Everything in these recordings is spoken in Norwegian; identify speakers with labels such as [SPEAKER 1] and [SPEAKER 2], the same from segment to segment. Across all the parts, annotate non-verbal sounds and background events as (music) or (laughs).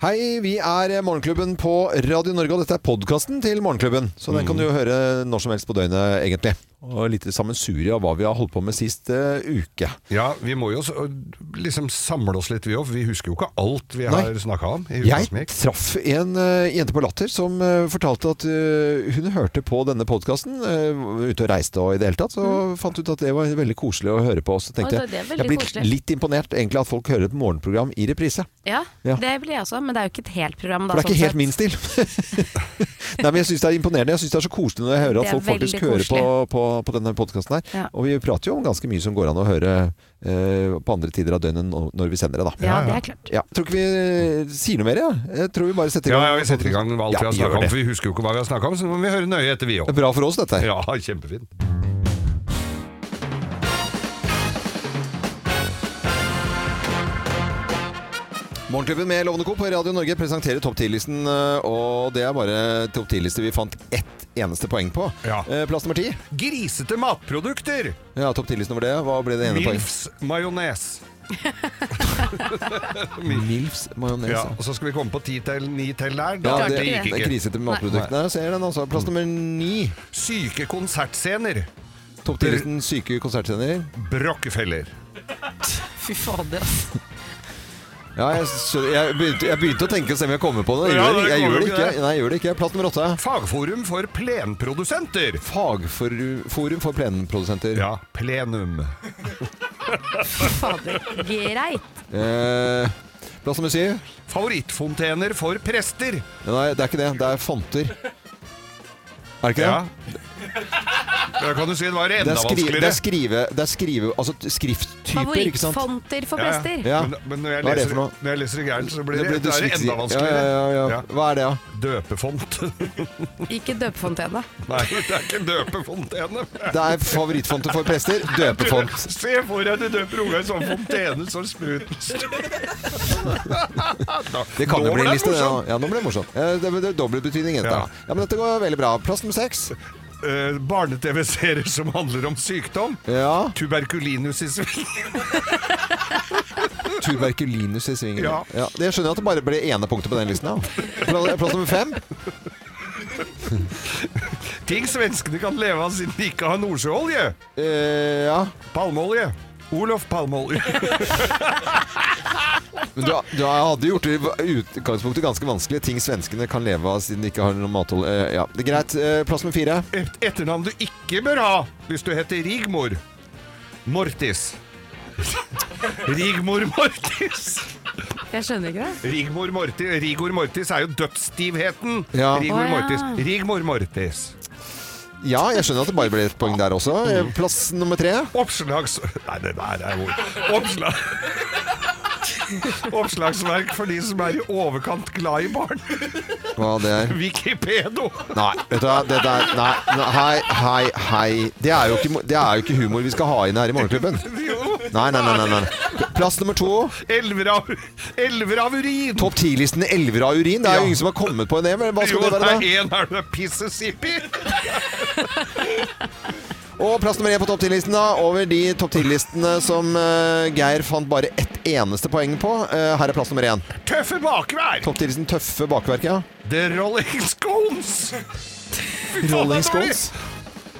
[SPEAKER 1] Hei, vi er Morgenklubben på Radio Norge, og dette er podkasten til Morgenklubben. Så den kan du jo høre når som helst på døgnet, egentlig. Og litt sammensurie av hva vi har holdt på med sist eh, uke.
[SPEAKER 2] Ja, vi må jo s- liksom samle oss litt, vi òg. Vi husker jo ikke alt vi
[SPEAKER 1] Nei.
[SPEAKER 2] har snakka om. i uka som
[SPEAKER 1] Jeg
[SPEAKER 2] gikk.
[SPEAKER 1] traff en eh, jente på Latter som eh, fortalte at eh, hun hørte på denne podkasten. ute og reiste og i det hele tatt. Så fant ut at det var veldig koselig å høre på. Så tenkte
[SPEAKER 3] Oi, det er
[SPEAKER 1] jeg
[SPEAKER 3] veldig
[SPEAKER 1] jeg blir
[SPEAKER 3] koselig.
[SPEAKER 1] litt imponert egentlig at folk hører et morgenprogram i reprise.
[SPEAKER 3] Ja,
[SPEAKER 1] Ja.
[SPEAKER 3] det blir jeg også, men det er jo ikke et helt program. Da,
[SPEAKER 1] For det er
[SPEAKER 3] sånn
[SPEAKER 1] ikke
[SPEAKER 3] sett.
[SPEAKER 1] helt min stil.
[SPEAKER 3] (laughs)
[SPEAKER 1] Nei, men jeg syns det er imponerende. Jeg syns det er så koselig når jeg hører
[SPEAKER 3] Det
[SPEAKER 1] at
[SPEAKER 3] er
[SPEAKER 1] folk faktisk
[SPEAKER 3] veldig
[SPEAKER 1] hører på,
[SPEAKER 3] koselig.
[SPEAKER 1] på, på denne podkasten her.
[SPEAKER 3] Ja.
[SPEAKER 1] Og vi prater jo om ganske mye som går an å høre eh, på andre tider av døgnet nå- når vi sender det, da.
[SPEAKER 3] Ja,
[SPEAKER 2] Ja, ja.
[SPEAKER 3] det er klart.
[SPEAKER 1] Ja, tror ikke vi eh, sier noe mer, jeg. Ja. Jeg tror vi bare setter i
[SPEAKER 2] Ja,
[SPEAKER 1] gang.
[SPEAKER 2] ja, vi setter i gang med alt
[SPEAKER 1] Ja,
[SPEAKER 2] vi har
[SPEAKER 1] vi gjør
[SPEAKER 2] snakka om.
[SPEAKER 1] det.
[SPEAKER 2] For vi husker jo ikke hva vi har snakka om, så nå må vi høre nøye etter, vi
[SPEAKER 1] Det (laughs)
[SPEAKER 2] òg.
[SPEAKER 1] er bra for oss, dette.
[SPEAKER 2] Ja, kjempefint.
[SPEAKER 1] Morgenklubben med Lovende Co. på Radio Norge presenterer topp 10-listen. eh, Og det er bare topp 10-liste vi fant ett eneste poeng på.
[SPEAKER 2] Ja.
[SPEAKER 1] Eh, Plass nummer ti.
[SPEAKER 2] Grisete matprodukter!
[SPEAKER 1] Ja, topp 10-listen over det. Hva ble det ene poenget?
[SPEAKER 2] Milfs majones.
[SPEAKER 1] Milfs majones. ja.
[SPEAKER 2] Ja, og så skal vi komme på ti til, ni til der. Da
[SPEAKER 1] Ja,
[SPEAKER 2] det,
[SPEAKER 1] det,
[SPEAKER 2] gikk
[SPEAKER 1] det er
[SPEAKER 2] ikke.
[SPEAKER 1] krisete med matproduktene. Jeg Ser den altså. Plass
[SPEAKER 2] Mm.
[SPEAKER 1] nummer ni.
[SPEAKER 2] Syke konsertscener.
[SPEAKER 1] Topp 10-listen syke konsertscener.
[SPEAKER 2] Brockefeller.
[SPEAKER 3] Fy fader, ass.
[SPEAKER 1] Ja, jeg, skjø- jeg, begynte, jeg begynte å tenke og se om jeg kommer på det. Jeg,
[SPEAKER 2] Ja,
[SPEAKER 1] gjør,
[SPEAKER 2] det
[SPEAKER 1] jeg,
[SPEAKER 2] kommer
[SPEAKER 1] gjør det
[SPEAKER 2] jo
[SPEAKER 1] ikke.
[SPEAKER 2] ikke det.
[SPEAKER 1] Nei, jeg gjør det ikke. Plass nummer åtte.
[SPEAKER 2] Fagforum for plenprodusenter.
[SPEAKER 1] Fagforum for plenprodusenter.
[SPEAKER 2] Ja, plenum.
[SPEAKER 3] Fader. Greit.
[SPEAKER 1] Eh, plass nummer syv.
[SPEAKER 2] Favorittfontener for prester.
[SPEAKER 1] Nei, det er ikke det. Det er fonter. Er det ikke det?
[SPEAKER 2] Ja. Da kan du si det var
[SPEAKER 1] Det
[SPEAKER 2] enda
[SPEAKER 1] er, skri, det,
[SPEAKER 2] vanskeligere.
[SPEAKER 1] er skrive, det er skrive Altså t- skrifttyper, ikke sant?
[SPEAKER 3] Favorittfonter for
[SPEAKER 2] Ja, ja.
[SPEAKER 3] prester.
[SPEAKER 1] Ja.
[SPEAKER 2] Men, men når,
[SPEAKER 1] Hva
[SPEAKER 2] jeg
[SPEAKER 1] er det
[SPEAKER 2] leser,
[SPEAKER 1] for noe?
[SPEAKER 2] når jeg leser det gærent, så blir
[SPEAKER 1] Det
[SPEAKER 2] det,
[SPEAKER 1] ble
[SPEAKER 2] da er det
[SPEAKER 1] dysleksi.
[SPEAKER 2] enda
[SPEAKER 1] Ja,
[SPEAKER 2] vanskeligere.
[SPEAKER 1] ja, ja, ja.
[SPEAKER 2] Ja.
[SPEAKER 1] Hva er det, da?
[SPEAKER 2] Døpefont. (laughs)
[SPEAKER 3] Ikke døpefontene.
[SPEAKER 2] Nei, det er ikke døpefontene.
[SPEAKER 1] Det er favorittfonter for
[SPEAKER 2] (laughs)
[SPEAKER 1] prester. Døpefont.
[SPEAKER 2] Se for deg du døper unga i sånn fontene som spruten
[SPEAKER 1] (laughs)
[SPEAKER 2] står.
[SPEAKER 1] Det kan
[SPEAKER 2] Nå
[SPEAKER 1] jo bli
[SPEAKER 2] ble
[SPEAKER 1] en
[SPEAKER 2] det
[SPEAKER 1] liste. Ja,
[SPEAKER 2] morsomt.
[SPEAKER 1] ja, nå ble det morsomt. Eh, Det det er dobbeltbetydning. Ja.
[SPEAKER 2] Ja.
[SPEAKER 1] ja, men dette går veldig bra. Plass nummer seks.
[SPEAKER 2] Eh, Barne-TV-serier som handler om sykdom.
[SPEAKER 1] Ja.
[SPEAKER 2] Tuberkulinus i sving.
[SPEAKER 1] (laughs) Tuberkulinus i svingen. Ja.
[SPEAKER 2] Ja.
[SPEAKER 1] det skjønner jeg at det bare ble ene punktet på den listen. Ja. Pla- eh, Plass nummer fem.
[SPEAKER 2] Ting svenskene kan leve av siden de ikke har nordsjøolje.
[SPEAKER 1] Eh, ja.
[SPEAKER 2] Palmeolje. Olof Palmeolje.
[SPEAKER 1] Men du, du hadde gjort det i utgangspunktet ganske vanskelig. Ting svenskene kan leve av siden de ikke har noe mathold. Eh, ja, det er greit. Eh, Plass nummer fire.
[SPEAKER 2] Et etternavn du ikke bør ha hvis du heter Rigmor. Mortis. Rigmor Mortis.
[SPEAKER 3] Jeg skjønner ikke det.
[SPEAKER 2] Rigmor Mortis, Rigor Mortis er jo dødsstivheten.
[SPEAKER 1] Ja.
[SPEAKER 2] Rigmor
[SPEAKER 3] Å, ja.
[SPEAKER 2] Mortis. Rigmor Mortis.
[SPEAKER 1] Ja, jeg skjønner at det bare ble et poeng der også. Eh, Plass nummer tre.
[SPEAKER 2] Oppslags... Nei, det der er ord. Oppslag... Oppslagsverk for de som er i overkant glad i barn.
[SPEAKER 1] Hva det er
[SPEAKER 2] Wikipedo.
[SPEAKER 1] Nei, vet du hva, det der Nei, nei, hei, hei, hei. Det er, jo ikke, mo- det er jo ikke humor vi skal ha inn her i Morgenklubben.
[SPEAKER 2] Jo.
[SPEAKER 1] Nei, nei, nei. nei, nei. Plass nummer to.
[SPEAKER 2] Elver av, elver av urin.
[SPEAKER 1] Topp 10-listen elver av urin. Det er
[SPEAKER 2] Ja.
[SPEAKER 1] jo ingen som har kommet på det. men Hva skal
[SPEAKER 2] jo,
[SPEAKER 1] det være da?
[SPEAKER 2] er en her, det er Pississippi.
[SPEAKER 1] Og plass nummer én på topp 10-listen, da. Over de topp 10-listene som eh, Geir fant bare ett eneste poeng på. Eh, her er plass nummer én.
[SPEAKER 2] Tøffe bakvær.
[SPEAKER 1] Topp 10-listen Tøffe bakverk, ja.
[SPEAKER 2] The Rolling Scones. Fy faen,
[SPEAKER 1] Rolling
[SPEAKER 2] det er dårlig.
[SPEAKER 1] Scones.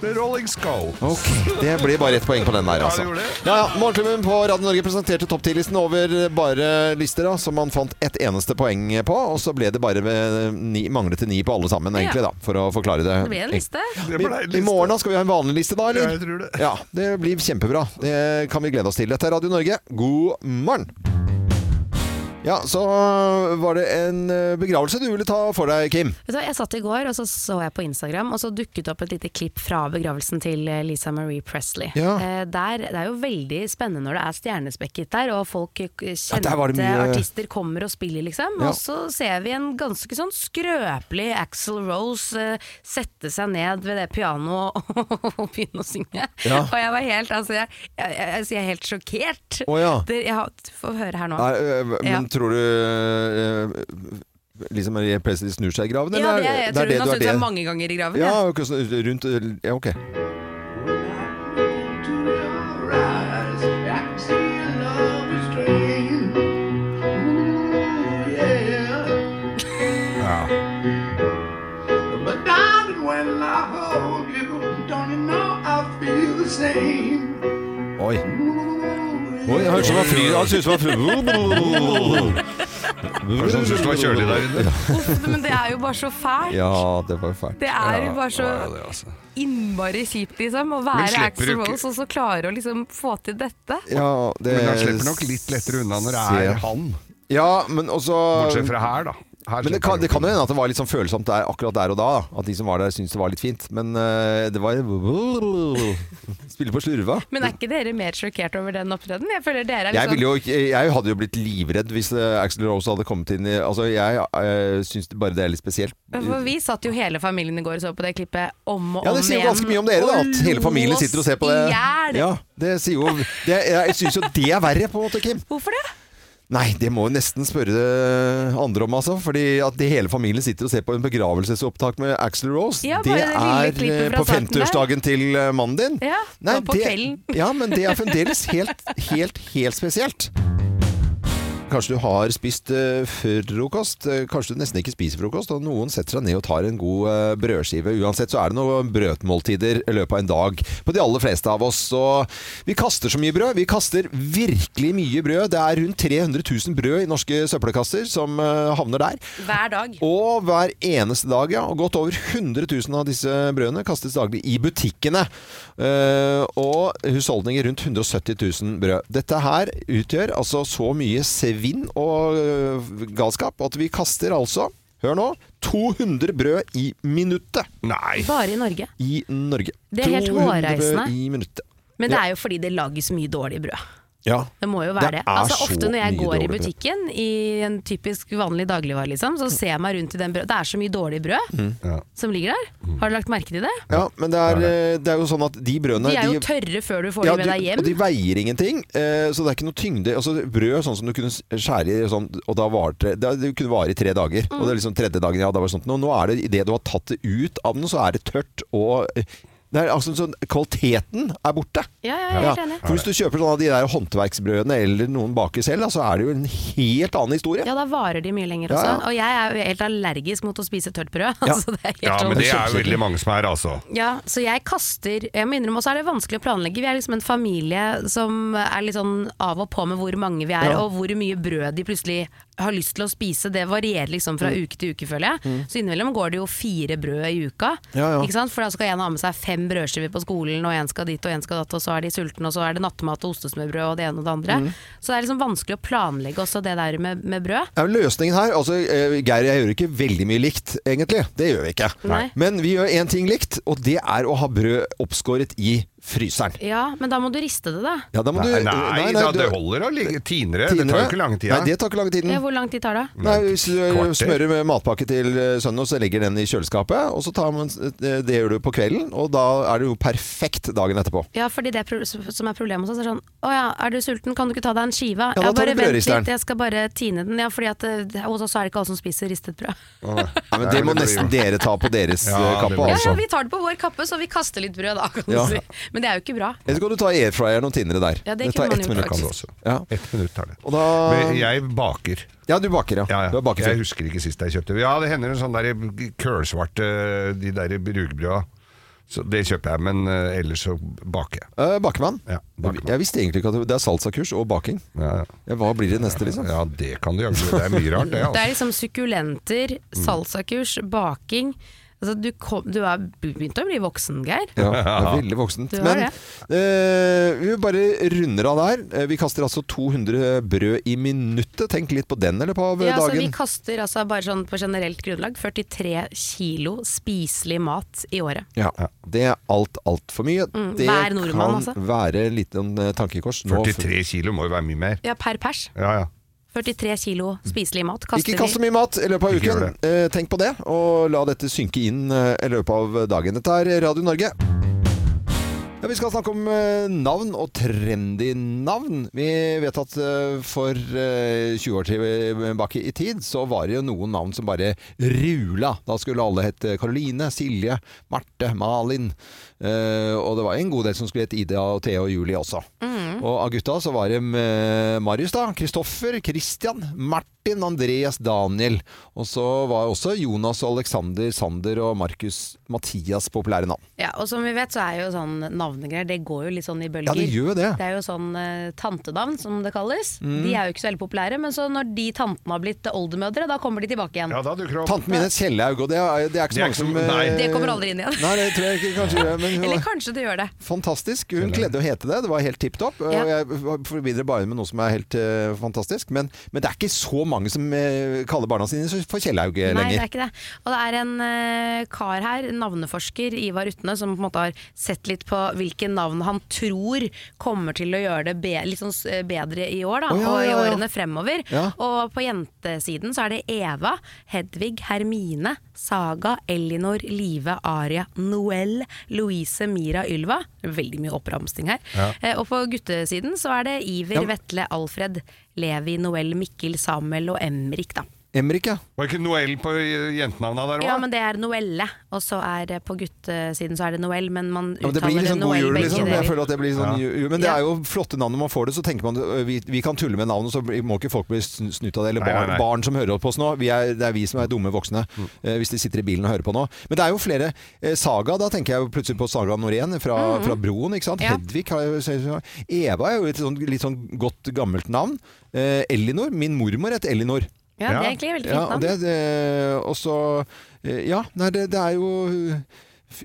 [SPEAKER 2] The Rolling Scones.
[SPEAKER 1] Ok, Det ble bare ett poeng på den der,
[SPEAKER 2] Ja,
[SPEAKER 1] altså.
[SPEAKER 2] det gjorde det.
[SPEAKER 1] Ja, ja. Morgenklubben på Radio Norge presenterte topp 10-listen over bare lister, da, som man fant ett eneste poeng på. Og så ble det bare eh, ni, manglet det ni på alle sammen, egentlig, da, for å forklare det.
[SPEAKER 3] Det blir en liste.
[SPEAKER 1] I,
[SPEAKER 2] Det ble en
[SPEAKER 1] I
[SPEAKER 2] liste.
[SPEAKER 1] morgen da skal vi ha en vanlig liste, da,
[SPEAKER 2] Ja,
[SPEAKER 1] eller?
[SPEAKER 2] jeg tror det.
[SPEAKER 1] Ja, det blir kjempebra. Det kan vi glede oss til. Dette er Radio Norge. God morgen! Ja, så var det en eh, begravelse du ville ta for deg, Kim.
[SPEAKER 3] Vet du hva, Jeg satt i går og så så jeg på Instagram, og så dukket opp et lite klipp fra begravelsen til eh, Lisa Marie Presley.
[SPEAKER 1] Ja.
[SPEAKER 3] Eh, Der, det er jo veldig spennende når det er stjernespekket der, og folk eh, kjente
[SPEAKER 1] der var det mye-
[SPEAKER 3] artister kommer og spiller, liksom.
[SPEAKER 1] Ja.
[SPEAKER 3] Og så ser vi en ganske sånn skrøpelig Axel Rose eh, sette seg ned ved det pianoet (laughs) og begynne å synge.
[SPEAKER 1] Ja.
[SPEAKER 3] Og jeg var helt, altså, jeg, jeg, jeg, altså, jeg er helt sjokkert.
[SPEAKER 1] Å ja.
[SPEAKER 3] det, jeg har, Få høre her nå.
[SPEAKER 1] Nei, øh, men
[SPEAKER 3] Ja.
[SPEAKER 1] tror du øh, liksom Marie Presley snur seg i graven,
[SPEAKER 3] ja, det,
[SPEAKER 1] eller?
[SPEAKER 3] jeg,
[SPEAKER 1] er-
[SPEAKER 3] jeg
[SPEAKER 1] det er
[SPEAKER 3] tror hun
[SPEAKER 1] det du
[SPEAKER 3] har
[SPEAKER 1] er
[SPEAKER 3] snudd seg
[SPEAKER 1] det?
[SPEAKER 3] mange ganger i graven.
[SPEAKER 1] Ja,
[SPEAKER 3] jeg.
[SPEAKER 1] ikke sånn rundt Ja, ok.
[SPEAKER 4] I can see your love is straying. Ooh, yeah. when I hold you. Don't you know I feel the same?
[SPEAKER 1] Oi. Oi, jeg hørte som han flyr. Han synes
[SPEAKER 2] (laughs)
[SPEAKER 1] han flyr.
[SPEAKER 2] Kanskje han synes det var kjølig der inne?
[SPEAKER 3] Uff, men det er jo bare så fælt.
[SPEAKER 1] Ja, det var fælt.
[SPEAKER 3] Det er jo bare så
[SPEAKER 2] Ja, det, altså.
[SPEAKER 3] innmari kjipt, liksom. Å være
[SPEAKER 2] slipper
[SPEAKER 3] Axel
[SPEAKER 2] du ikke-
[SPEAKER 3] Rose og så klare å liksom få til dette.
[SPEAKER 1] Ja, det
[SPEAKER 2] Men han slipper nok litt lettere unna når det
[SPEAKER 1] ser-
[SPEAKER 2] er han.
[SPEAKER 1] Ja, men også
[SPEAKER 2] Bortsett fra her, da. Her
[SPEAKER 1] Men det
[SPEAKER 2] slipper
[SPEAKER 1] kan,
[SPEAKER 2] han
[SPEAKER 1] det kan jo
[SPEAKER 2] unna.
[SPEAKER 1] hende at det var litt sånn følsomt der, akkurat der og da. da. At de som var der, syntes det var litt fint. Men eh, det var (laughs) Spille på slurva.
[SPEAKER 3] Men er ikke dere mer sjokkert over den opptredenen? Jeg føler dere er
[SPEAKER 1] Jeg, ville
[SPEAKER 3] liksom
[SPEAKER 1] jo, ikke- jeg hadde jo blitt livredd hvis eh, Axl Rose hadde kommet inn i Altså, jeg uh, syns det bare det er litt spesielt.
[SPEAKER 3] for vi satt jo hele familien i går og så på det klippet om og om igjen.
[SPEAKER 1] Ja, det sier jo ganske mye om dere, da. At hele familien sitter og ser på det. Ja, det sier jo det, Jeg syns jo det er verre, på en måte, Kim.
[SPEAKER 3] Hvorfor det?
[SPEAKER 1] Nei, det må jo nesten spørre det andre om, altså. Fordi at det hele familien sitter og ser på en begravelsesopptak med Axl Rose.
[SPEAKER 3] Ja, bare det lille
[SPEAKER 1] er
[SPEAKER 3] klippet
[SPEAKER 1] eh,
[SPEAKER 3] fra
[SPEAKER 1] på
[SPEAKER 3] starten der.
[SPEAKER 1] 50-årsdagen til eh, mannen din.
[SPEAKER 3] Ja, det var på kvelden.
[SPEAKER 1] ja, men det er fremdeles helt, helt, helt spesielt. Kanskje du har spist eh, frokost, eh, kanskje du nesten ikke spiser frokost, og noen setter seg ned og tar en god eh, brødskive. Uansett så er det noen brødmåltider i løpet av en dag på de aller fleste av oss. Og vi kaster så mye brød. Vi kaster virkelig mye brød. Det er rundt 300 000 brød i norske søppelkasser som eh, havner der.
[SPEAKER 3] Hver dag.
[SPEAKER 1] Og hver eneste dag, ja. Og godt over 100 000 av disse brødene kastes daglig i butikkene. Eh, og husholdninger rundt 170 000 brød. Dette her utgjør altså så mye svinn og eh, galskap at vi kaster altså, hør nå, 200 brød i minuttet
[SPEAKER 2] Nei.
[SPEAKER 3] Bare i Norge.
[SPEAKER 1] i Norge.
[SPEAKER 3] Det er helt
[SPEAKER 1] 200
[SPEAKER 3] hårreisende.
[SPEAKER 1] brød i minuttet.
[SPEAKER 3] Men det er jo fordi det lages mye dårlig brød.
[SPEAKER 1] Ja.
[SPEAKER 3] Det må jo være
[SPEAKER 1] Det
[SPEAKER 3] det.
[SPEAKER 1] er
[SPEAKER 3] Altså,
[SPEAKER 1] så
[SPEAKER 3] ofte når jeg
[SPEAKER 1] mye
[SPEAKER 3] går i
[SPEAKER 1] dårlig brød.
[SPEAKER 3] butikken i en typisk vanlig dagligvare, liksom, så ser jeg meg rundt i den brød. Det er så mye dårlig brød
[SPEAKER 1] Mm.
[SPEAKER 3] som ligger der. Har du lagt merke til det?
[SPEAKER 1] ja, men det er, eh, det er jo sånn at de brødene
[SPEAKER 3] De er jo
[SPEAKER 1] de-
[SPEAKER 3] tørre før du får
[SPEAKER 1] Ja,
[SPEAKER 3] dem med
[SPEAKER 1] de-
[SPEAKER 3] deg
[SPEAKER 1] Og de
[SPEAKER 3] hjem.
[SPEAKER 1] veier ingenting, eh, så det er ikke noe tyngde. Altså, brød sånn som du kunne s- skjære i, sånn, og da var det, da- det kunne vare i tre dager. Og det er liksom tredje dagen, ja, da var det sånt. Nå, nå er det, idet du har tatt det ut av den, så er det tørt og eh, det er, altså, sånn, Kvaliteten er borte.
[SPEAKER 3] Ja, ja, jeg er helt
[SPEAKER 1] Ja,
[SPEAKER 3] enig.
[SPEAKER 1] for Hvis du kjøper sånne av de der håndverksbrødene eller noen baker selv, da, så er det jo en helt annen historie.
[SPEAKER 3] Ja, da varer de mye lenger
[SPEAKER 1] Ja,
[SPEAKER 3] også.
[SPEAKER 1] ja.
[SPEAKER 3] Og jeg er jo helt allergisk mot å spise tørt brød. (laughs) Altså, det er helt
[SPEAKER 2] Ja, men det er jo
[SPEAKER 3] overkjøpelig.
[SPEAKER 2] veldig mange som er, altså.
[SPEAKER 3] Ja, så jeg kaster Jeg må innrømme også er det vanskelig å planlegge. Vi er liksom en familie som er litt sånn av og på med hvor mange vi er,
[SPEAKER 1] Ja.
[SPEAKER 3] og hvor mye brød de plutselig har lyst til å spise. Det varierer liksom fra
[SPEAKER 1] Mm.
[SPEAKER 3] uke til uke, føler jeg. Så innimellom går det jo fire brød i uka.
[SPEAKER 1] Ja, ja.
[SPEAKER 3] Ikke sant? For da skal en ha med seg fem brødskiver på skolen, og en skal dit og en skal datt, og så er de sultne, og så er det nattmat og ostesmørbrød og det ene og det andre.
[SPEAKER 1] Mm.
[SPEAKER 3] Så det er liksom vanskelig å planlegge også det der med, med brød.
[SPEAKER 1] Ja, men løsningen her altså, eh, Geir og jeg gjør ikke veldig mye likt, egentlig. Det gjør vi ikke.
[SPEAKER 3] Nei.
[SPEAKER 1] Men vi gjør én ting likt, og det er å ha brød oppskåret i fryseren.
[SPEAKER 3] Ja, men da må du riste det, da.
[SPEAKER 1] Ja, da må
[SPEAKER 2] Nei,
[SPEAKER 1] du,
[SPEAKER 2] da,
[SPEAKER 1] du-
[SPEAKER 2] det holder å ligge tinere. Det tar jo ikke lang tid.
[SPEAKER 1] Nei, det tar ikke lang tiden.
[SPEAKER 3] Ja, hvor lang tid tar det?
[SPEAKER 1] Nei, hvis du eh,
[SPEAKER 2] Kvarter.
[SPEAKER 1] smører med matpakke til eh, sønnen, og så legger den i kjøleskapet, og så tar man, eh, det gjør du på kvelden, og da er det jo perfekt dagen etterpå.
[SPEAKER 3] Ja, fordi det pro- som er problemet hos oss, er sånn Å ja, er du sulten, kan du ikke ta deg en skive?
[SPEAKER 1] Ja, da tar
[SPEAKER 3] bare
[SPEAKER 1] du brødristeren.
[SPEAKER 3] litt, jeg skal bare tine den. Ja, fordi at eh, det- hos oss er det ikke alle som spiser ristet brød.
[SPEAKER 1] Nei, men det må
[SPEAKER 2] blir
[SPEAKER 1] nesten dere ta på deres
[SPEAKER 2] Ja,
[SPEAKER 1] eh,
[SPEAKER 2] det
[SPEAKER 1] kappe,
[SPEAKER 2] blir- sånn.
[SPEAKER 3] Ja, ja,
[SPEAKER 1] altså.
[SPEAKER 3] vi tar det på vår kappe, så vi kaster litt brød da, kan du
[SPEAKER 1] Ja.
[SPEAKER 3] si. Men det er jo ikke bra.
[SPEAKER 1] Eller så kan du ta airfryeren og tinnere der.
[SPEAKER 3] Ja, det
[SPEAKER 1] tar
[SPEAKER 3] kunne man
[SPEAKER 1] ett
[SPEAKER 3] gjort,
[SPEAKER 1] minutt.
[SPEAKER 2] kan du også.
[SPEAKER 1] Ja.
[SPEAKER 2] Ett minutt tar det.
[SPEAKER 1] Og da,
[SPEAKER 2] Men jeg baker.
[SPEAKER 1] ja, du baker, ja.
[SPEAKER 2] Ja,
[SPEAKER 1] Du har
[SPEAKER 2] ja.
[SPEAKER 1] baket
[SPEAKER 2] Jeg
[SPEAKER 1] før.
[SPEAKER 2] husker ikke sist jeg kjøpte. Ja, det hender en sånn der kølsvarte De der rugbrøda. Så det kjøper jeg, men eh, ellers så baker jeg.
[SPEAKER 1] Eh, bakemann.
[SPEAKER 2] Ja, bakemann.
[SPEAKER 1] Jeg visste egentlig ikke at det, det er salsakurs og baking.
[SPEAKER 2] Ja, ja.
[SPEAKER 1] Ja, hva blir det neste, liksom?
[SPEAKER 2] ja det kan du gjøre. Det er mye rart, (laughs) det.
[SPEAKER 3] Det
[SPEAKER 2] Altså.
[SPEAKER 3] er liksom sukkulenter,
[SPEAKER 1] Mm.
[SPEAKER 3] salsakurs, baking. Altså, du, kom, du er begynt å bli voksen, Geir.
[SPEAKER 1] Ja, det er veldig voksent.
[SPEAKER 3] Du har
[SPEAKER 1] Men
[SPEAKER 3] det.
[SPEAKER 1] eh, vi bare runder av der. Eh, Vi kaster altså 200 brød i minuttet. Tenk litt på den eller på
[SPEAKER 3] Ja, så vi
[SPEAKER 1] dagen.
[SPEAKER 3] kaster altså bare sånn på generelt grunnlag 43 kilo spiselig mat i året.
[SPEAKER 1] Ja, det er alt, altfor mye. det
[SPEAKER 3] Mm, hver nordmann,
[SPEAKER 1] kan
[SPEAKER 3] altså.
[SPEAKER 1] være en liten eh, tankekors. Nå-
[SPEAKER 2] 43 kilo må jo være mye mer.
[SPEAKER 3] Ja, per pers.
[SPEAKER 2] Ja, ja.
[SPEAKER 3] 43 kilo spiselig mat kaster
[SPEAKER 1] Ikke
[SPEAKER 3] vi.
[SPEAKER 1] kast så mye mat i løpet av
[SPEAKER 2] Ikke
[SPEAKER 1] uken.
[SPEAKER 2] gjør
[SPEAKER 1] Eh, tenk på det, og la dette synke inn eh, i løpet av dagen. Dette er Radio Norge. Ja, vi skal snakke om eh, navn og trendy navn. Vi vet at eh, for eh, 20 år tilbake i tid så var det jo noen navn som bare rula. Da skulle alle hete Karoline, Silje, Marte, Malin. Eh, og det var en god del som skulle hete Ida og Thea og Julie også. Og av gutta så var det eh, Marius, da. Kristoffer, Christian, Martin, Andreas, Daniel. Og så var også Jonas, Alexander, Sander og Markus Mathias populære navn.
[SPEAKER 3] Ja, og som vi vet så er jo sånn navnegreier, det går jo litt sånn i bølger.
[SPEAKER 1] Ja, det gjør jo det.
[SPEAKER 3] Det er jo sånn eh, tantenavn som det kalles.
[SPEAKER 1] Mm.
[SPEAKER 3] De er jo ikke så veldig populære, men så når de tantene har blitt oldemødre, da kommer de tilbake igjen.
[SPEAKER 2] Ja, da dukker det opp.
[SPEAKER 1] Tanten min het Kjellaug, og det er, det er ikke så
[SPEAKER 2] Det er
[SPEAKER 1] mange
[SPEAKER 2] ikke
[SPEAKER 1] som
[SPEAKER 2] så- nei.
[SPEAKER 1] eh,
[SPEAKER 3] Det kommer aldri inn igjen.
[SPEAKER 1] Nei, det tror jeg ikke kanskje gjør, men hun
[SPEAKER 3] Eller
[SPEAKER 1] var
[SPEAKER 3] kanskje det gjør det.
[SPEAKER 1] fantastisk. Hun kledde å hete det, det var helt tipp topp. Og
[SPEAKER 3] Ja.
[SPEAKER 1] jeg forbinder bare med noe som er helt eh, fantastisk. Men, men det er ikke så mange som eh, kaller barna sine for Kjellaug eh,
[SPEAKER 3] Nei, det
[SPEAKER 1] lenger.
[SPEAKER 3] er ikke det. Og det er en eh, kar her, en navneforsker Ivar Utne, som på en måte har sett litt på hvilke navn han tror kommer til å gjøre det be litt sånn s- bedre i år, da,
[SPEAKER 1] Å, ja,
[SPEAKER 3] og i
[SPEAKER 1] ja, ja.
[SPEAKER 3] årene fremover.
[SPEAKER 1] Ja.
[SPEAKER 3] Og på jentesiden så er det Eva, Hedvig, Hermine, Saga, Elinor, Live, Aria, Noel, Louise, Mira, Ylva. Veldig mye oppramsting her. Eh, og på guttesiden så er det Iver,
[SPEAKER 1] Ja.
[SPEAKER 3] Vetle, Alfred, Levi, Noel, Mikkel, Samuel og Emrik, da.
[SPEAKER 1] Emrik, ja.
[SPEAKER 2] Var det ikke Noel på eh, jentenavna der òg?
[SPEAKER 3] Ja, men det er Noelle, og så er det på guttesiden så er det Noel, men man
[SPEAKER 1] Ja, men det
[SPEAKER 3] uttaler
[SPEAKER 1] blir
[SPEAKER 3] det
[SPEAKER 1] liksom god
[SPEAKER 3] Noel
[SPEAKER 1] jul,
[SPEAKER 3] begge
[SPEAKER 1] liksom. Jeg
[SPEAKER 3] deler.
[SPEAKER 1] føler at det blir sånn
[SPEAKER 2] Ja.
[SPEAKER 1] jul. Men det
[SPEAKER 3] Ja.
[SPEAKER 1] er jo flotte navn når man får det. Så tenker man øh, vi, vi kan tulle med navnet, så blir- må ikke folk bli sn- snytt av det. Eller
[SPEAKER 2] Nei,
[SPEAKER 1] barn,
[SPEAKER 2] nei, Mm. nei.
[SPEAKER 1] barn som hører på oss nå. Vi er, det er vi som er dumme voksne eh, hvis de sitter i bilen og hører på nå. Men det er jo flere. Eh, Saga, da tenker jeg jo plutselig på Saga Norén fra, fra Broen. ikke sant?
[SPEAKER 3] Mm. Ja.
[SPEAKER 1] Hedvig har jo ser- ser- Eva er jo et sånn, litt sånn godt, gammelt navn. Eh, Elinor. Min mormor het Elinor.
[SPEAKER 3] Ja, det er egentlig et veldig
[SPEAKER 1] Ja,
[SPEAKER 3] fint
[SPEAKER 1] og
[SPEAKER 3] navn.
[SPEAKER 1] det, det, og så, eh, Ja, nei, det, det er jo uh,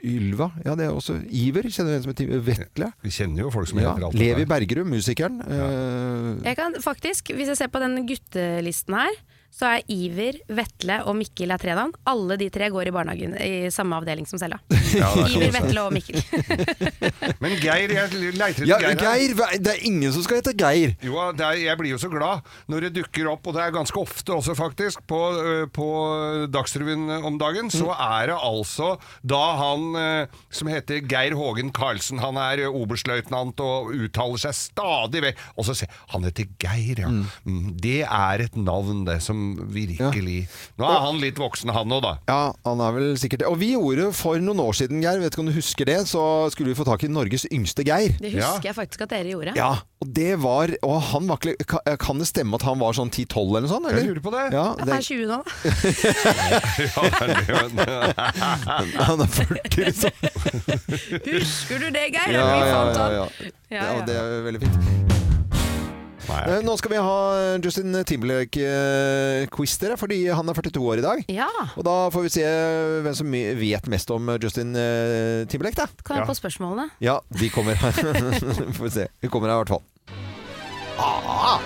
[SPEAKER 1] Ylva. Ja, det er også Iver. Kjenner du en som heter Iver? Vetle?
[SPEAKER 2] Vi kjenner jo folk som
[SPEAKER 1] Ja.
[SPEAKER 2] heter alt
[SPEAKER 1] Levi
[SPEAKER 2] det der.
[SPEAKER 1] Bergerud, musikeren. eh,
[SPEAKER 3] Jeg kan faktisk, hvis jeg ser på den guttelisten her, så er Iver, Vetle og Mikkel er tre navn. Alle de tre går i barnehagen i samme avdeling som
[SPEAKER 1] (laughs)
[SPEAKER 3] Selda.
[SPEAKER 2] Ja, der kan
[SPEAKER 3] Iver,
[SPEAKER 2] du se.
[SPEAKER 3] Vetle og Mikkel.
[SPEAKER 2] Men Geir, jeg leiter etter
[SPEAKER 1] ja,
[SPEAKER 2] Geir. her.
[SPEAKER 1] Geir! hva- Det er ingen som skal hete Geir!
[SPEAKER 2] Jo, det er, jeg blir jo så glad når det dukker opp, og det er ganske ofte også faktisk, på, øh, på Dagsrevyen om dagen, så
[SPEAKER 1] Mm.
[SPEAKER 2] er det altså da han øh, som heter Geir Hågen Karlsen, han er øh, oberstløytnant og uttaler seg stadig vekk, og så sier han heter Geir, ja. Mm. Det er et navn det som virkelig Nå er han litt voksen han nå da.
[SPEAKER 1] Ja, han er vel sikkert det. Og vi gjorde for noen år siden, Geir, vet ikke om du husker det, så skulle vi få tak i Norges yngste Geir.
[SPEAKER 3] Det
[SPEAKER 2] Ja.
[SPEAKER 3] husker jeg faktisk at dere gjorde.
[SPEAKER 1] Ja, og det var Og han var ikke ka- eh, Kan det stemme at han var sånn 10-12 eller noe sånt? Eller?
[SPEAKER 2] Jeg lurer på (laughs) det.
[SPEAKER 1] Ja,
[SPEAKER 3] Han
[SPEAKER 1] det
[SPEAKER 3] er 20 nå.
[SPEAKER 1] (laughs) han er 40, liksom.
[SPEAKER 3] Husker du det, Geir?
[SPEAKER 1] (laughs) Ja,
[SPEAKER 3] Vi
[SPEAKER 1] ja,
[SPEAKER 3] fant
[SPEAKER 1] ja,
[SPEAKER 3] han.
[SPEAKER 1] ja.
[SPEAKER 3] Ja,
[SPEAKER 1] ja,
[SPEAKER 3] ja.
[SPEAKER 1] det er veldig fint. Eh,
[SPEAKER 2] Nei,
[SPEAKER 1] Nå skal vi ha eh, Justin Timberlake-quiz, dere, fordi han er 42 år i dag.
[SPEAKER 3] Ja.
[SPEAKER 1] Og da får vi se hvem som vet mest om Justin eh, Timberlake, da.
[SPEAKER 3] Kan jeg
[SPEAKER 2] Ja.
[SPEAKER 3] få spørsmålene?
[SPEAKER 1] Ja, de kommer her. (laughs) får vi se. De kommer her i hvert fall. Ah!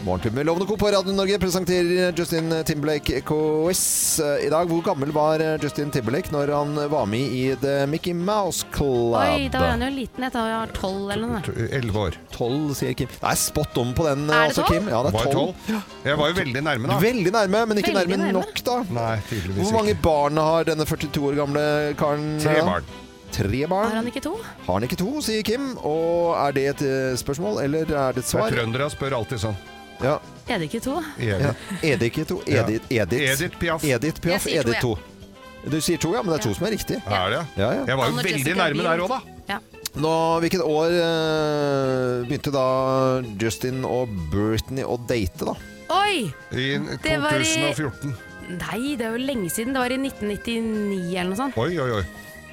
[SPEAKER 1] Morgenklubben med Lovende Co på Radio Norge presenterer eh, Justin Timberlake quiz eh, i dag. Hvor gammel var eh, Justin Timberlake når han var med i The Mickey Mouse Club?
[SPEAKER 3] Oi, da var han jo liten. Jeg tror jeg var 12 eller noe.
[SPEAKER 2] 11 år.
[SPEAKER 1] 12, sier Kim. Det er spot on på den,
[SPEAKER 3] Er det
[SPEAKER 1] altså,
[SPEAKER 3] 12?
[SPEAKER 1] Kim. Ja, det
[SPEAKER 2] Var
[SPEAKER 1] er
[SPEAKER 2] jeg
[SPEAKER 1] 12.
[SPEAKER 2] 12? Jeg var jo veldig nærme da.
[SPEAKER 1] Veldig nærme, men ikke
[SPEAKER 3] Veldig
[SPEAKER 1] nærme,
[SPEAKER 3] nærme.
[SPEAKER 1] nok, da.
[SPEAKER 2] Nei, tydeligvis
[SPEAKER 1] Hvor mange barn har denne 42 år gamle karen?
[SPEAKER 2] Tre
[SPEAKER 1] da?
[SPEAKER 2] barn.
[SPEAKER 1] Tre barn.
[SPEAKER 3] Har han ikke to?
[SPEAKER 1] Har han ikke to, sier Kim. Og er det et eh, spørsmål, eller er det et
[SPEAKER 2] Det er
[SPEAKER 1] svar?
[SPEAKER 2] Trøndere spør alltid sånn.
[SPEAKER 1] Ja.
[SPEAKER 3] Er det ikke to?
[SPEAKER 1] ja. Er det ikke to?
[SPEAKER 2] Ja.
[SPEAKER 1] Edith, Edith.
[SPEAKER 2] Edith Piaf.
[SPEAKER 1] Edith Piaf,
[SPEAKER 3] Jeg sier to,
[SPEAKER 1] Edith to. Du sier to, ja, men det er to som er riktig.
[SPEAKER 2] Er det?
[SPEAKER 1] Ja, ja.
[SPEAKER 2] Jeg var jo
[SPEAKER 3] Anne
[SPEAKER 2] veldig
[SPEAKER 3] Jessica
[SPEAKER 2] nærme
[SPEAKER 3] Biel.
[SPEAKER 2] der òg, da.
[SPEAKER 3] Ja.
[SPEAKER 1] Nå, hvilket år eh, begynte da Justin og Britney å date, da?
[SPEAKER 3] Oi!
[SPEAKER 2] I
[SPEAKER 3] Det var i-
[SPEAKER 2] 2014.
[SPEAKER 3] Nei, det er jo lenge siden. Det var i 1999 eller noe sånt.
[SPEAKER 2] Oi, oi, oi.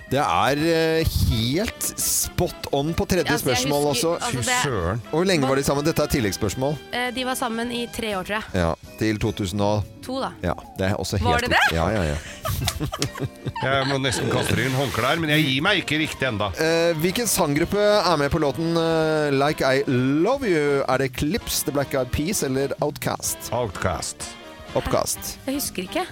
[SPEAKER 1] Det er eh, helt spot on på tredje
[SPEAKER 3] Altså, jeg
[SPEAKER 1] spørsmål
[SPEAKER 3] husker-
[SPEAKER 1] også.
[SPEAKER 2] Fy
[SPEAKER 3] Altså, det-
[SPEAKER 2] søren.
[SPEAKER 1] Og Hvor lenge var de sammen? Dette er tilleggsspørsmål.
[SPEAKER 3] Eh, De var sammen i tre år, tror jeg.
[SPEAKER 1] Ja, til 2000 og
[SPEAKER 3] To, da.
[SPEAKER 1] Ja, det er også helt
[SPEAKER 3] Var det det?
[SPEAKER 1] Ja, ja, ja.
[SPEAKER 2] Jeg må nesten kaste inn håndkle her, men jeg gir meg ikke riktig enda.
[SPEAKER 1] Eh, hvilken sanggruppe er med på låten eh, Like I Love You? Er det Clips, The Black Eyed Peas eller Outcast?
[SPEAKER 2] Outcast.
[SPEAKER 1] Oppkast.
[SPEAKER 3] Jeg husker ikke.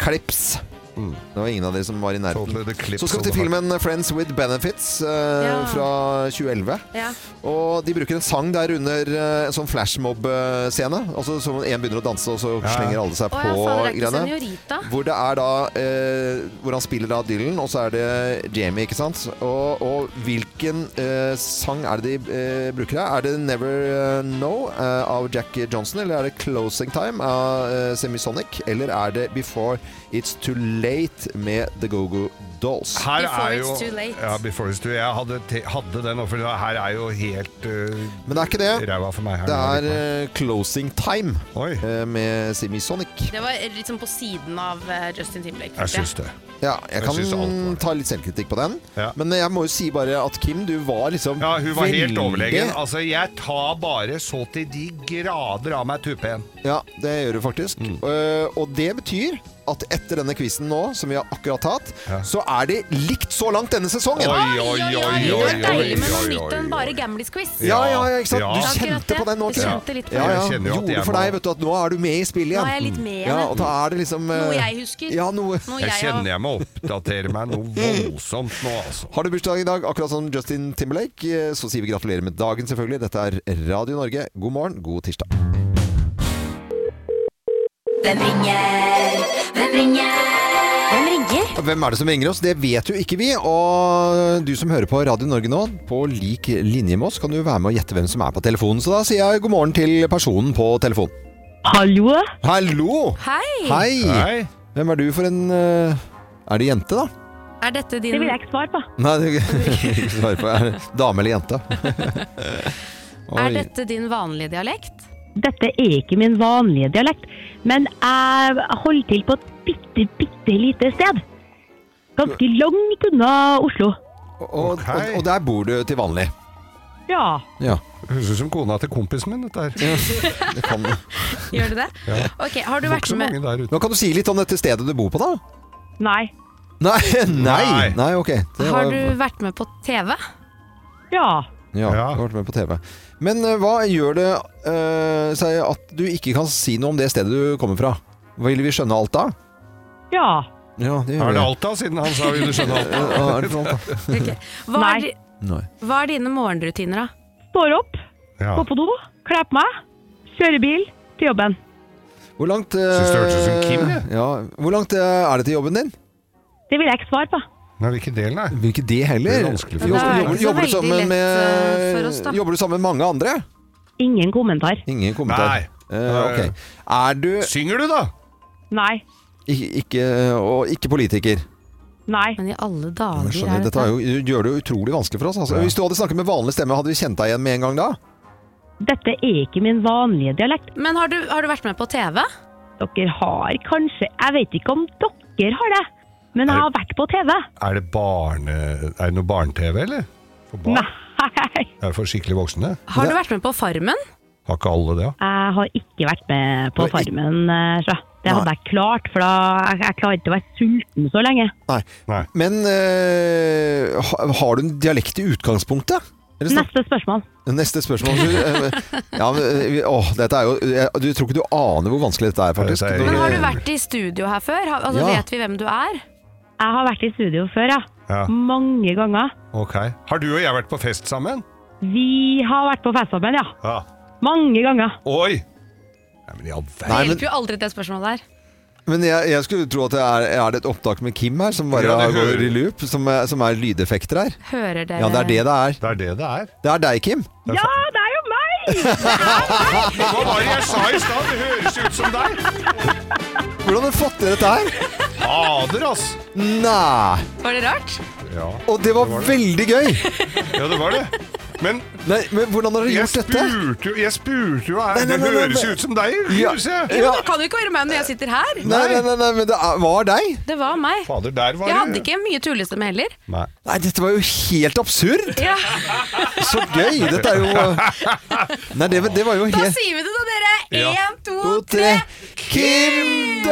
[SPEAKER 1] Clips.
[SPEAKER 3] Mm.
[SPEAKER 1] Det var ingen av dere som var i nærheten.
[SPEAKER 2] Totally the clips
[SPEAKER 1] Så skal vi
[SPEAKER 2] of
[SPEAKER 1] til
[SPEAKER 2] the
[SPEAKER 1] filmen Friends with Benefits eh,
[SPEAKER 3] Ja.
[SPEAKER 1] fra 2011.
[SPEAKER 3] Ja.
[SPEAKER 1] Og de bruker en sang der under eh, en sånn flashmob-scene. Altså som en begynner å danse, og så slenger alle seg
[SPEAKER 3] Å ja,
[SPEAKER 1] på
[SPEAKER 3] fader, det er ikke
[SPEAKER 1] greiene.
[SPEAKER 3] Senorita.
[SPEAKER 1] Hvor det er da eh, Hvor han spiller da Dylan, og så er det Jamie, ikke sant? Og, og hvilken eh, sang er det de eh, bruker her? Er det 'Never eh, Know' eh, av Jack Johnson? Eller er det 'Closing Time' av eh, Semisonic? Eller er det 'Before It's Too Late' med The Go-Go Dolls?
[SPEAKER 2] Her
[SPEAKER 3] Before
[SPEAKER 2] er jo,
[SPEAKER 3] it's too late.
[SPEAKER 2] Ja, before it's too late. Jeg hadde, te, hadde den, for det her er jo helt uh,
[SPEAKER 1] Men det er ikke det.
[SPEAKER 2] ræva for meg. Her,
[SPEAKER 1] Det er eh, 'Closing Time'
[SPEAKER 2] Oi,
[SPEAKER 1] eh, med Semisonic.
[SPEAKER 3] Det var litt sånn på siden av eh, Justin Timberlake.
[SPEAKER 2] jeg
[SPEAKER 3] følte jeg.
[SPEAKER 2] syns det.
[SPEAKER 1] Ja, jeg,
[SPEAKER 2] Jeg synes alt var
[SPEAKER 1] kan
[SPEAKER 2] det.
[SPEAKER 1] ta litt selvkritikk på den.
[SPEAKER 2] Ja.
[SPEAKER 1] Men jeg må jo si bare at Kim, du var liksom
[SPEAKER 2] Ja, hun var helt
[SPEAKER 1] veldig-
[SPEAKER 2] overlegen. Altså, jeg tar bare så til de grader av meg tuppen.
[SPEAKER 1] Ja, det gjør du faktisk.
[SPEAKER 2] Mm.
[SPEAKER 1] Eh, og det betyr at etter denne quizen nå, som vi har akkurat hatt,
[SPEAKER 2] Ja.
[SPEAKER 1] så er det likt så langt denne sesongen!
[SPEAKER 2] Oi, oi, oi, oi,
[SPEAKER 3] Det
[SPEAKER 2] oi,
[SPEAKER 3] var deilig med
[SPEAKER 2] oi,
[SPEAKER 3] noe
[SPEAKER 2] oi,
[SPEAKER 3] nytt enn
[SPEAKER 2] oi.
[SPEAKER 3] bare Gamlis-quiz.
[SPEAKER 1] Ja, ja, ja, ikke sant?
[SPEAKER 2] Ja.
[SPEAKER 1] Du
[SPEAKER 3] Akkurat
[SPEAKER 1] kjente
[SPEAKER 3] det.
[SPEAKER 1] på den nå,
[SPEAKER 3] Du
[SPEAKER 1] Kim.
[SPEAKER 3] kjente litt på
[SPEAKER 1] ja, ja.
[SPEAKER 2] det. Jeg kjenner jo at
[SPEAKER 1] Gjorde
[SPEAKER 2] jeg
[SPEAKER 1] for deg,
[SPEAKER 2] må-
[SPEAKER 1] vet du, at nå er du med i spillet
[SPEAKER 3] Nå
[SPEAKER 1] igjen.
[SPEAKER 3] er jeg litt med igjen,
[SPEAKER 1] ja,
[SPEAKER 3] jeg.
[SPEAKER 1] og da er det liksom eh,
[SPEAKER 3] Noe jeg husker.
[SPEAKER 1] Ja, noe.
[SPEAKER 3] Noe
[SPEAKER 2] Jeg
[SPEAKER 3] har-
[SPEAKER 2] kjenner jeg må oppdatere meg
[SPEAKER 1] (laughs)
[SPEAKER 2] noe voldsomt nå, altså.
[SPEAKER 1] Har du bursdag i dag, akkurat som Justin Timberlake, eh, så sier vi gratulerer med dagen, selvfølgelig. Dette er Radio Norge. God morgen, god tirsdag.
[SPEAKER 5] Hvem ringer? Hvem ringer? Hvem ringer?
[SPEAKER 1] Hvem er det som ringer oss? Det vet jo ikke vi. Og du som hører på Radio Norge nå, på lik linje med oss, kan du være med og gjette hvem som er på telefonen. Så da sier jeg god morgen til personen på telefonen.
[SPEAKER 6] Hallo?
[SPEAKER 1] Hallo!
[SPEAKER 3] Hei!
[SPEAKER 1] Hei!
[SPEAKER 2] Nei,
[SPEAKER 1] Hvem er du for en eh, Er det jente, da?
[SPEAKER 3] Er dette din
[SPEAKER 6] Det vil jeg ikke svare på.
[SPEAKER 1] Nei, det ikke (laughs) svar på. Er det dame eller
[SPEAKER 3] (laughs)
[SPEAKER 1] jente?
[SPEAKER 3] Er dette din vanlige dialekt?
[SPEAKER 6] Dette er ikke min vanlige dialekt, men jeg holder til på et bitte, bitte lite sted. Ganske langt unna Oslo.
[SPEAKER 1] og, og, og, og der bor du til vanlig?
[SPEAKER 6] Ja.
[SPEAKER 1] Ja.
[SPEAKER 2] Høres ut som kona til kompisen min, dette her.
[SPEAKER 1] Det kan.
[SPEAKER 3] Gjør du det? Ok, har du
[SPEAKER 2] Det var
[SPEAKER 3] vært
[SPEAKER 2] ikke så
[SPEAKER 3] med
[SPEAKER 2] mange der ute.
[SPEAKER 1] Nå kan du si litt om dette stedet du bor på, da.
[SPEAKER 6] Nei.
[SPEAKER 1] Nei, (laughs) nei,
[SPEAKER 2] Nei.
[SPEAKER 1] nei ok. Det
[SPEAKER 3] Har
[SPEAKER 1] var-
[SPEAKER 3] du vært med på TV?
[SPEAKER 6] Ja.
[SPEAKER 1] Ja,
[SPEAKER 2] Ja.
[SPEAKER 1] du har vært med på TV. Men eh, hva gjør det eh, seg at du ikke kan si noe om det stedet du kommer fra? Vil vi skjønne alt da?
[SPEAKER 6] Ja.
[SPEAKER 1] Ja, det
[SPEAKER 2] Er
[SPEAKER 1] gjør
[SPEAKER 2] det
[SPEAKER 1] vi.
[SPEAKER 2] Alta, siden han sa vi skjønner
[SPEAKER 1] (laughs)
[SPEAKER 2] Alta?
[SPEAKER 1] Ja, er det alt da?
[SPEAKER 3] Hva,
[SPEAKER 6] Nei.
[SPEAKER 3] Er, di-
[SPEAKER 1] Nei.
[SPEAKER 3] hva er dine morgenrutiner, da?
[SPEAKER 6] Står opp,
[SPEAKER 2] Ja.
[SPEAKER 6] går på do, kler på meg, kjører bil til jobben.
[SPEAKER 1] Hvor langt, eh,
[SPEAKER 2] Synes det hørtes ut som Kim, jeg.
[SPEAKER 1] ja, hvor langt eh, er det til jobben din?
[SPEAKER 6] Det vil jeg ikke svare på.
[SPEAKER 2] Nei, hvilken del, nei?
[SPEAKER 1] Vil ikke det
[SPEAKER 2] Det
[SPEAKER 1] heller.
[SPEAKER 2] er vanskelig for
[SPEAKER 1] Jo-
[SPEAKER 3] oss. Det er ikke
[SPEAKER 1] Jobber,
[SPEAKER 3] så
[SPEAKER 1] jobber, du
[SPEAKER 3] veldig
[SPEAKER 1] sammen
[SPEAKER 3] lett, eh, for oss,
[SPEAKER 1] med,
[SPEAKER 3] da.
[SPEAKER 1] jobber du sammen med mange andre?
[SPEAKER 6] Ingen kommentar.
[SPEAKER 1] Ingen kommentar.
[SPEAKER 2] Nei.
[SPEAKER 1] Eh, ok. Er du
[SPEAKER 2] Synger du, da?
[SPEAKER 6] Nei.
[SPEAKER 1] ikke, ikke, og ikke politiker?
[SPEAKER 6] Nei.
[SPEAKER 3] Men i alle dager
[SPEAKER 1] Skjønner,
[SPEAKER 3] er
[SPEAKER 1] dette er
[SPEAKER 3] dette
[SPEAKER 1] jo, du gjør det jo utrolig vanskelig for oss. Altså.
[SPEAKER 2] Ja.
[SPEAKER 1] Hvis du hadde snakket med vanlig stemme, hadde vi kjent deg igjen med en gang da?
[SPEAKER 6] Dette er ikke min vanlige dialekt.
[SPEAKER 3] Men har du, har du vært med på TV?
[SPEAKER 6] Dere har kanskje Jeg vet ikke om dere har det, men jeg har vært på TV.
[SPEAKER 2] Er det barne... Er det noe barne-TV, eller? For barn?
[SPEAKER 6] Nei.
[SPEAKER 2] Er det for skikkelig voksne?
[SPEAKER 3] Har du vært med på Farmen?
[SPEAKER 2] Har ikke alle det, da?
[SPEAKER 6] Jeg har ikke vært med på
[SPEAKER 1] Du har ikke-
[SPEAKER 6] Farmen. eh, Så. Det hadde jeg klart, for da jeg, jeg klarer ikke å være sulten så lenge.
[SPEAKER 1] Nei.
[SPEAKER 2] Nei.
[SPEAKER 1] Men eh, ha- har du en dialekt i utgangspunktet? Eller snak-
[SPEAKER 6] Neste spørsmål.
[SPEAKER 1] Neste spørsmål. Du, eh, ja, men, eh, vi- åh, dette er jo, jeg, du tror ikke du aner hvor vanskelig dette er, faktisk.
[SPEAKER 2] Dette er-
[SPEAKER 3] Men har
[SPEAKER 2] Eh.
[SPEAKER 3] du vært i studio her før? Har, altså,
[SPEAKER 1] Ja.
[SPEAKER 3] Vet vi hvem du er?
[SPEAKER 6] Jeg har vært i studio før, ja.
[SPEAKER 2] Ja,
[SPEAKER 3] Mm.
[SPEAKER 6] Mange ganger.
[SPEAKER 2] ok. Har du og jeg vært på fest sammen?
[SPEAKER 6] Vi har vært på fest sammen, ja.
[SPEAKER 2] Ja.
[SPEAKER 6] Mange ganger.
[SPEAKER 2] Oi! Nei, men i all verden.
[SPEAKER 1] Nei,
[SPEAKER 3] Det
[SPEAKER 1] men-
[SPEAKER 3] hjelper jo aldri det spørsmålet her.
[SPEAKER 1] Men jeg, jeg skulle tro at det er, er det et opptak med Kim her, som bare
[SPEAKER 2] Ja, det
[SPEAKER 1] går
[SPEAKER 2] hører-
[SPEAKER 1] i loop, som, er- som er lydeffekter her?
[SPEAKER 3] Hører dere
[SPEAKER 1] Ja, det er det det er.
[SPEAKER 2] Det er det det er.
[SPEAKER 1] Det er deg, Kim.
[SPEAKER 6] Ja, det er jo meg!
[SPEAKER 2] Men hva var det jeg sa i stad? Det høres ut som deg!
[SPEAKER 1] Hvordan har du fått til dette her?
[SPEAKER 2] Fader, ass!
[SPEAKER 1] Nei!
[SPEAKER 3] Var det rart?
[SPEAKER 2] Ja.
[SPEAKER 1] Og det var veldig gøy!
[SPEAKER 2] ja, det var det. Men
[SPEAKER 1] Nei, men hvordan har du
[SPEAKER 2] jeg
[SPEAKER 1] gjort dette?
[SPEAKER 2] spurte jo Jeg spurte jo her.
[SPEAKER 1] Nei, nei,
[SPEAKER 2] Det
[SPEAKER 1] nei, nei,
[SPEAKER 2] høres
[SPEAKER 1] nei.
[SPEAKER 2] ut som deg,
[SPEAKER 1] Ja.
[SPEAKER 2] huset!
[SPEAKER 1] Ja.
[SPEAKER 3] Det kan jo ikke være meg når jeg sitter her.
[SPEAKER 1] Nei, nei, nei, nei men det er- var deg.
[SPEAKER 3] Det var meg.
[SPEAKER 2] Fader, der var
[SPEAKER 3] Jeg
[SPEAKER 2] det
[SPEAKER 3] hadde ikke mye tullestemme heller.
[SPEAKER 2] Nei.
[SPEAKER 1] Nei, dette var jo helt absurd!
[SPEAKER 3] Ja,
[SPEAKER 1] Så gøy! Dette er jo Nei, det, det var jo
[SPEAKER 3] da
[SPEAKER 1] helt
[SPEAKER 3] sier vi det, da, dere.
[SPEAKER 2] Ja.
[SPEAKER 3] Én, to,
[SPEAKER 1] To,
[SPEAKER 3] tre.
[SPEAKER 1] tre Kim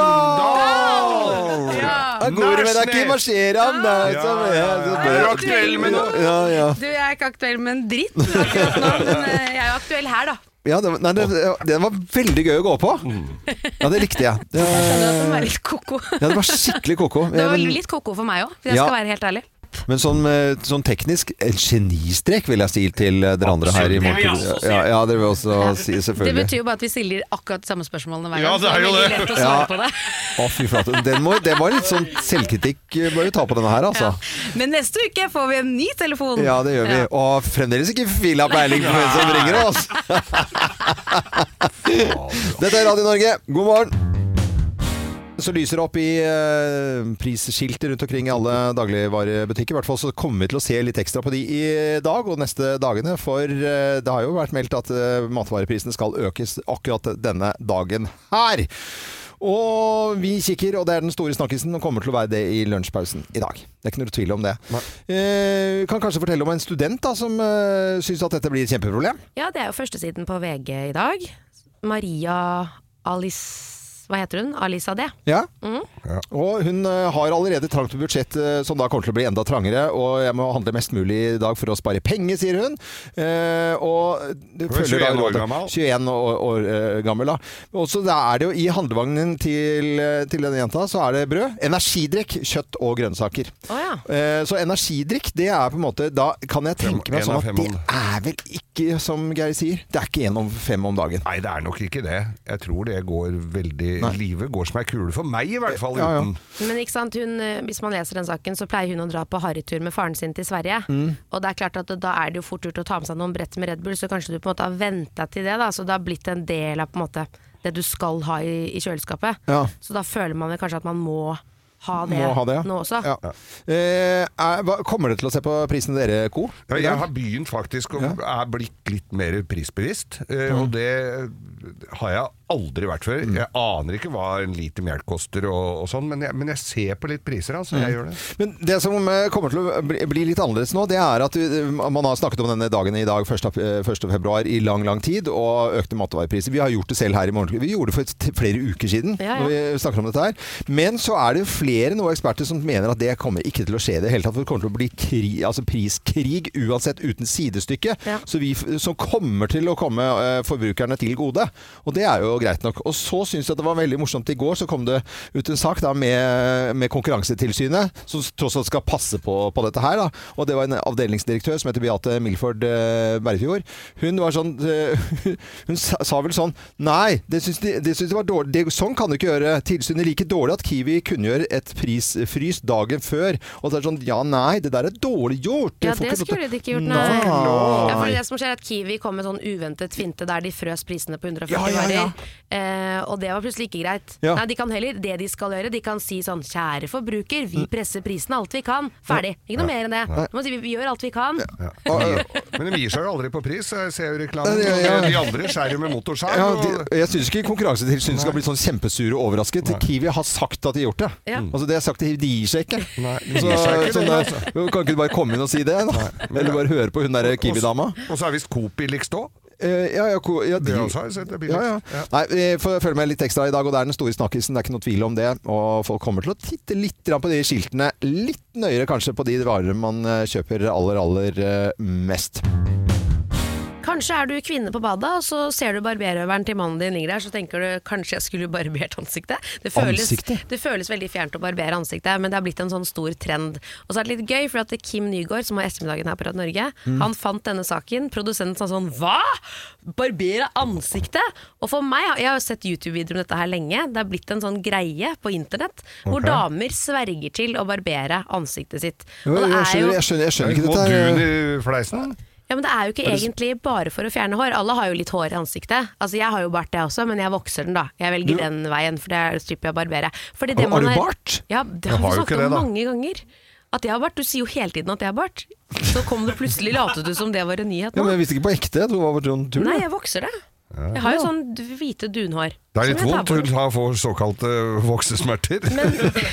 [SPEAKER 1] Dahl!
[SPEAKER 3] Ja.
[SPEAKER 1] Av gårde med deg, Kim, marsjer han!
[SPEAKER 2] Ja, ja, ja.
[SPEAKER 1] Er
[SPEAKER 2] Er du aktuell med noe?
[SPEAKER 1] Ja, ja.
[SPEAKER 3] Du, jeg er ikke aktuell med en dritt akkurat nå, men eh, jeg er jo aktuell her, da.
[SPEAKER 1] Ja, det, var- nei, det, det var veldig gøy å gå på. Ja, det likte jeg. Det,
[SPEAKER 3] Jeg skjønner at den var litt koko.
[SPEAKER 1] ja, det var skikkelig ko-ko.
[SPEAKER 3] Det var
[SPEAKER 1] Men-
[SPEAKER 3] litt koko for meg òg, hvis jeg
[SPEAKER 1] Ja.
[SPEAKER 3] skal være helt ærlig.
[SPEAKER 1] Men sånn, eh, sånn teknisk, en genistrek vil jeg si til eh, dere andre her i
[SPEAKER 7] Absolutt, det vil jeg
[SPEAKER 1] morgen.
[SPEAKER 7] også si.
[SPEAKER 1] Ja, ja, det vil jeg også si,
[SPEAKER 3] Det
[SPEAKER 1] selvfølgelig.
[SPEAKER 3] betyr jo bare at vi stiller akkurat de samme spørsmålene hver gang.
[SPEAKER 2] Ja, det
[SPEAKER 3] så
[SPEAKER 2] er jo
[SPEAKER 3] veldig
[SPEAKER 2] det.
[SPEAKER 3] lett å svare
[SPEAKER 1] Ja.
[SPEAKER 3] på det.
[SPEAKER 1] Å, fy flate. Den må, det var litt sånn selvkritikk eh, bør vi ta på denne her, altså.
[SPEAKER 3] (laughs) Men neste uke får vi en ny telefon.
[SPEAKER 1] Ja, det gjør vi.
[SPEAKER 3] Sånn. Ja.
[SPEAKER 1] Og fremdeles ikke fila peiling på hvem som ringer oss! Dette er Radio Norge, god morgen! Så lyser det opp i eh, prisskilter rundt omkring i alle dagligvarebutikker. I hvert fall så kommer vi til å se litt ekstra på de i dag og neste dagene. For eh, det har jo vært meldt at eh, matvareprisene skal økes akkurat denne dagen her. Og vi kikker, og det er den store snakkisen, og kommer til å være det i lunsjpausen i dag. Det er ikke noe tvil om det. Eh, vi kan kanskje fortelle om en student da, som eh, syns at dette blir et kjempeproblem.
[SPEAKER 3] Ja, det er jo førstesiden på VG i dag. Maria Alice Hva heter hun? Alisa D.
[SPEAKER 1] Ja.
[SPEAKER 3] Mm.
[SPEAKER 1] Og hun eh, har allerede trangt budsjett, eh, som da kommer til å bli enda trangere. Og jeg må handle mest mulig i dag for å spare penger, sier hun. Eh, og det
[SPEAKER 2] Hun er 21 år
[SPEAKER 1] rådet-
[SPEAKER 2] gammel.
[SPEAKER 1] 21 år, år eh, gammel, da. Og så da er det jo i handlevognen til, eh, til denne jenta, så er det brød, energidrikk, kjøtt og grønnsaker.
[SPEAKER 3] Å ja.
[SPEAKER 1] Eh, Så energidrikk, det er på en måte Da kan jeg tenke
[SPEAKER 2] Fem-
[SPEAKER 1] meg
[SPEAKER 2] en
[SPEAKER 1] sånn
[SPEAKER 2] av
[SPEAKER 1] at
[SPEAKER 2] fem
[SPEAKER 1] det
[SPEAKER 2] om-
[SPEAKER 1] er vel ikke, som Geir sier, det er ikke én om fem om dagen.
[SPEAKER 2] Nei, det er nok ikke det. Jeg tror det går veldig Livet går som ei kule for meg, i hvert fall.
[SPEAKER 1] Ja, ja.
[SPEAKER 2] uten
[SPEAKER 3] Men ikke sant, hun, eh, hvis man leser den saken, så pleier hun å dra på harrytur med faren sin til Sverige.
[SPEAKER 1] Mm.
[SPEAKER 3] Og det er klart at da er det jo fort gjort å ta med seg noen brett med Red Bull, så kanskje du på en måte har venta til det, da. Så det har blitt en del av på en måte det du skal ha i, i kjøleskapet.
[SPEAKER 1] Ja.
[SPEAKER 3] Så da føler man vel kanskje at man må ha det,
[SPEAKER 1] Må ha det, ja.
[SPEAKER 3] nå også.
[SPEAKER 1] Ja. Eh, er, hva, kommer dere til å se på prisene dere, Co?
[SPEAKER 2] Ja, jeg har begynt faktisk og er blitt litt mer prisbevisst. eh, Og det har jeg aldri vært før.
[SPEAKER 1] Mm.
[SPEAKER 2] Jeg aner ikke hva en liter melk koster og, og sånn, men jeg, men jeg ser på litt priser, altså.
[SPEAKER 1] Mm.
[SPEAKER 2] Jeg gjør det.
[SPEAKER 1] Men det som eh, kommer til å bli bli litt annerledes nå, det er at eh, man har snakket om denne dagen i dag, 1. eh, 1. februar, i lang, lang tid, og økte matvarepriser. Vi har gjort det selv her i morgen. Vi gjorde det for t- flere uker siden,
[SPEAKER 3] Ja, ja.
[SPEAKER 1] når vi snakker om dette her. Men så er det flere nå eksperter som mener at det kommer ikke til å skje i det hele tatt. For det kommer til å bli kri, altså priskrig uansett, uten sidestykke,
[SPEAKER 3] Ja.
[SPEAKER 1] så vi, f- som kommer til å komme eh, forbrukerne til gode. Og det er jo greit nok. Og så syns jeg det var veldig morsomt i går, så kom det ut en sak da, med, med Konkurransetilsynet, som s- tross alt skal passe på, på dette her. Da. Og det var en avdelingsdirektør som heter Beate Milford eh, Berrefjord. Hun var sånn eh, (laughs) Hun sa, sa vel sånn Nei, det syns de, det syns de var dårlig. Det, sånn kan du ikke gjøre. Tilsynet liker dårlig at Kiwi kunngjør et prisfrys dagen før. Og så er det sånn Ja, nei, det der er dårlig gjort.
[SPEAKER 3] Ja,
[SPEAKER 1] får ikke
[SPEAKER 3] det
[SPEAKER 1] lov til-
[SPEAKER 3] skulle de ikke gjort, nei. Ja, for det som skjer er at Kiwi kom med sånn uventet finte der de frøs prisene på 140
[SPEAKER 1] Ja, ja, ja.
[SPEAKER 3] varer. Eh, og det var plutselig ikke greit.
[SPEAKER 1] Ja.
[SPEAKER 3] Nei, de kan heller, Det de skal gjøre, de kan si sånn Kjære forbruker,
[SPEAKER 1] Mm.
[SPEAKER 3] vi presser prisen alt vi kan. Ferdig. Ikke noe mer enn det. Du må si, vi, vi gjør alt vi kan.
[SPEAKER 2] (laughs) Ja. Men de gir seg jo aldri på pris. Jeg ser jo reklamen.
[SPEAKER 1] Ja, ja, ja.
[SPEAKER 2] De andre skjærer jo med motorsag.
[SPEAKER 1] Ja,
[SPEAKER 2] og-
[SPEAKER 1] de, jeg syns ikke Konkurransetilsynet skal bli sånn kjempesure og overrasket. Kiwi har sagt at de har gjort det.
[SPEAKER 3] Ja.
[SPEAKER 1] Altså det er sagt, De gir seg ikke.
[SPEAKER 2] (laughs) Nei, de
[SPEAKER 1] Så,
[SPEAKER 2] gir seg ikke,
[SPEAKER 1] sånn
[SPEAKER 2] de,
[SPEAKER 1] der, Kan ikke du bare komme inn og si det? Da? Eller bare høre på hun der Kiwi-dama?
[SPEAKER 2] Og så er visst Coop billigst òg.
[SPEAKER 1] Eh, ja, ja, ko- ja, de,
[SPEAKER 2] Det også har jeg sett, det er billig.
[SPEAKER 1] ja, ja.
[SPEAKER 2] Ja.
[SPEAKER 1] Nei, jeg får følge med litt ekstra i dag, og det er den store snakkisen. Det er ikke noe tvil om det. Og folk kommer til å titte litt grann på de skiltene. Litt nøyere kanskje på de varer man eh, kjøper aller, aller eh, mest.
[SPEAKER 3] Kanskje er du kvinne på badet, og så ser du barberhøveren til mannen din ligger der, så tenker du kanskje jeg skulle barbert ansiktet. Det føles,
[SPEAKER 1] Ansiktet?
[SPEAKER 3] Det føles veldig fjernt å barbere ansiktet, men det har blitt en sånn stor trend. Og så er det litt gøy, for at Kim Nygaard, som har ettermiddagen her på Radio Norge,
[SPEAKER 1] Mm.
[SPEAKER 3] han fant denne saken. Produsenten sa sånn Hva?! Barbere ansiktet?! Og for meg, jeg har jo sett YouTube-videoer om dette her lenge, det har blitt en sånn greie på internett hvor damer sverger til å barbere ansiktet sitt.
[SPEAKER 1] Jo,
[SPEAKER 3] Og det
[SPEAKER 1] jeg,
[SPEAKER 3] er jo-
[SPEAKER 1] skjønner, jeg, skjønner, jeg skjønner ikke dette. her.
[SPEAKER 2] Modun i fleisen.
[SPEAKER 3] ja, men Det er jo ikke egentlig bare for å fjerne hår. Alle har jo litt hår i ansiktet. Altså, Jeg har jo bart, jeg også, men jeg vokser den, da. Jeg velger den veien, for det slipper jeg å barbere. Fordi det
[SPEAKER 1] Har-
[SPEAKER 3] man
[SPEAKER 1] har du
[SPEAKER 3] er-
[SPEAKER 1] bart?
[SPEAKER 3] Ja, det
[SPEAKER 2] Jeg
[SPEAKER 3] har
[SPEAKER 2] har
[SPEAKER 3] vi
[SPEAKER 2] jo ikke
[SPEAKER 3] snakket
[SPEAKER 2] det,
[SPEAKER 3] om
[SPEAKER 2] da.
[SPEAKER 3] mange ganger. At jeg har bart. Du sier jo hele tiden at jeg har bart. Så kom det plutselig latet du som det var en nyhet
[SPEAKER 1] Ja, men
[SPEAKER 3] nå.
[SPEAKER 1] jeg visste ikke på ekte. Jeg tror det var sånn tull.
[SPEAKER 3] Nei,
[SPEAKER 1] jeg.
[SPEAKER 3] jeg vokser det. Jeg har jo sånn d- hvite dunhår.
[SPEAKER 2] Det er
[SPEAKER 3] som
[SPEAKER 2] litt
[SPEAKER 3] jeg tar
[SPEAKER 2] vondt.
[SPEAKER 3] bort.
[SPEAKER 2] Hun har- får såkalte voksesmerter.
[SPEAKER 3] (laughs)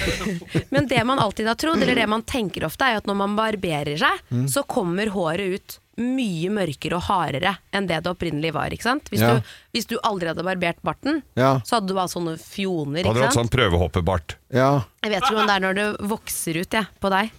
[SPEAKER 3] Men det man alltid har trodd, eller det man tenker ofte, er jo at når man barberer seg,
[SPEAKER 1] Mm.
[SPEAKER 3] så kommer håret ut mye mørkere og hardere enn det det opprinnelig var. ikke sant? Hvis,
[SPEAKER 1] Ja.
[SPEAKER 3] du, hvis du aldri hadde barbert barten,
[SPEAKER 1] Ja.
[SPEAKER 3] så hadde du bare sånne fjoner.
[SPEAKER 2] Hadde
[SPEAKER 3] ikke
[SPEAKER 2] hatt
[SPEAKER 3] sant?
[SPEAKER 2] sånn prøvehoppebart.
[SPEAKER 1] Ja.
[SPEAKER 3] Jeg vet ikke om det er når det vokser ut jeg, på deg.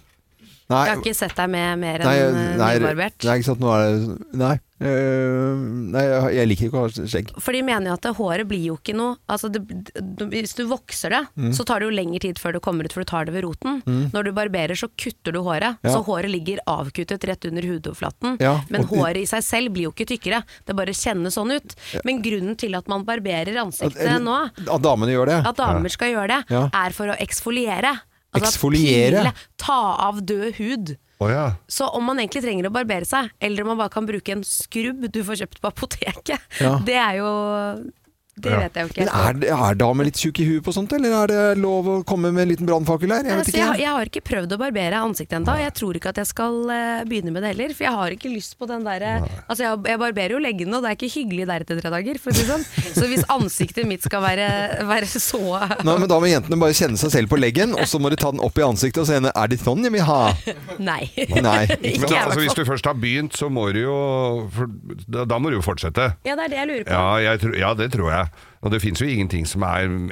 [SPEAKER 3] Jeg har
[SPEAKER 1] Nei,
[SPEAKER 3] ikke sett deg med mer
[SPEAKER 1] Nei,
[SPEAKER 3] enn eh,
[SPEAKER 1] nei,
[SPEAKER 3] nybarbert.
[SPEAKER 1] nei, ikke sant, nå er det Nei. Eh, nei, jeg, jeg liker ikke å ha skjegg.
[SPEAKER 3] For de mener jo at det- håret blir jo ikke noe altså det, det, Hvis du vokser det,
[SPEAKER 1] Mm.
[SPEAKER 3] så tar det jo lengre tid før det kommer ut, for du tar det ved roten. Når du barberer, så kutter du håret.
[SPEAKER 1] Ja.
[SPEAKER 3] Så håret ligger avkuttet rett under hudoverflaten.
[SPEAKER 1] Ja,
[SPEAKER 3] Men
[SPEAKER 1] og-
[SPEAKER 3] håret i seg selv blir jo ikke tykkere. Det bare kjennes sånn ut. Men grunnen til at man barberer ansiktet
[SPEAKER 1] Eller-
[SPEAKER 3] nå,
[SPEAKER 1] At damene gjør det?
[SPEAKER 3] at damer skal gjøre det,
[SPEAKER 1] Ja.
[SPEAKER 3] er for å eksfoliere. Altså
[SPEAKER 1] Eksfoliere?
[SPEAKER 3] pile, ta av død hud.
[SPEAKER 2] Å ja.
[SPEAKER 3] Så om man egentlig trenger å barbere seg, eller om man bare kan bruke en skrubb du får kjøpt på apoteket,
[SPEAKER 1] (laughs) Ja.
[SPEAKER 3] det er jo Det
[SPEAKER 2] Ja.
[SPEAKER 3] vet jeg jo ikke.
[SPEAKER 1] Men er, det- er damer litt tjukke i huet på sånt, eller er det lov å komme med en liten brannfakkel her? Jeg vet
[SPEAKER 3] Altså, jeg, har-
[SPEAKER 1] ikke.
[SPEAKER 3] jeg har ikke prøvd å barbere ansiktet ennå. Jeg tror ikke at jeg skal eh, begynne med det heller. For jeg har ikke lyst på den derre Altså, jeg, jeg barberer jo leggene, og det er ikke hyggelig der etter tre dager, for å si det sånn.
[SPEAKER 1] (laughs)
[SPEAKER 3] Så hvis ansiktet mitt skal være, være så (laughs)
[SPEAKER 1] Nei, men Da må jentene bare kjenne seg selv på leggen, og så må de ta den opp i ansiktet og si henne, er det sånn jeg vil
[SPEAKER 3] (laughs)
[SPEAKER 1] ha?
[SPEAKER 3] Nei.
[SPEAKER 1] Nei.
[SPEAKER 3] Ikke
[SPEAKER 2] Men
[SPEAKER 3] jeg, i
[SPEAKER 2] altså,
[SPEAKER 3] hvert
[SPEAKER 2] hvis du
[SPEAKER 3] fall.
[SPEAKER 2] først har begynt, så må du jo for, da, da må du jo fortsette.
[SPEAKER 3] (laughs) Ja, det er det jeg lurer på.
[SPEAKER 2] Ja, jeg tror, ja, det tror jeg. Og det fins jo ingenting som er en-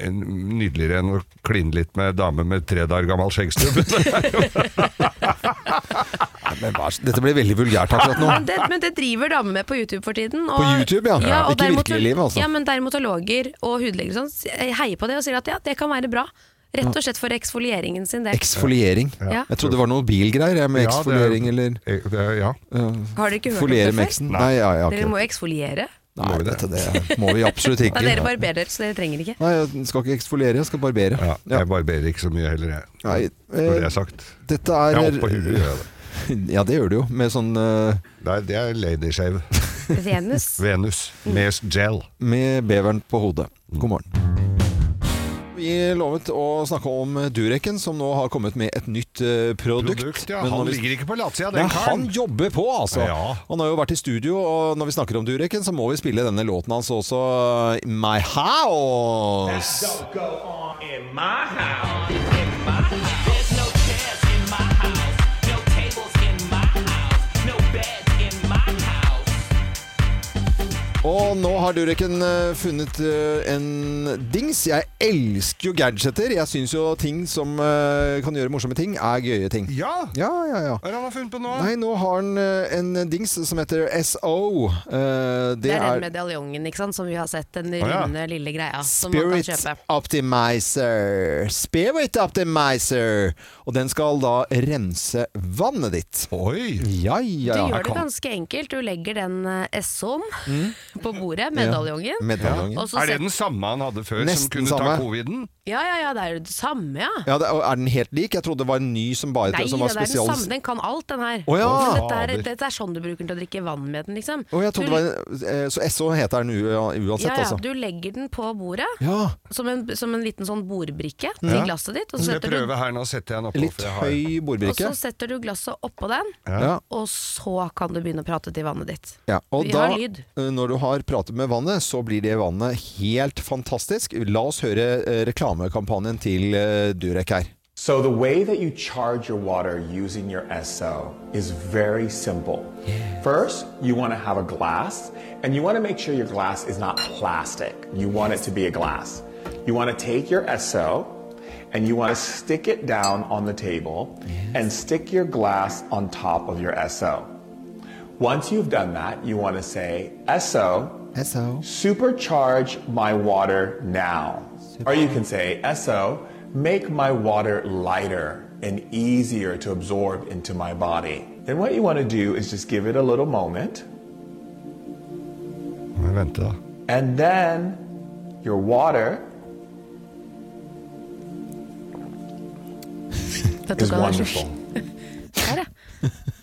[SPEAKER 2] nydeligere enn å kline litt med ei dame med tre dager gammel (laughs) skjeggstubb.
[SPEAKER 1] Men hva, er- dette ble veldig vulgært akkurat nå.
[SPEAKER 3] Men det, men det driver damer med på YouTube for tiden. og-
[SPEAKER 1] På YouTube, ja.
[SPEAKER 3] og
[SPEAKER 1] Ikke i
[SPEAKER 3] dermatol-
[SPEAKER 1] virkelig livet, altså.
[SPEAKER 3] Ja, men dermatologer og hudleger og sånn s- heier på det og sier at ja, det kan være bra. Rett og slett for eksfolieringen sin del.
[SPEAKER 1] Eksfoliering.
[SPEAKER 3] Ja.
[SPEAKER 1] Jeg trodde det var noe bilgreier jeg, med
[SPEAKER 2] Ja, det er-
[SPEAKER 1] eksfoliering eller
[SPEAKER 2] Eh, det er- ja.
[SPEAKER 3] Har dere ikke hørt om
[SPEAKER 1] Foliere
[SPEAKER 3] det
[SPEAKER 1] med
[SPEAKER 3] før?
[SPEAKER 1] eksen. Nei, ja, ja,
[SPEAKER 3] Dere
[SPEAKER 1] ok.
[SPEAKER 3] må jo eksfoliere.
[SPEAKER 1] Nei dette det må vi
[SPEAKER 3] (laughs)
[SPEAKER 1] absolutt
[SPEAKER 3] Nei, dere
[SPEAKER 1] ikke.
[SPEAKER 3] barberer, så dere trenger ikke.
[SPEAKER 1] Nei, jeg skal ikke eksfoliere, jeg skal barbere.
[SPEAKER 2] ja.
[SPEAKER 1] Ja.
[SPEAKER 2] Jeg barberer ikke så mye heller, jeg.
[SPEAKER 1] Nei,
[SPEAKER 2] Når det
[SPEAKER 1] eh,
[SPEAKER 2] er sagt.
[SPEAKER 1] dette
[SPEAKER 2] Jeg er oppå
[SPEAKER 1] er
[SPEAKER 2] huet, gjør jeg
[SPEAKER 1] (laughs)
[SPEAKER 2] det.
[SPEAKER 1] Ja, det gjør du jo. Med sånn eh,
[SPEAKER 2] Nei, det er ladyshave.
[SPEAKER 1] (laughs)
[SPEAKER 3] Venus.
[SPEAKER 2] Venus. Med gel.
[SPEAKER 1] med beveren på hodet.
[SPEAKER 2] Mm.
[SPEAKER 1] God morgen. Vi lovet å snakke om Dureken, som nå har kommet med et nytt eh, produkt.
[SPEAKER 2] Produkt, ja.
[SPEAKER 1] Men
[SPEAKER 2] Han
[SPEAKER 1] når vi-
[SPEAKER 2] ligger ikke på latsida,
[SPEAKER 1] Nei,
[SPEAKER 2] den
[SPEAKER 1] han
[SPEAKER 2] karen.
[SPEAKER 1] jobber på, altså!
[SPEAKER 2] Ja.
[SPEAKER 1] Han har jo vært i studio, og når vi snakker om Dureken, så må vi spille denne låten hans også, eh, My House. Og nå har Dureken eh, funnet eh, en dings. Jeg elsker jo gadgeter. Jeg syns jo ting som eh, kan gjøre morsomme ting, er gøye ting.
[SPEAKER 2] Ja! Hva
[SPEAKER 1] Ja, ja, ja.
[SPEAKER 2] er det han har funnet på nå?
[SPEAKER 1] Nei, nå har han eh, en dings som heter SO. Eh,
[SPEAKER 3] Det
[SPEAKER 1] Det
[SPEAKER 3] er den
[SPEAKER 1] er
[SPEAKER 3] medaljongen ikke sant, som vi har sett, den
[SPEAKER 2] ja.
[SPEAKER 3] runde lille greia som man kan
[SPEAKER 1] Spirit
[SPEAKER 3] kjøpe.
[SPEAKER 1] Optimizer. Spirit Optimizer. Og den skal da rense vannet ditt.
[SPEAKER 2] Oi!
[SPEAKER 1] Ja,
[SPEAKER 3] Du
[SPEAKER 1] ja,
[SPEAKER 3] gjør det
[SPEAKER 1] ja.
[SPEAKER 3] ganske enkelt. Du legger den eh, SO-en
[SPEAKER 1] Mm.
[SPEAKER 3] på bordet, medaljongen.
[SPEAKER 1] Medaljongen.
[SPEAKER 3] og så
[SPEAKER 2] Er det
[SPEAKER 3] set-
[SPEAKER 2] den samme han hadde før, som
[SPEAKER 1] Nesten
[SPEAKER 2] kunne
[SPEAKER 1] samme.
[SPEAKER 2] ta coviden?
[SPEAKER 3] Ja, ja, ja, det er jo det samme, ja.
[SPEAKER 1] Ja, det, og er den helt lik? Jeg trodde det var en ny som bare
[SPEAKER 3] Nei,
[SPEAKER 1] som
[SPEAKER 3] ja,
[SPEAKER 1] var
[SPEAKER 3] det er den
[SPEAKER 1] spesial...
[SPEAKER 3] samme. Den kan alt, den her.
[SPEAKER 1] Å, ja.
[SPEAKER 3] Men dette, er,
[SPEAKER 2] Fader.
[SPEAKER 3] dette er sånn du bruker den til å drikke vann med den, liksom.
[SPEAKER 1] Å, jeg trodde det
[SPEAKER 3] du,
[SPEAKER 1] var en, eh, Så SO heter den u- uansett,
[SPEAKER 3] ja, ja,
[SPEAKER 1] altså.
[SPEAKER 3] du legger den på bordet,
[SPEAKER 1] Ja.
[SPEAKER 3] som, en, som en liten sånn bordbrikke til
[SPEAKER 1] Ja.
[SPEAKER 3] glasset ditt. Og så,
[SPEAKER 2] Jeg
[SPEAKER 3] setter du,
[SPEAKER 2] prøver her nå, setter jeg den oppå.
[SPEAKER 1] Litt
[SPEAKER 2] for jeg har-
[SPEAKER 1] høy
[SPEAKER 3] og så
[SPEAKER 1] bordbrikke.
[SPEAKER 3] setter du glasset oppå den,
[SPEAKER 1] Ja.
[SPEAKER 3] og så kan du begynne å prate til vannet ditt.
[SPEAKER 1] Ja, og
[SPEAKER 3] Vi
[SPEAKER 1] da,
[SPEAKER 3] har lyd.
[SPEAKER 1] eh, når du har pratet med vannet, så blir det vannet helt fantastisk. La oss høre eh, reklamekampanjen til eh, Durek her.
[SPEAKER 7] So, the way that you charge your water using your SO is very simple. First, you want to have a glass, and you want to make sure your glass is not plastic. You want it to be a glass. You want to take your SO and you want to stick it down on the table and stick your glass on top of your SO. Once you've done that, you want to say, SO,
[SPEAKER 1] SO.
[SPEAKER 7] Supercharge my water now. Or you can say, SO, make my water lighter and easier to absorb into my body. Then what you want to do is just give it a little moment,
[SPEAKER 2] Men vente, da.
[SPEAKER 7] and then your water
[SPEAKER 3] Vet du hva det er
[SPEAKER 7] is
[SPEAKER 3] som-
[SPEAKER 7] wonderful.
[SPEAKER 3] sånn- Der, ja.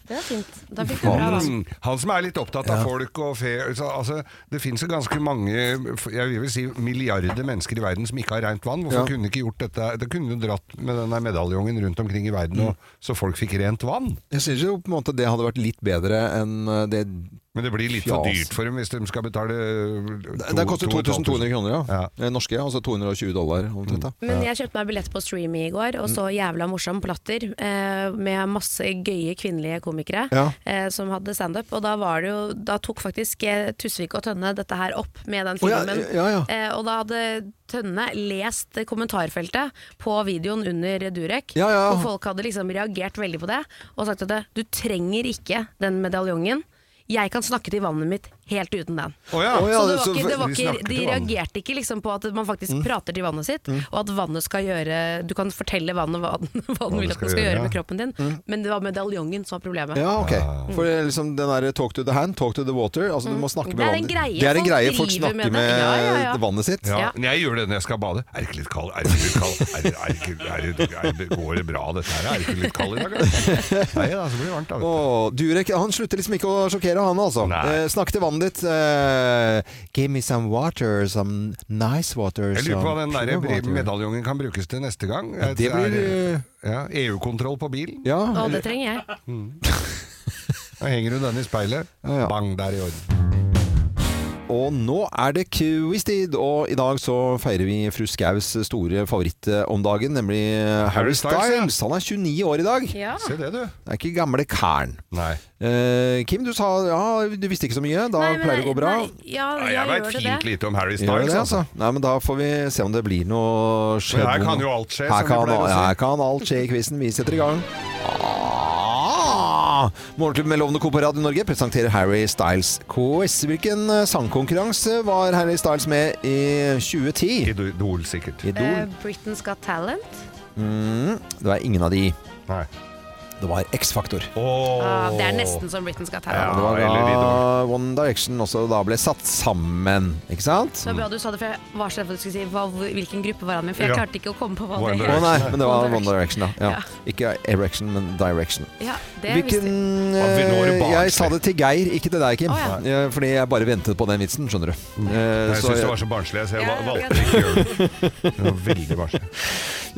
[SPEAKER 3] Det var fint. Da fikk du
[SPEAKER 1] altså.
[SPEAKER 3] bra vann.
[SPEAKER 2] Mm, han som er litt opptatt av folk og fe... så, altså, det finnes jo ganske mange, jeg vil vel si milliarder mennesker i verden som ikke har rent vann.
[SPEAKER 1] Ja.
[SPEAKER 2] Hvorfor kunne de ikke gjort dette? Da kunne du dratt med denne medaljongen rundt omkring i verden,
[SPEAKER 1] Mm.
[SPEAKER 2] og, så folk fikk rent vann.
[SPEAKER 1] Jeg syns jo på en måte det hadde vært litt bedre enn eh, det
[SPEAKER 2] Men det blir litt for
[SPEAKER 1] Fjas.
[SPEAKER 2] dyrt for dem hvis de skal betale
[SPEAKER 1] altså. Det, det koster 2200 kroner, ja.
[SPEAKER 2] Ja.
[SPEAKER 1] Eh, Norske, altså 220 dollar omtrent. da.
[SPEAKER 3] Men jeg kjøpte meg billett på Streamy i går, og så jævla morsom platter eh, med masse gøye kvinnelige komikere
[SPEAKER 1] Ja.
[SPEAKER 3] eh, som hadde standup. Og da, var det jo, da tok faktisk eh, Tusvik og Tønne dette her opp med den
[SPEAKER 1] Å, ja,
[SPEAKER 3] filmen.
[SPEAKER 1] ja, ja.
[SPEAKER 3] Eh, og da hadde Tønne lest kommentarfeltet på videoen under Durek,
[SPEAKER 1] Ja, ja.
[SPEAKER 3] og folk hadde liksom reagert veldig på det og sagt at du trenger ikke den medaljongen. Jeg kan snakke til vannet mitt helt uten den.
[SPEAKER 2] Å ja.
[SPEAKER 1] Å ja,
[SPEAKER 3] så det
[SPEAKER 1] det-
[SPEAKER 3] var
[SPEAKER 1] så
[SPEAKER 3] ikke, det var
[SPEAKER 2] vi
[SPEAKER 3] ikke,
[SPEAKER 2] snakker
[SPEAKER 3] de
[SPEAKER 2] til vannet.
[SPEAKER 3] reagerte ikke liksom på at man faktisk
[SPEAKER 1] Mm.
[SPEAKER 3] prater til vannet sitt, og at vannet skal gjøre Du kan fortelle vannet hva den, hva den vil at
[SPEAKER 2] skal
[SPEAKER 3] den
[SPEAKER 2] gjøre,
[SPEAKER 3] skal gjøre med
[SPEAKER 2] ja.
[SPEAKER 3] kroppen din, men det var medaljongen som var problemet.
[SPEAKER 1] Mm. Ja, ok. For det er liksom den der 'talk to the hand', 'talk to the water' altså Du må snakke med
[SPEAKER 3] Mm. Det er en
[SPEAKER 1] vannet.
[SPEAKER 3] greie
[SPEAKER 1] det er en
[SPEAKER 3] folk
[SPEAKER 1] greie folk
[SPEAKER 3] driver
[SPEAKER 1] snakker med,
[SPEAKER 3] med det. Ja, ja, ja.
[SPEAKER 1] vannet sitt.
[SPEAKER 2] Ja.
[SPEAKER 3] Ja.
[SPEAKER 2] Men jeg gjør det når jeg skal bade. Er det ikke litt kald? Er det ikke litt kald? Er det, er det, ikke- er det, er det, går det bra, dette her? Er det ikke litt kald
[SPEAKER 1] (laughs)
[SPEAKER 2] i dag? eller? Nei da, så blir det varmt. da. vet du.
[SPEAKER 1] Åh, Durek han slutter liksom ikke å sjokkere, han altså.
[SPEAKER 2] Nei.
[SPEAKER 1] Eh, snakk til vannet ditt. Eh, give me some water, some nice water.
[SPEAKER 2] Jeg lurer på hva den
[SPEAKER 1] some
[SPEAKER 2] der
[SPEAKER 1] pure water.
[SPEAKER 2] medaljongen kan brukes til neste gang.
[SPEAKER 1] det blir, eh,
[SPEAKER 2] Er- eh, ja, EU-kontroll på bilen.
[SPEAKER 1] Ja,
[SPEAKER 3] Og det trenger jeg.
[SPEAKER 2] Da henger du den i speilet.
[SPEAKER 1] Ja, ja.
[SPEAKER 2] Bang, der i orden.
[SPEAKER 1] Og nå er det quiz-tid, og i dag så feirer vi fru Skaus store favoritt eh, om dagen, nemlig eh, Harry
[SPEAKER 2] Harry Styles, ja.
[SPEAKER 1] Styles. Han er 29 år i dag.
[SPEAKER 3] Ja.
[SPEAKER 2] Se det, du.
[SPEAKER 1] Det er ikke gamle kæren.
[SPEAKER 2] Nei.
[SPEAKER 1] Eh, Kim, du sa ja, du visste ikke så mye. Da
[SPEAKER 3] Nei, men
[SPEAKER 1] pleier det å gå bra.
[SPEAKER 3] Nei, ja,
[SPEAKER 2] Ja,
[SPEAKER 3] jeg,
[SPEAKER 2] jeg veit
[SPEAKER 3] gjør det
[SPEAKER 2] fint
[SPEAKER 3] det.
[SPEAKER 2] lite om Harry
[SPEAKER 1] Gjør
[SPEAKER 2] Styles,
[SPEAKER 1] det,
[SPEAKER 2] altså.
[SPEAKER 1] altså. Nei, men da får vi se om det blir noe skjedd.
[SPEAKER 2] her kan jo alt skje,
[SPEAKER 1] Her
[SPEAKER 2] som vi
[SPEAKER 1] kan,
[SPEAKER 2] pleier å si.
[SPEAKER 1] her kan alt skje i quizen. Vi setter i gang. Ah! Morgenklubben med Lovende Co på Radio Norge presenterer Harry Styles quiz. Hvilken eh, sangkonkurranse var Harry Styles med i 2010?
[SPEAKER 2] Idol, sikkert.
[SPEAKER 1] Idol?
[SPEAKER 3] Eh, Britain's Got Talent.
[SPEAKER 1] Mm, det var ingen av de.
[SPEAKER 2] Nei.
[SPEAKER 1] Det var X-Faktor.
[SPEAKER 3] Ah, det er nesten som Britain's Got Talent.
[SPEAKER 2] Ja.
[SPEAKER 1] Det var
[SPEAKER 2] eller
[SPEAKER 1] da One Direction også da ble satt sammen, ikke sant?
[SPEAKER 3] Det var bra du sa det, for jeg var så redd for at du skulle si hva, hvilken gruppe var han med. For jeg
[SPEAKER 2] Ja.
[SPEAKER 3] klarte ikke å komme på hva
[SPEAKER 1] Å
[SPEAKER 2] One
[SPEAKER 3] det het.
[SPEAKER 2] Direction.
[SPEAKER 1] nei, men det var
[SPEAKER 3] One
[SPEAKER 1] One Direction, da. Ja.
[SPEAKER 3] Ja.
[SPEAKER 1] Ikke Erection, men Direction.
[SPEAKER 3] Ja, det visste jeg.
[SPEAKER 1] Hvilken
[SPEAKER 2] Ja, vi når det
[SPEAKER 1] eh,
[SPEAKER 2] bak,
[SPEAKER 1] Jeg sa
[SPEAKER 2] slik.
[SPEAKER 1] det til Geir, ikke til deg, Kim.
[SPEAKER 3] Å,
[SPEAKER 1] Eh, Fordi jeg bare ventet på den vitsen, skjønner du. Eh,
[SPEAKER 2] Mm. Jeg
[SPEAKER 1] så-
[SPEAKER 2] syns det var så barnslig, så jeg
[SPEAKER 3] Ja,
[SPEAKER 2] val-
[SPEAKER 3] ja,
[SPEAKER 2] valgte ikke å gjøre det.
[SPEAKER 1] (laughs)
[SPEAKER 2] Det var veldig barnslig.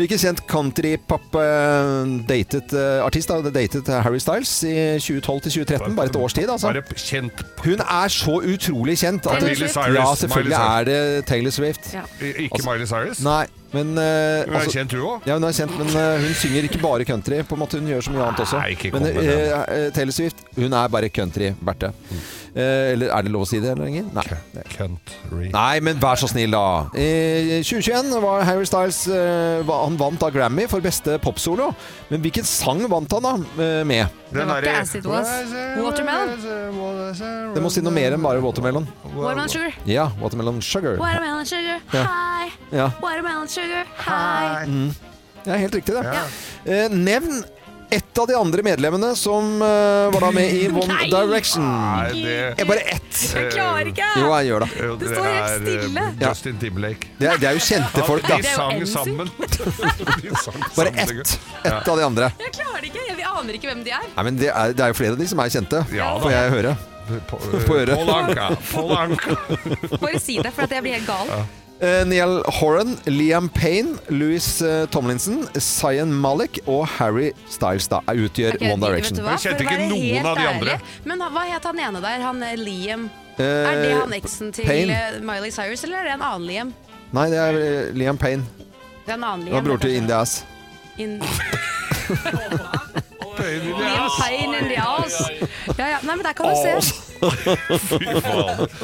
[SPEAKER 1] Hvilken kjent countrypop-datet eh, artist da, det datet Harry Styles i 2012 til 2013? Bare et års tid, altså.
[SPEAKER 2] Bare kjent
[SPEAKER 1] Hun er så utrolig kjent. at-
[SPEAKER 3] Taylor Swift.
[SPEAKER 1] Ja,
[SPEAKER 2] Miley
[SPEAKER 1] selvfølgelig
[SPEAKER 2] Cyrus.
[SPEAKER 1] er det Taylor Swift.
[SPEAKER 3] Ja.
[SPEAKER 2] Ikke Miley Cyrus?
[SPEAKER 1] Altså, Nei, men eh,
[SPEAKER 2] Hun er
[SPEAKER 1] altså-
[SPEAKER 2] kjent, du òg?
[SPEAKER 1] Ja, hun er kjent, men eh, hun synger ikke bare country. På en måte Hun gjør så mye annet også.
[SPEAKER 2] Nei, ikke kom
[SPEAKER 1] men
[SPEAKER 2] med den.
[SPEAKER 1] eh, eh, Taylor Swift, hun er bare country, Berthe.
[SPEAKER 2] Mm.
[SPEAKER 1] Eh, eller er det lov å si det lenger? Nei. Det er ikke-
[SPEAKER 2] Country.
[SPEAKER 1] Nei, men vær så snill, da. I 2021 var Harry Styles eh, va- Han vant da Grammy for beste popsolo. Men hvilken sang vant han da eh, med?
[SPEAKER 2] Den
[SPEAKER 3] var
[SPEAKER 2] derre-
[SPEAKER 3] ikke As It Was.
[SPEAKER 2] Watermelon?
[SPEAKER 1] Det må si noe mer enn bare Watermelon.
[SPEAKER 3] Watermelon sugar.
[SPEAKER 1] Ja, Watermelon Sugar.
[SPEAKER 3] Watermelon sugar,
[SPEAKER 1] Ja.
[SPEAKER 3] hi.
[SPEAKER 1] Ja,
[SPEAKER 3] Watermelon sugar, hi.
[SPEAKER 1] det er helt riktig, det. Eh, nevn ett av de andre medlemmene som eh, var da med i One
[SPEAKER 3] Nei!
[SPEAKER 1] Direction.
[SPEAKER 2] Nei, det
[SPEAKER 1] Eh, Bare ett.
[SPEAKER 3] Jeg klarer ikke!
[SPEAKER 1] Jo, jeg gjør det.
[SPEAKER 2] jo,
[SPEAKER 3] Det står helt
[SPEAKER 2] er, eh,
[SPEAKER 3] stille.
[SPEAKER 2] Justin Timberlake.
[SPEAKER 1] Det er, det er jo kjente folk,
[SPEAKER 2] De
[SPEAKER 1] da.
[SPEAKER 3] jo
[SPEAKER 2] sang
[SPEAKER 3] NSYNC. (laughs)
[SPEAKER 2] sammen. De sang
[SPEAKER 1] Bare
[SPEAKER 2] sammen.
[SPEAKER 1] ett. Ett av de andre.
[SPEAKER 3] Jeg klarer ikke, jeg aner ikke hvem de er.
[SPEAKER 1] Nei, men det er, det er jo flere av de som er kjente,
[SPEAKER 2] Ja, da.
[SPEAKER 1] får jeg høre.
[SPEAKER 2] På, eh,
[SPEAKER 1] På øret.
[SPEAKER 2] Paul Anka. Paul Anka.
[SPEAKER 3] Bare si det, for at jeg blir helt gal.
[SPEAKER 1] Eh, Neil Horan, Liam Payne, Louis eh, Tomlinson, Zayan Malik og Harry Styles da er- utgjør
[SPEAKER 3] Ok,
[SPEAKER 1] One
[SPEAKER 3] vet
[SPEAKER 1] Direction.
[SPEAKER 3] du hva?
[SPEAKER 2] Jeg kjente
[SPEAKER 3] For å
[SPEAKER 2] ikke
[SPEAKER 3] være
[SPEAKER 2] noen
[SPEAKER 3] helt
[SPEAKER 2] av de andre.
[SPEAKER 3] ærlig, Men hva het han ene der, han eh, Liam?
[SPEAKER 1] Eh,
[SPEAKER 3] Er det han eksen til
[SPEAKER 1] Payne.
[SPEAKER 3] eh, Miley Cyrus, eller er det en annen Liam?
[SPEAKER 1] Nei, det er eh, Liam Payne.
[SPEAKER 3] Det er en annen
[SPEAKER 1] Det var
[SPEAKER 3] Liam.
[SPEAKER 1] bror til
[SPEAKER 3] kanskje.
[SPEAKER 1] Indias.
[SPEAKER 3] In- Liam
[SPEAKER 2] Fy
[SPEAKER 3] Payne in the house. Ja, ja. Nei, men der kan du se.
[SPEAKER 2] faen.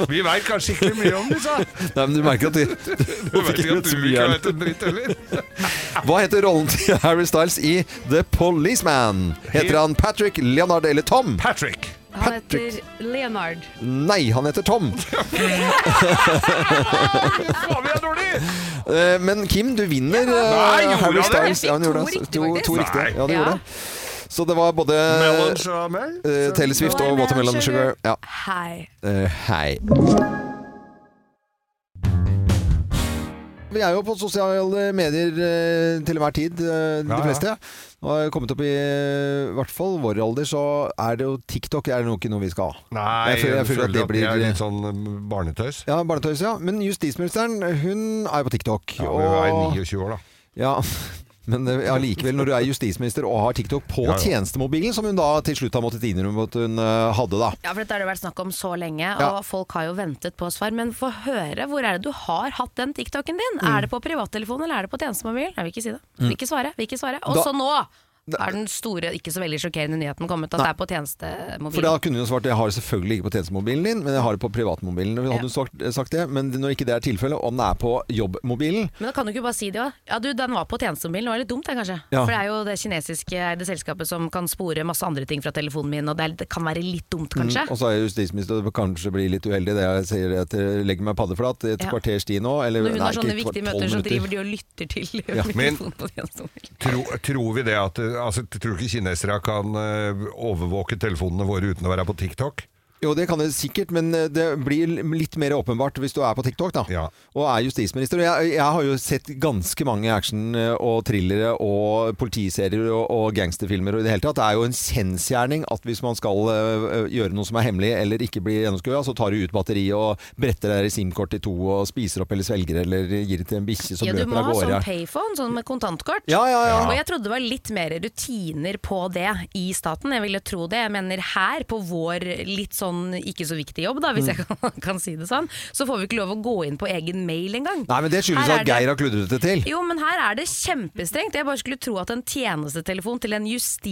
[SPEAKER 2] Vi veit kanskje ikke mye om disse.
[SPEAKER 1] (laughs) Nei, men du merker at de...
[SPEAKER 2] Du vet ikke at du ikke vet en dritt heller.
[SPEAKER 1] Hva heter rollen til (laughs) Harry Styles i The Policeman? Heter han Patrick, Leonard eller Tom?
[SPEAKER 2] Patrick.
[SPEAKER 3] Han heter Leonard.
[SPEAKER 1] Nei, han heter Tom.
[SPEAKER 2] Faen, vi er dårlige!
[SPEAKER 1] Eh, Men Kim, du vinner.
[SPEAKER 2] Nei,
[SPEAKER 1] eh,
[SPEAKER 2] gjorde
[SPEAKER 1] Harry
[SPEAKER 2] han det?
[SPEAKER 1] Styles.
[SPEAKER 3] Jeg fikk
[SPEAKER 1] Ja, han gjorde
[SPEAKER 3] to
[SPEAKER 1] det.
[SPEAKER 3] riktig,
[SPEAKER 1] to,
[SPEAKER 3] faktisk.
[SPEAKER 1] to riktig.
[SPEAKER 2] Nei.
[SPEAKER 1] Ja, du
[SPEAKER 3] Ja.
[SPEAKER 1] gjorde det. Så det var både
[SPEAKER 2] Melon Jamel.
[SPEAKER 1] eh, Taylor Swift og
[SPEAKER 3] Watermelon
[SPEAKER 1] Watermelon Sugar.
[SPEAKER 3] Sugar.
[SPEAKER 1] Ja.
[SPEAKER 3] Hei.
[SPEAKER 1] Eh, hei. Vi er jo på sosiale medier eh, til enhver tid, eh, de
[SPEAKER 2] Ja, ja.
[SPEAKER 1] fleste. Og har kommet opp i eh, hvert fall vår alder, så er det jo TikTok er det nok ikke noe vi skal ha.
[SPEAKER 2] Nei,
[SPEAKER 1] Jeg føler- jeg føler at det blir-
[SPEAKER 2] er litt sånn eh, barnetøys.
[SPEAKER 1] Ja, barnetøys, ja. Men justisministeren, hun er jo på TikTok.
[SPEAKER 2] Ja, men hun er
[SPEAKER 1] og-
[SPEAKER 2] 29 år, da.
[SPEAKER 1] Ja, (laughs) men eh, allikevel, når du er justisminister og har TikTok på
[SPEAKER 2] Ja, ja.
[SPEAKER 1] tjenestemobilen, som hun da til slutt har måttet innrømme at hun eh, hadde, da.
[SPEAKER 3] Ja, for Dette har det vært snakk om så lenge,
[SPEAKER 1] Ja.
[SPEAKER 3] og folk har jo ventet på svar. Men få høre, hvor er det du har hatt
[SPEAKER 1] Mm.
[SPEAKER 3] den TikToken din? Er det på privattelefon eller er det på tjenestemobil? Jeg vil ikke si det. Vil ikke svare. Vil ikke svare. Og
[SPEAKER 1] Da-
[SPEAKER 3] så nå Er den store, ikke så veldig sjokkerende nyheten kommet at det er på tjenestemobil?
[SPEAKER 1] For da kunne hun svart jeg har det selvfølgelig ikke på tjenestemobilen din, men jeg har det på privatmobilen. Hadde hun sagt, sagt det, Men når ikke det er tilfellet, om den er på jobbmobilen
[SPEAKER 3] Men da kan du ikke bare si det òg. Ja, du, den var på tjenestemobilen. Det var litt dumt, det, kanskje.
[SPEAKER 1] Ja.
[SPEAKER 3] For det er jo det kinesiske eide selskapet som kan spore masse andre ting fra telefonen min, og det, er, det kan være litt dumt, kanskje.
[SPEAKER 1] Mm, Og så er justisminister, det kanskje blir litt uheldig det jeg sier at jeg legger meg paddeflat i et
[SPEAKER 3] Ja.
[SPEAKER 1] kvarters tid nå. Eller,
[SPEAKER 3] Når hun
[SPEAKER 1] nei,
[SPEAKER 3] har sånne
[SPEAKER 1] ikke et
[SPEAKER 3] viktige
[SPEAKER 1] kvar- tolv
[SPEAKER 3] møter, så
[SPEAKER 1] minutter.
[SPEAKER 3] driver de og lytter til (laughs)
[SPEAKER 2] men-
[SPEAKER 3] telefonen på tjenestemobilen.
[SPEAKER 2] Tro, tror vi det at eh, altså, Tror du ikke kinesere kan eh, overvåke telefonene våre uten å være på TikTok?
[SPEAKER 1] Jo, det kan det sikkert, men eh, det blir litt mer åpenbart hvis du er på TikTok, da.
[SPEAKER 2] Ja.
[SPEAKER 1] Og er justisminister. Og Jeg, jeg har jo sett ganske mange action- eh, og thrillere og politiserier og, og gangsterfilmer og i det hele tatt. Det er jo en kjensgjerning at hvis man skal eh, gjøre noe som er hemmelig eller ikke blir gjennomskua, så tar du ut batteriet og bretter det SIM-kortet i to og spiser opp eller svelger eller gir det til en bikkje som
[SPEAKER 3] Ja, du
[SPEAKER 1] løper
[SPEAKER 3] må
[SPEAKER 1] av
[SPEAKER 3] ha sånn
[SPEAKER 1] gårde.
[SPEAKER 3] payphone, sånn med kontantkort.
[SPEAKER 1] Ja, ja, ja.
[SPEAKER 3] Og jeg trodde det var litt mer rutiner på det i staten. Jeg ville tro det. Jeg mener her, på vår litt sånn ikke så viktig jobb, da,
[SPEAKER 1] Mm.
[SPEAKER 3] hvis jeg kan, (laughs) kan si det sånn, så får vi ikke lov å gå inn på egen mail engang.
[SPEAKER 1] Nei, men det skyldes
[SPEAKER 3] Her er
[SPEAKER 1] at Geir har kludret det til.
[SPEAKER 3] Jo, men her er det kjempestrengt. Jeg bare skulle tro at en tjenestetelefon til en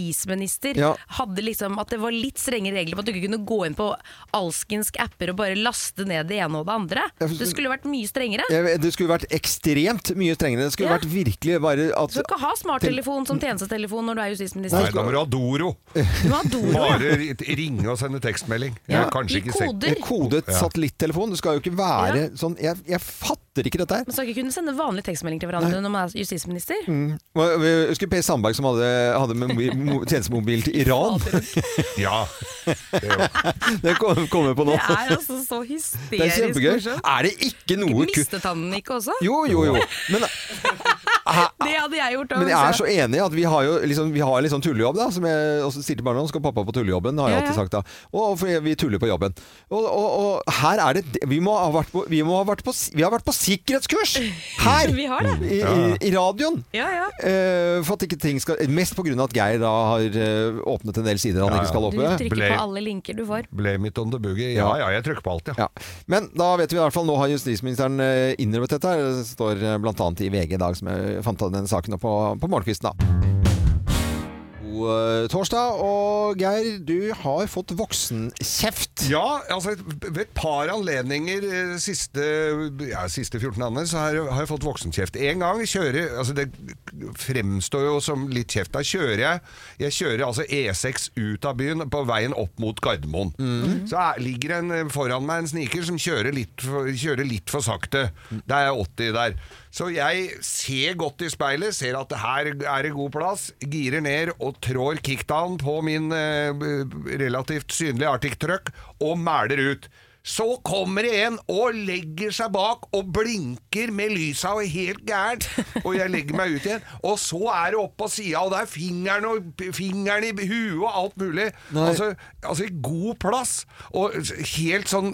[SPEAKER 3] justisminister
[SPEAKER 1] Ja.
[SPEAKER 3] hadde liksom At det var litt strenge regler på at du ikke kunne gå inn på alskensk apper og bare laste ned det ene og det andre.
[SPEAKER 1] Jeg forstår-
[SPEAKER 3] Det skulle vært mye strengere.
[SPEAKER 1] Jeg vet, Det skulle vært ekstremt mye strengere. Det skulle
[SPEAKER 3] Ja.
[SPEAKER 1] vært virkelig bare at
[SPEAKER 3] Du skal ikke ha smarttelefon som tjenestetelefon når du er justisminister.
[SPEAKER 2] Nei, da må du ha Doro.
[SPEAKER 3] Du må ha Doro.
[SPEAKER 2] Bare ri- ringe og sende tekstmelding. Jeg
[SPEAKER 3] Ja,
[SPEAKER 2] har kanskje
[SPEAKER 3] i
[SPEAKER 2] ikke sett-
[SPEAKER 3] koder.
[SPEAKER 1] En kodet satellittelefon. Det skal jo ikke være sånn jeg, jeg fatter ikke dette her.
[SPEAKER 3] Man skal ikke kunne sende vanlig tekstmelding til hverandre når man er justisminister.
[SPEAKER 1] Mm. Og Jeg husker Per Sandberg som hadde, hadde med mo- mo- tjenestemobil til Iran.
[SPEAKER 2] Ja. Det er jo.
[SPEAKER 1] Det kom- kommer jeg på (laughs) nå.
[SPEAKER 3] Det er altså så
[SPEAKER 1] Det er
[SPEAKER 3] hysterisk
[SPEAKER 1] kjempegøy.
[SPEAKER 3] morsomt.
[SPEAKER 1] Er det ikke noe ku...
[SPEAKER 3] Mistet han den ikke også?
[SPEAKER 1] Jo, jo, jo. Men (laughs)
[SPEAKER 3] Det hadde jeg gjort. da,
[SPEAKER 1] Men jeg
[SPEAKER 3] hvis
[SPEAKER 1] er så enig i at vi har jo liksom, vi har en litt sånn tullejobb, da. Som jeg også sier til barna nå, skal pappa på tullejobben, har jeg
[SPEAKER 3] Ja, ja.
[SPEAKER 1] alltid sagt da. Og for vi tuller på jobben. Og, og, og her er det Vi må ha vært på, vi må ha vært på, si- vi har vært på
[SPEAKER 3] (laughs)
[SPEAKER 1] sikkerhetskurs! Her!
[SPEAKER 3] Vi har det.
[SPEAKER 1] I, i, i radioen.
[SPEAKER 3] Ja, ja.
[SPEAKER 1] Eh, for at ikke ting skal Mest pga. at Geir da har eh, åpnet en del sider han ikke skal
[SPEAKER 3] Du
[SPEAKER 1] åpne.
[SPEAKER 3] trykker
[SPEAKER 2] Blame.
[SPEAKER 3] på alle linker du får.
[SPEAKER 2] Blame it on the boogie. Ja ja, jeg trykker på alt, ja.
[SPEAKER 1] Ja. Men da vet vi i hvert fall, nå har justisministeren eh, innrømmet dette. her. Det står bl.a. i VG i dag, som jeg fant av den saken opp på, på morgenkvisten. da. God eh, torsdag, og Geir, du har fått voksenkjeft.
[SPEAKER 2] Ja, altså ved et par anledninger eh, siste, ja, siste 14 andre så har, jeg- har jeg fått voksenkjeft. En gang kjører altså Det fremstår jo som litt kjeft. Da kjører jeg Jeg kjører altså E6 ut av byen på veien opp mot Gardermoen. Så er, ligger en eh, foran meg en sniker som kjører litt for, kjører litt for sakte. Da er jeg 80 der. Så jeg ser godt i speilet, ser at det her er det god plass, girer ned og trår kickdown på min eh, b- relativt synlige Arctic Truck og mæler ut. Så kommer det en og legger seg bak og blinker med lysa og er helt gæren. Og jeg legger meg ut igjen. Og så er det opp på sida, og det er fingeren, og, fingeren i huet og alt mulig.
[SPEAKER 1] Nei.
[SPEAKER 2] Altså, altså i god plass. Og helt sånn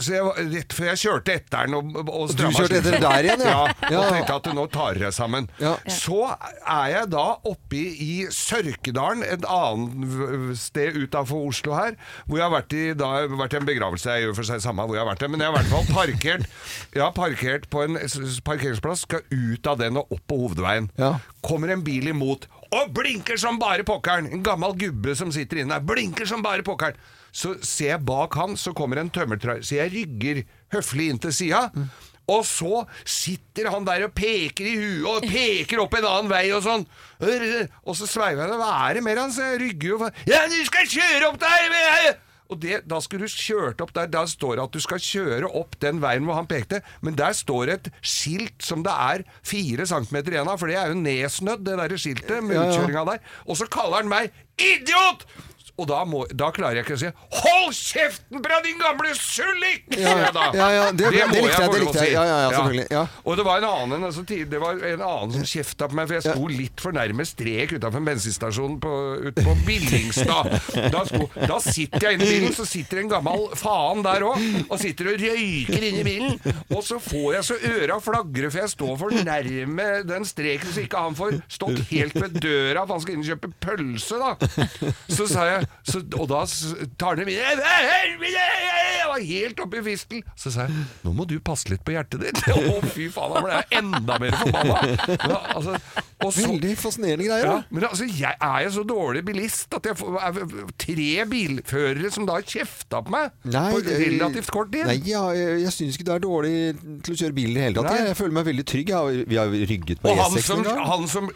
[SPEAKER 2] så jeg, var- Rett før jeg kjørte etter den og, og
[SPEAKER 1] Du
[SPEAKER 2] stramma
[SPEAKER 1] kjørte
[SPEAKER 2] slengen.
[SPEAKER 1] etter den der igjen, ja.
[SPEAKER 2] (laughs) Ja, og tenkte at nå tar jeg sammen.
[SPEAKER 1] Ja.
[SPEAKER 2] Så er jeg da oppe i Sørkedalen, et annet v- sted utenfor Oslo her, hvor jeg har vært i, da har jeg vært i en begravelse, jeg gjør for seg samme hvor jeg har vært, men jeg har i hvert fall parkert, jeg har parkert på en s- s- parkeringsplass, skal ut av den og opp på hovedveien.
[SPEAKER 1] Ja.
[SPEAKER 2] Kommer en bil imot, og blinker som bare pokkeren! En gammel gubbe som sitter inne der, blinker som bare pokkeren! Så ser jeg bak han, så kommer en tømmertrailer, så jeg rygger høflig inn til sida. Og så sitter han der og peker i huet og peker opp en annen vei og sånn. Og så sveiver jeg det. Hva er det mer han sier? Jeg rygger jo for- Ja, du skal kjøre opp der! men jeg- Og det, da skulle du kjørt opp der. Da står det at du skal kjøre opp den veien hvor han pekte. Men der står et skilt som det er fire centimeter igjen av, for det er jo nedsnødd, det derre skiltet med utkjøringa der. Og så kaller han meg idiot! Og da, må, da klarer jeg ikke å si 'hold kjeften på deg, din gamle
[SPEAKER 1] Ja,
[SPEAKER 2] sullik'!
[SPEAKER 1] ja.
[SPEAKER 2] sier jeg da.
[SPEAKER 1] Ja, ja, det- det
[SPEAKER 2] må
[SPEAKER 1] likte jeg,
[SPEAKER 2] få
[SPEAKER 1] det
[SPEAKER 2] lov
[SPEAKER 1] likte
[SPEAKER 2] å
[SPEAKER 1] jeg.
[SPEAKER 2] si.
[SPEAKER 1] Ja, ja, ja, selvfølgelig, ja.
[SPEAKER 2] Og det var en annen, altså, tid- det var en annen som kjefta på meg, for jeg sto litt for nærme strek utafor en bensinstasjon på, ut på Billingstad. Da, sto, da sitter jeg inne i bilen, så sitter en gammel faen der òg, og sitter og røyker inni bilen. Og så får jeg så øra flagre, for jeg står for nærme den streken, så ikke han får stått helt ved døra, for han skal inn og kjøpe pølse, da. Så sa jeg Så, og da s- tar han i min- Jeg var helt oppe i fistel. Så sa jeg nå må du passe litt på hjertet ditt. (laughs) Å, fy faen, da ble jeg enda mer forbanna. Men, altså, og så,
[SPEAKER 1] Veldig fascinerende greier,
[SPEAKER 2] ja,
[SPEAKER 1] da.
[SPEAKER 2] men altså, jeg er jo så dårlig bilist at jeg får, er, tre bilførere som da har kjefta på meg på
[SPEAKER 1] det-
[SPEAKER 2] relativt kort tid.
[SPEAKER 1] Nei, ja, jeg, jeg syns ikke du er dårlig til å kjøre bil i det hele tatt.
[SPEAKER 2] Nei.
[SPEAKER 1] Jeg, jeg føler meg veldig trygg. Jeg har, vi har rygget på
[SPEAKER 2] Og han
[SPEAKER 1] E6
[SPEAKER 2] som,
[SPEAKER 1] en gang.
[SPEAKER 2] han som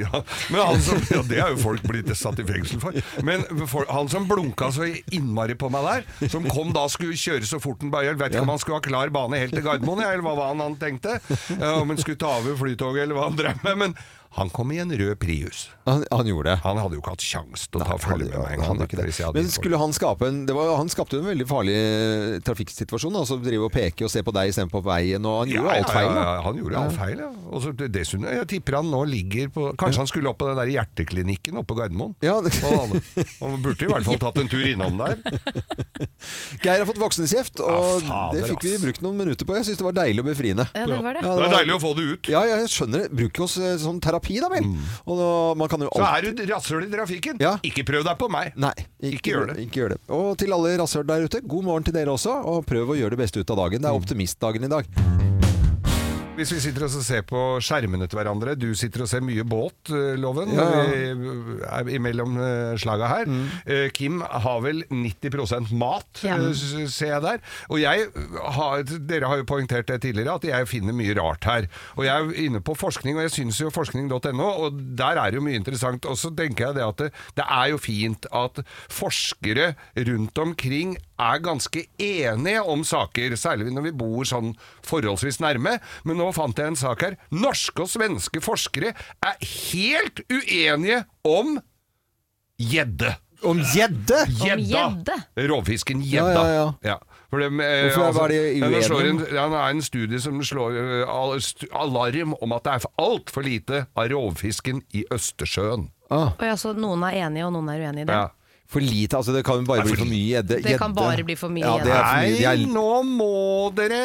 [SPEAKER 2] ja, Men han som Ja, det er jo folk blitt satt i fengsel for. Men for, han som blunka så innmari på meg der, som kom da skulle kjøre så fort han bare Jeg vet ikke om han skulle ha klar bane helt til Gardermoen, jeg, eller hva var han han tenkte? Ja, Om han skulle ta over flytoget, eller hva han drev med. Men han kom i en rød Prius.
[SPEAKER 1] Han, han gjorde det.
[SPEAKER 2] Han hadde jo ikke hatt kjangs til å ta
[SPEAKER 1] Han
[SPEAKER 2] følge med meg
[SPEAKER 1] hadde- han hadde ikke
[SPEAKER 2] engang. hvis jeg
[SPEAKER 1] det.
[SPEAKER 2] hadde
[SPEAKER 1] Men
[SPEAKER 2] gitt bort.
[SPEAKER 1] skulle han skape en det var, Han skapte jo en veldig farlig eh, trafikksituasjon. da, Altså drive og peke og se på deg istedenfor på veien, og han gjorde alt feil.
[SPEAKER 2] Ja, ja,
[SPEAKER 1] da.
[SPEAKER 2] ja, han gjorde alt feil, ja. Og så dessuten, jeg tipper han nå ligger på Kanskje han skulle opp på den der hjerteklinikken oppe på Gardermoen?
[SPEAKER 1] Ja.
[SPEAKER 2] Og han, han burde i hvert fall tatt en tur innom
[SPEAKER 3] (laughs)
[SPEAKER 2] der.
[SPEAKER 1] (laughs) Geir har fått voksenkjeft, og
[SPEAKER 2] Ja, fader,
[SPEAKER 1] det fikk vi
[SPEAKER 2] ass.
[SPEAKER 1] brukt noen minutter på. Jeg syns det var deilig og befriende.
[SPEAKER 3] Ja, det var det.
[SPEAKER 2] Det er deilig å få det ut.
[SPEAKER 1] Ja, ja, jeg skjønner det. Bruk oss eh, som terapi, da vel. Og da, man kan jo
[SPEAKER 2] Mm. Så
[SPEAKER 1] alt-
[SPEAKER 2] er du rasshøl i trafikken.
[SPEAKER 1] Ja.
[SPEAKER 2] Ikke prøv deg på meg.
[SPEAKER 1] Nei, ikke,
[SPEAKER 2] Ikke gjør det.
[SPEAKER 1] ikke gjør det. Og til alle rasshøl der ute, god morgen til dere også, og prøv å gjøre det beste ut av dagen. Det er
[SPEAKER 2] Mm.
[SPEAKER 1] optimistdagen i dag.
[SPEAKER 2] Hvis vi sitter og så ser på skjermene til hverandre Du sitter og ser mye båt, eh, Loven,
[SPEAKER 1] Ja, Mm. ja.
[SPEAKER 2] vi er imellom eh, slaga her. Eh, Kim har vel 90 mat,
[SPEAKER 3] Ja.
[SPEAKER 2] eh, s- ser jeg der. Og jeg eh, har, dere har jo poengtert det tidligere, at jeg finner mye rart her. Og jeg er inne på forskning, og jeg syns jo forskning.no, og der er det jo mye interessant. Og så tenker jeg det at det, det er jo fint at forskere rundt omkring er ganske enige om saker, særlig når vi bor sånn forholdsvis nærme. Men nå fant jeg en sak her. Norske og svenske forskere er helt uenige om gjedde.
[SPEAKER 1] Om gjedde!
[SPEAKER 2] Gjedda! Rovfisken gjedda.
[SPEAKER 1] Ja, ja, ja.
[SPEAKER 2] For dem, eh,
[SPEAKER 1] Hvorfor var de
[SPEAKER 2] altså,
[SPEAKER 1] uenige
[SPEAKER 2] den slår
[SPEAKER 1] om?
[SPEAKER 2] en, ja, det er en studie som slår eh, al- st- alarm om at det er altfor lite av rovfisken i Østersjøen.
[SPEAKER 3] Og ja, så altså, noen er enige, og noen er uenige i det.
[SPEAKER 2] Ja.
[SPEAKER 1] For lite, altså det kan jo bare
[SPEAKER 2] Nei,
[SPEAKER 1] bli
[SPEAKER 2] for
[SPEAKER 1] for mye gjedde.
[SPEAKER 3] Det kan
[SPEAKER 1] Gjedde.
[SPEAKER 3] bare bli for mye
[SPEAKER 1] ja, det er for mye.
[SPEAKER 2] Nei,
[SPEAKER 1] De er
[SPEAKER 2] nå må dere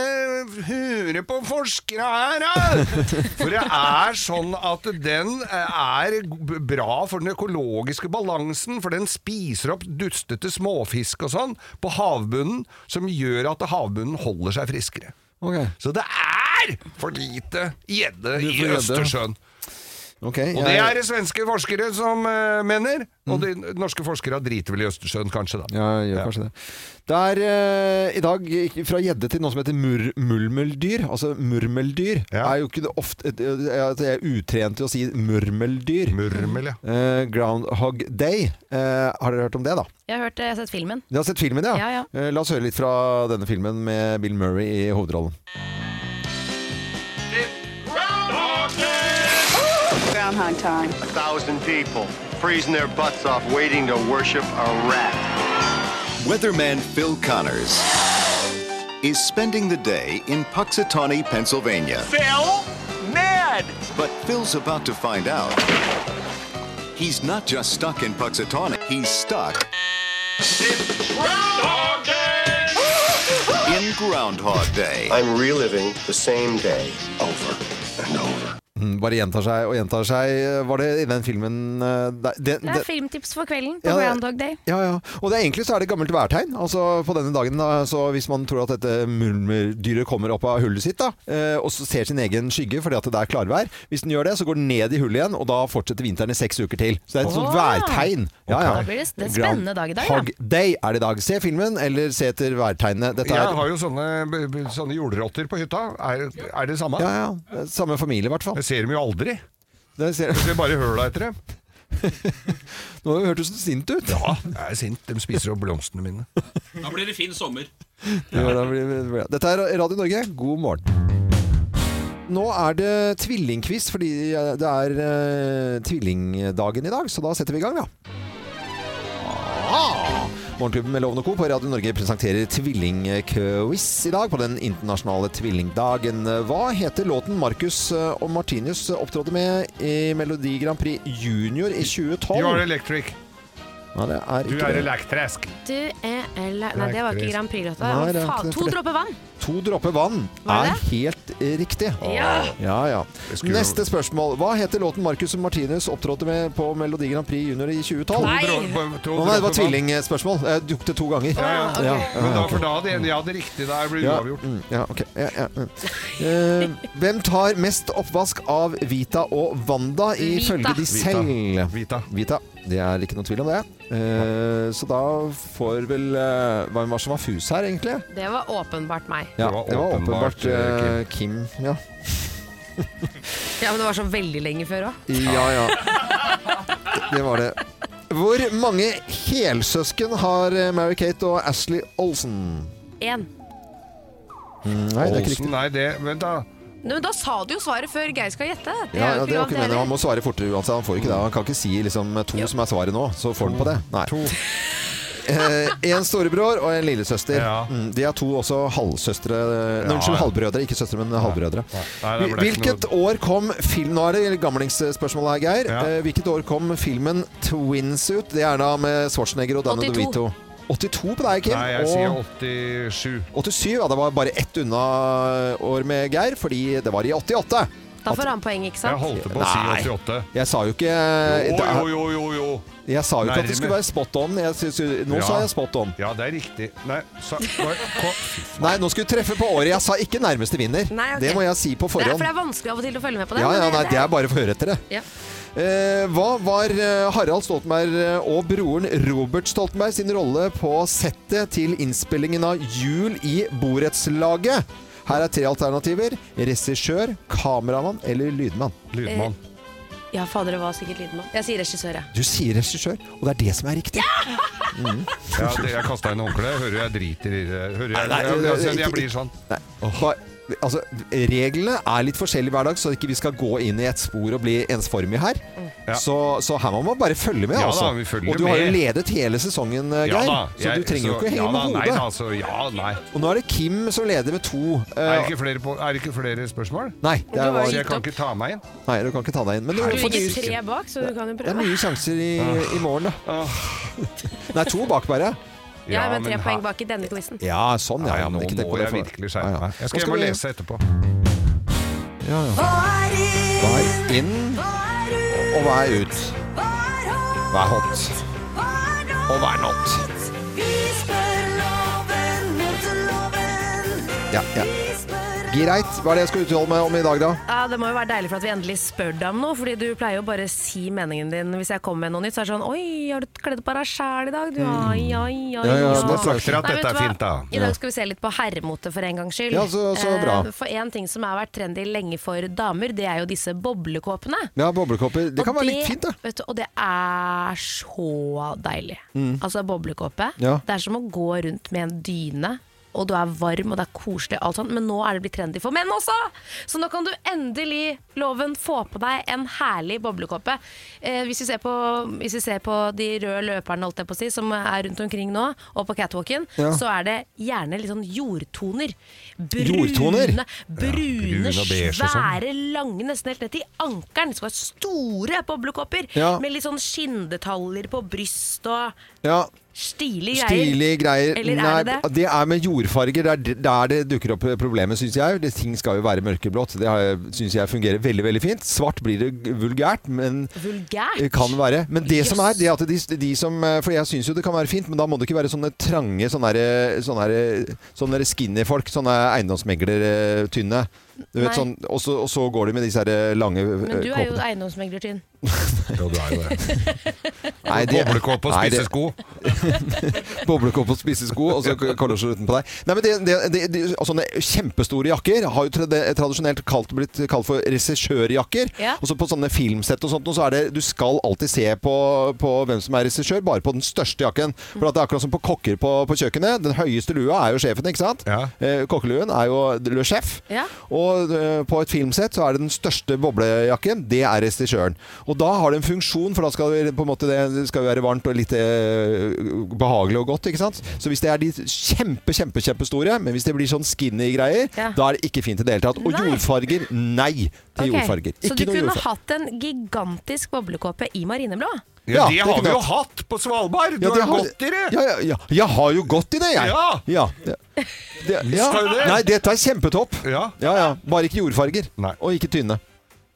[SPEAKER 2] høre på forskere
[SPEAKER 1] (laughs)
[SPEAKER 2] her, da! For det er sånn at den eh, er b- bra for den økologiske balansen, for den spiser opp dustete småfisk og sånn på havbunnen, som gjør at havbunnen holder seg friskere.
[SPEAKER 1] Ok.
[SPEAKER 2] Så det er for lite gjedde i
[SPEAKER 1] gjedde.
[SPEAKER 2] Østersjøen.
[SPEAKER 1] Ok,
[SPEAKER 2] Og det er det svenske forskere som eh, mener. Og de norske forskere driter vel i Østersjøen, kanskje, da.
[SPEAKER 1] Ja, jeg gjør kanskje det. Det er eh, i dag gikk fra gjedde til noe som heter mur murmeldyr. Altså murmeldyr
[SPEAKER 2] Ja.
[SPEAKER 1] er jo ikke det ofte et- et- at Jeg er utrent til å si murmeldyr.
[SPEAKER 2] Murmel, ja.
[SPEAKER 1] Eh, Groundhog Day. Eh, har dere hørt om det, da?
[SPEAKER 3] Jeg har hørt det, jeg har sett filmen.
[SPEAKER 1] Dere har sett filmen, ja?
[SPEAKER 3] Ja, ja.
[SPEAKER 1] Eh, la oss høre litt fra denne filmen med Bill Murray i hovedrollen.
[SPEAKER 8] Groundhog Time.
[SPEAKER 9] thousand people freezing their butts off waiting to worship a rat. Weatherman Phil Connors is spending the day in Puxatawney, Pennsylvania.
[SPEAKER 8] Phil? Ned!
[SPEAKER 9] But Phil's about to find out he's not just stuck in Puxatawney, he's stuck in Groundhog Day. I'm reliving the same day over and over.
[SPEAKER 1] Mm, Bare gjentar seg og gjentar seg. Eh, Var det i den filmen eh, der- den-
[SPEAKER 3] Det
[SPEAKER 1] den-
[SPEAKER 3] er filmtips for kvelden på
[SPEAKER 1] Ja, det-
[SPEAKER 3] Groundhog Day.
[SPEAKER 1] Ja, ja. Og det er egentlig så er det gammelt værtegn. Altså på denne dagen, da, så hvis man tror at dette murmeldyret kommer opp av hullet sitt, da, eh, og så ser sin egen skygge fordi at det er klarvær, hvis den gjør det, så går den ned i hullet igjen, og da fortsetter vinteren i seks uker til. Så det er et sånt
[SPEAKER 3] Åh.
[SPEAKER 1] værtegn. Ja, ja.
[SPEAKER 3] Da blir det- det er en spennende dag i dag, ja.
[SPEAKER 1] Groundhog Day er det i dag. Se filmen, eller se etter værtegnene. Dette
[SPEAKER 2] Jeg
[SPEAKER 1] er
[SPEAKER 2] har jo sånne, b- b- sånne jordrotter på hytta. Er, er det samme?
[SPEAKER 1] ja, ja. Samme familie, i hvert fall.
[SPEAKER 2] Jeg ser dem jo aldri.
[SPEAKER 1] Det ser-
[SPEAKER 2] Jeg ser bare høla etter dem.
[SPEAKER 1] Nå har du hørt så sint ut.
[SPEAKER 2] Ja, jeg er sint. De spiser opp blomstene mine.
[SPEAKER 10] Da blir det fin sommer.
[SPEAKER 1] Ja, da blir det bra. Dette er Radio Norge, god morgen. Nå er det tvillingquiz, fordi det er eh, tvillingdagen i dag, så da setter vi i gang, da. Ah! Morgenklubben med Loven og Co. på Radio Norge presenterer tvillingquiz i dag på den internasjonale tvillingdagen. Hva heter låten Marcus eh, og Martinus opptrådte med i Melodi Grand Prix Junior i 2012?
[SPEAKER 2] You are electric.
[SPEAKER 1] Nei, det er
[SPEAKER 2] Du
[SPEAKER 1] ikke
[SPEAKER 2] er
[SPEAKER 1] det.
[SPEAKER 2] elektrisk.
[SPEAKER 3] Du er Nei, det var ikke Grand Prix-låta.
[SPEAKER 1] Nei, det er ikke
[SPEAKER 3] Faen,
[SPEAKER 1] det, for
[SPEAKER 3] To
[SPEAKER 1] det-
[SPEAKER 3] dråper vann!
[SPEAKER 1] to dropper vann
[SPEAKER 3] Var det
[SPEAKER 1] er helt eh, riktig.
[SPEAKER 3] Ja.
[SPEAKER 1] ja, ja. Neste spørsmål. Hva heter låten Marcus og Martinus opptrådte med på Melodi Grand Prix Junior i 2012?
[SPEAKER 2] To dro- to
[SPEAKER 1] Å, nei, det var
[SPEAKER 2] dropper vann.
[SPEAKER 1] tvillingspørsmål. Eh, Jeg dukte to ganger.
[SPEAKER 2] Ja, ja.
[SPEAKER 1] Ja,
[SPEAKER 2] Men da,
[SPEAKER 1] ja,
[SPEAKER 2] for da hadde jeg, jeg hadde riktig da jeg ble
[SPEAKER 1] ja,
[SPEAKER 2] uavgjort.
[SPEAKER 1] mm, ja, ok. ja, ja. mm. Eh, hvem tar mest oppvask av Vita og Wanda ifølge de selv?
[SPEAKER 2] Vita.
[SPEAKER 1] Vita. Det er ikke noen tvil om det. Eh, så da får vel eh, Hvem var det som var fus her, egentlig?
[SPEAKER 3] Det var åpenbart meg.
[SPEAKER 1] Ja,
[SPEAKER 2] Det var
[SPEAKER 1] det var
[SPEAKER 2] åpenbart,
[SPEAKER 1] åpenbart eh, Kim. Ja.
[SPEAKER 3] Ja, men det var så veldig lenge før òg.
[SPEAKER 1] ja, ja. (laughs) Det var det. Hvor mange helsøsken har eh, Mary-Kate og Ashley Olsen?
[SPEAKER 3] Én.
[SPEAKER 1] Nei, det er ikke
[SPEAKER 2] Olsen,
[SPEAKER 1] riktig.
[SPEAKER 2] nei, det Vent, da.
[SPEAKER 3] Men da sa du jo svaret før Geir skal gjette.
[SPEAKER 1] Ja, ja, det var ikke
[SPEAKER 3] lov,
[SPEAKER 1] meningen. Han må svare fortere uansett. Han får ikke det. Han kan ikke si liksom, to som er svaret nå, så får han på det. Nei.
[SPEAKER 2] To.
[SPEAKER 1] Eh, en storebror og en lillesøster.
[SPEAKER 2] Ja.
[SPEAKER 1] Mm, de er to også halvsøstre Nei,
[SPEAKER 2] Ja,
[SPEAKER 1] Unnskyld,
[SPEAKER 2] ja.
[SPEAKER 1] halvbrødre. Ikke søstre, men halvbrødre.
[SPEAKER 2] Nei, det ble ikke
[SPEAKER 1] Hvilket år kom film... Nå er det gamlingsspørsmålet her, Geir.
[SPEAKER 2] Ja.
[SPEAKER 1] Eh, hvilket år kom filmen Twins ut? Det er da med Schwarzenegger og Danny
[SPEAKER 3] 82.
[SPEAKER 1] DeVito. 82 på deg, Kim.
[SPEAKER 2] Nei, jeg
[SPEAKER 1] og
[SPEAKER 2] sier 87.
[SPEAKER 1] 87. Ja, det var bare ett unna år med Geir, fordi det var i 88.
[SPEAKER 3] Da får han poeng, ikke
[SPEAKER 2] Jeg
[SPEAKER 3] sant?
[SPEAKER 2] holdt på å
[SPEAKER 1] Nei. Eh,
[SPEAKER 2] si 88.
[SPEAKER 1] Jeg sa jo ikke
[SPEAKER 2] Jo, jo, jo, jo, jo.
[SPEAKER 1] Jeg sa jo ikke at
[SPEAKER 2] Nærme.
[SPEAKER 1] det skulle være spot on. Jeg, sy- sy- nå
[SPEAKER 2] Ja.
[SPEAKER 1] sa jeg spot on.
[SPEAKER 2] Ja, det er riktig. Nei, sa hva- hva-
[SPEAKER 1] Nei, nå skulle du treffe på året. Jeg sa ikke nærmeste vinner.
[SPEAKER 3] Nei, ok.
[SPEAKER 1] Det må jeg si på
[SPEAKER 3] Det er,
[SPEAKER 1] forhånd.
[SPEAKER 3] for det er vanskelig av og til å følge med på det.
[SPEAKER 1] Ja,
[SPEAKER 3] men
[SPEAKER 1] ja, nei,
[SPEAKER 3] det-
[SPEAKER 1] det er bare for å høre etter det.
[SPEAKER 3] Ja.
[SPEAKER 1] Eh, hva var eh, Harald Stoltenberg eh, og broren Robert Stoltenberg sin rolle på settet til innspillingen av Jul i borettslaget? Her er tre alternativer. Regissør, kameramann eller lydmann.
[SPEAKER 2] Lydmann.
[SPEAKER 1] Eh.
[SPEAKER 3] ja, fader, det var sikkert lydmann. Jeg sier regissør, jeg.
[SPEAKER 1] Du sier regissør, og det er det som er riktig.
[SPEAKER 2] Ja, det, jeg kasta inn håndkleet. Hører du jeg driter i det? Hører jeg,
[SPEAKER 1] Nei, nei,
[SPEAKER 2] jeg, jeg, jeg,
[SPEAKER 1] ikke-
[SPEAKER 2] blir sånn.
[SPEAKER 1] Nei. Ba- Altså, reglene er litt forskjellige hver dag, så ikke vi skal gå inn i et spor og bli ensformige her.
[SPEAKER 3] Mm.
[SPEAKER 2] Ja.
[SPEAKER 1] Så, så her må man bare følge med,
[SPEAKER 2] Ja da,
[SPEAKER 1] altså.
[SPEAKER 2] vi følger
[SPEAKER 1] og du har jo
[SPEAKER 2] med.
[SPEAKER 1] ledet hele sesongen, eh, Geir. så du trenger jo ikke å henge
[SPEAKER 2] ja, da,
[SPEAKER 1] med
[SPEAKER 2] nei,
[SPEAKER 1] hodet.
[SPEAKER 2] da, altså, ja, nei.
[SPEAKER 1] Og nå er det Kim som leder med to. eh,
[SPEAKER 2] Er det ikke flere, på, er det ikke flere spørsmål?
[SPEAKER 1] Nei, det er,
[SPEAKER 2] Så
[SPEAKER 1] var,
[SPEAKER 2] jeg kan ikke ta meg inn?
[SPEAKER 1] nei, du kan ikke ta deg inn. Men du,
[SPEAKER 2] Nei,
[SPEAKER 3] Du
[SPEAKER 1] får
[SPEAKER 3] ligger
[SPEAKER 1] nye,
[SPEAKER 3] tre bak, så du kan jo
[SPEAKER 1] det er
[SPEAKER 3] prøve.
[SPEAKER 1] nye sjanser i,
[SPEAKER 2] Ah.
[SPEAKER 1] i morgen, da. (laughs) Nei, to bak bare.
[SPEAKER 3] Ja, men tre
[SPEAKER 2] her-
[SPEAKER 3] poeng bak i denne quizen.
[SPEAKER 1] Ja, sånn, ja.
[SPEAKER 2] Nei,
[SPEAKER 1] ja, men
[SPEAKER 2] nå
[SPEAKER 1] ikke tenk på
[SPEAKER 2] må
[SPEAKER 1] det for-
[SPEAKER 2] jeg virkelig
[SPEAKER 1] Ja,
[SPEAKER 2] skjerpe
[SPEAKER 1] ja.
[SPEAKER 2] meg. Jeg
[SPEAKER 1] Nå
[SPEAKER 2] skal hjem og
[SPEAKER 1] vi-
[SPEAKER 2] lese etterpå.
[SPEAKER 1] Ja, ja. Hva er inn, og hva er ut? Hva er hot? Og hva er not? Ja, ja. Greit. Hva er det jeg skal uttale meg om i dag, da?
[SPEAKER 3] Ja, Det må jo være deilig for at vi endelig spør deg om noe, fordi du pleier jo bare å si meningen din hvis jeg kommer med noe nytt. Så er det sånn Oi, har du kledd på deg sjæl i dag? Du, ai, ai, ai,
[SPEAKER 1] Mm. Ja, ja,
[SPEAKER 3] ai».
[SPEAKER 1] så da snakker
[SPEAKER 2] dere at
[SPEAKER 3] Nei, vet
[SPEAKER 2] dette
[SPEAKER 3] du
[SPEAKER 2] er
[SPEAKER 3] hva?
[SPEAKER 2] fint, da.
[SPEAKER 3] I dag skal vi se litt på herremote for en gangs skyld.
[SPEAKER 1] Ja, så- så bra.
[SPEAKER 3] Eh, For en ting som har vært trendy lenge for damer, det er jo disse boblekåpene.
[SPEAKER 1] Ja, Boblekopper. Det kan
[SPEAKER 3] Og
[SPEAKER 1] være litt fint, det.
[SPEAKER 3] Vet du, og det er så deilig. Altså boblekåpe.
[SPEAKER 1] Mm. Ja.
[SPEAKER 3] Det er som å gå rundt med en dyne. Og du er varm og det er koselig, og alt sånt. men nå er det blitt trendy for menn også! Så nå kan du endelig, loven, få på deg en herlig boblekåpe. Eh, hvis, vi ser på, hvis vi ser på de røde løperne holdt jeg på å si, som er rundt omkring nå, og på catwalken,
[SPEAKER 1] Ja.
[SPEAKER 3] så er det gjerne litt sånn jordtoner. Brune,
[SPEAKER 1] Jordtoner?
[SPEAKER 3] brune,
[SPEAKER 2] brune og beige og sånn.
[SPEAKER 3] svære være lange, nesten helt ned til ankelen. Det skal være store boblekopper
[SPEAKER 1] Ja.
[SPEAKER 3] med litt sånn skinndetaljer på bryst og
[SPEAKER 1] Ja,
[SPEAKER 3] stilige greier.
[SPEAKER 1] Stilige greier.
[SPEAKER 3] Eller er
[SPEAKER 1] Nei,
[SPEAKER 3] det det?
[SPEAKER 1] det er med jordfarger. Det er der det dukker opp problemet, syns jeg. Det, ting skal jo være mørkeblått. Det syns jeg fungerer veldig veldig fint. Svart blir det vulgært, men
[SPEAKER 3] Vulgært.
[SPEAKER 1] Det Kan være. Men det som er,
[SPEAKER 3] Jøss.
[SPEAKER 1] det er at de, de som eh, For jeg syns jo det kan være fint, men da må det ikke være sånne trange, sånne, der- sånne, der- sånne der skinny folk. Sånne eiendomsmeglere-tynne. Du vet,
[SPEAKER 3] Nei.
[SPEAKER 1] sånn, og, så, og så går de med disse her lange
[SPEAKER 3] Men du
[SPEAKER 1] eh,
[SPEAKER 3] er jo
[SPEAKER 1] kåpene.
[SPEAKER 3] eiendomsmeglertynn.
[SPEAKER 2] Ja, du er jo det.
[SPEAKER 1] Nei, det-
[SPEAKER 2] Boblekåpe og
[SPEAKER 1] nei, det-
[SPEAKER 2] spissesko.
[SPEAKER 1] Boblekopp og spissesko, og så kolosjer utenpå deg. Nei, men det, det, det, det, og Sånne kjempestore jakker har jo tra tradisjonelt kalt, blitt kalt for regissørjakker.
[SPEAKER 3] Ja.
[SPEAKER 1] Og så på sånne filmsett og sånt, og så er det, du skal alltid se på, på hvem som er regissør, bare på den største jakken. For at det er akkurat som på kokker på, på kjøkkenet. Den høyeste lua er jo sjefen, ikke sant?
[SPEAKER 2] Ja.
[SPEAKER 1] Eh, kokkeluen er jo le sjef.
[SPEAKER 3] Ja.
[SPEAKER 1] Og eh, på et filmsett så er det den største boblejakken, det er regissøren. Og da har det en funksjon, for da skal det på en måte det, det skal jo være varmt og litt eh, behagelig og godt, ikke sant? Så hvis det er de kjempe, kjempe, kjempestore, men hvis det blir sånn skinny greier,
[SPEAKER 3] Ja.
[SPEAKER 1] da er det ikke fint i det hele tatt. Og
[SPEAKER 3] Nei.
[SPEAKER 1] jordfarger, nei til
[SPEAKER 3] Ok,
[SPEAKER 1] jordfarger.
[SPEAKER 3] Så du
[SPEAKER 1] Ikke noe
[SPEAKER 3] kunne
[SPEAKER 1] jordfarger.
[SPEAKER 3] hatt en gigantisk boblekåpe i marineblå?
[SPEAKER 2] Ja, det
[SPEAKER 1] er
[SPEAKER 2] har
[SPEAKER 1] ikke
[SPEAKER 2] vi jo
[SPEAKER 1] noe.
[SPEAKER 2] hatt på Svalbard! Du
[SPEAKER 1] Ja, det
[SPEAKER 2] har
[SPEAKER 1] har-
[SPEAKER 2] gått i det!
[SPEAKER 1] Ja, ja, ja. Jeg har jo gått i det, jeg.
[SPEAKER 2] Ja.
[SPEAKER 1] det- det- ja.
[SPEAKER 2] Skal du det?
[SPEAKER 1] Nei, dette er kjempetopp.
[SPEAKER 2] Ja.
[SPEAKER 1] Ja, ja. Bare ikke jordfarger.
[SPEAKER 2] Nei.
[SPEAKER 1] Og ikke tynne.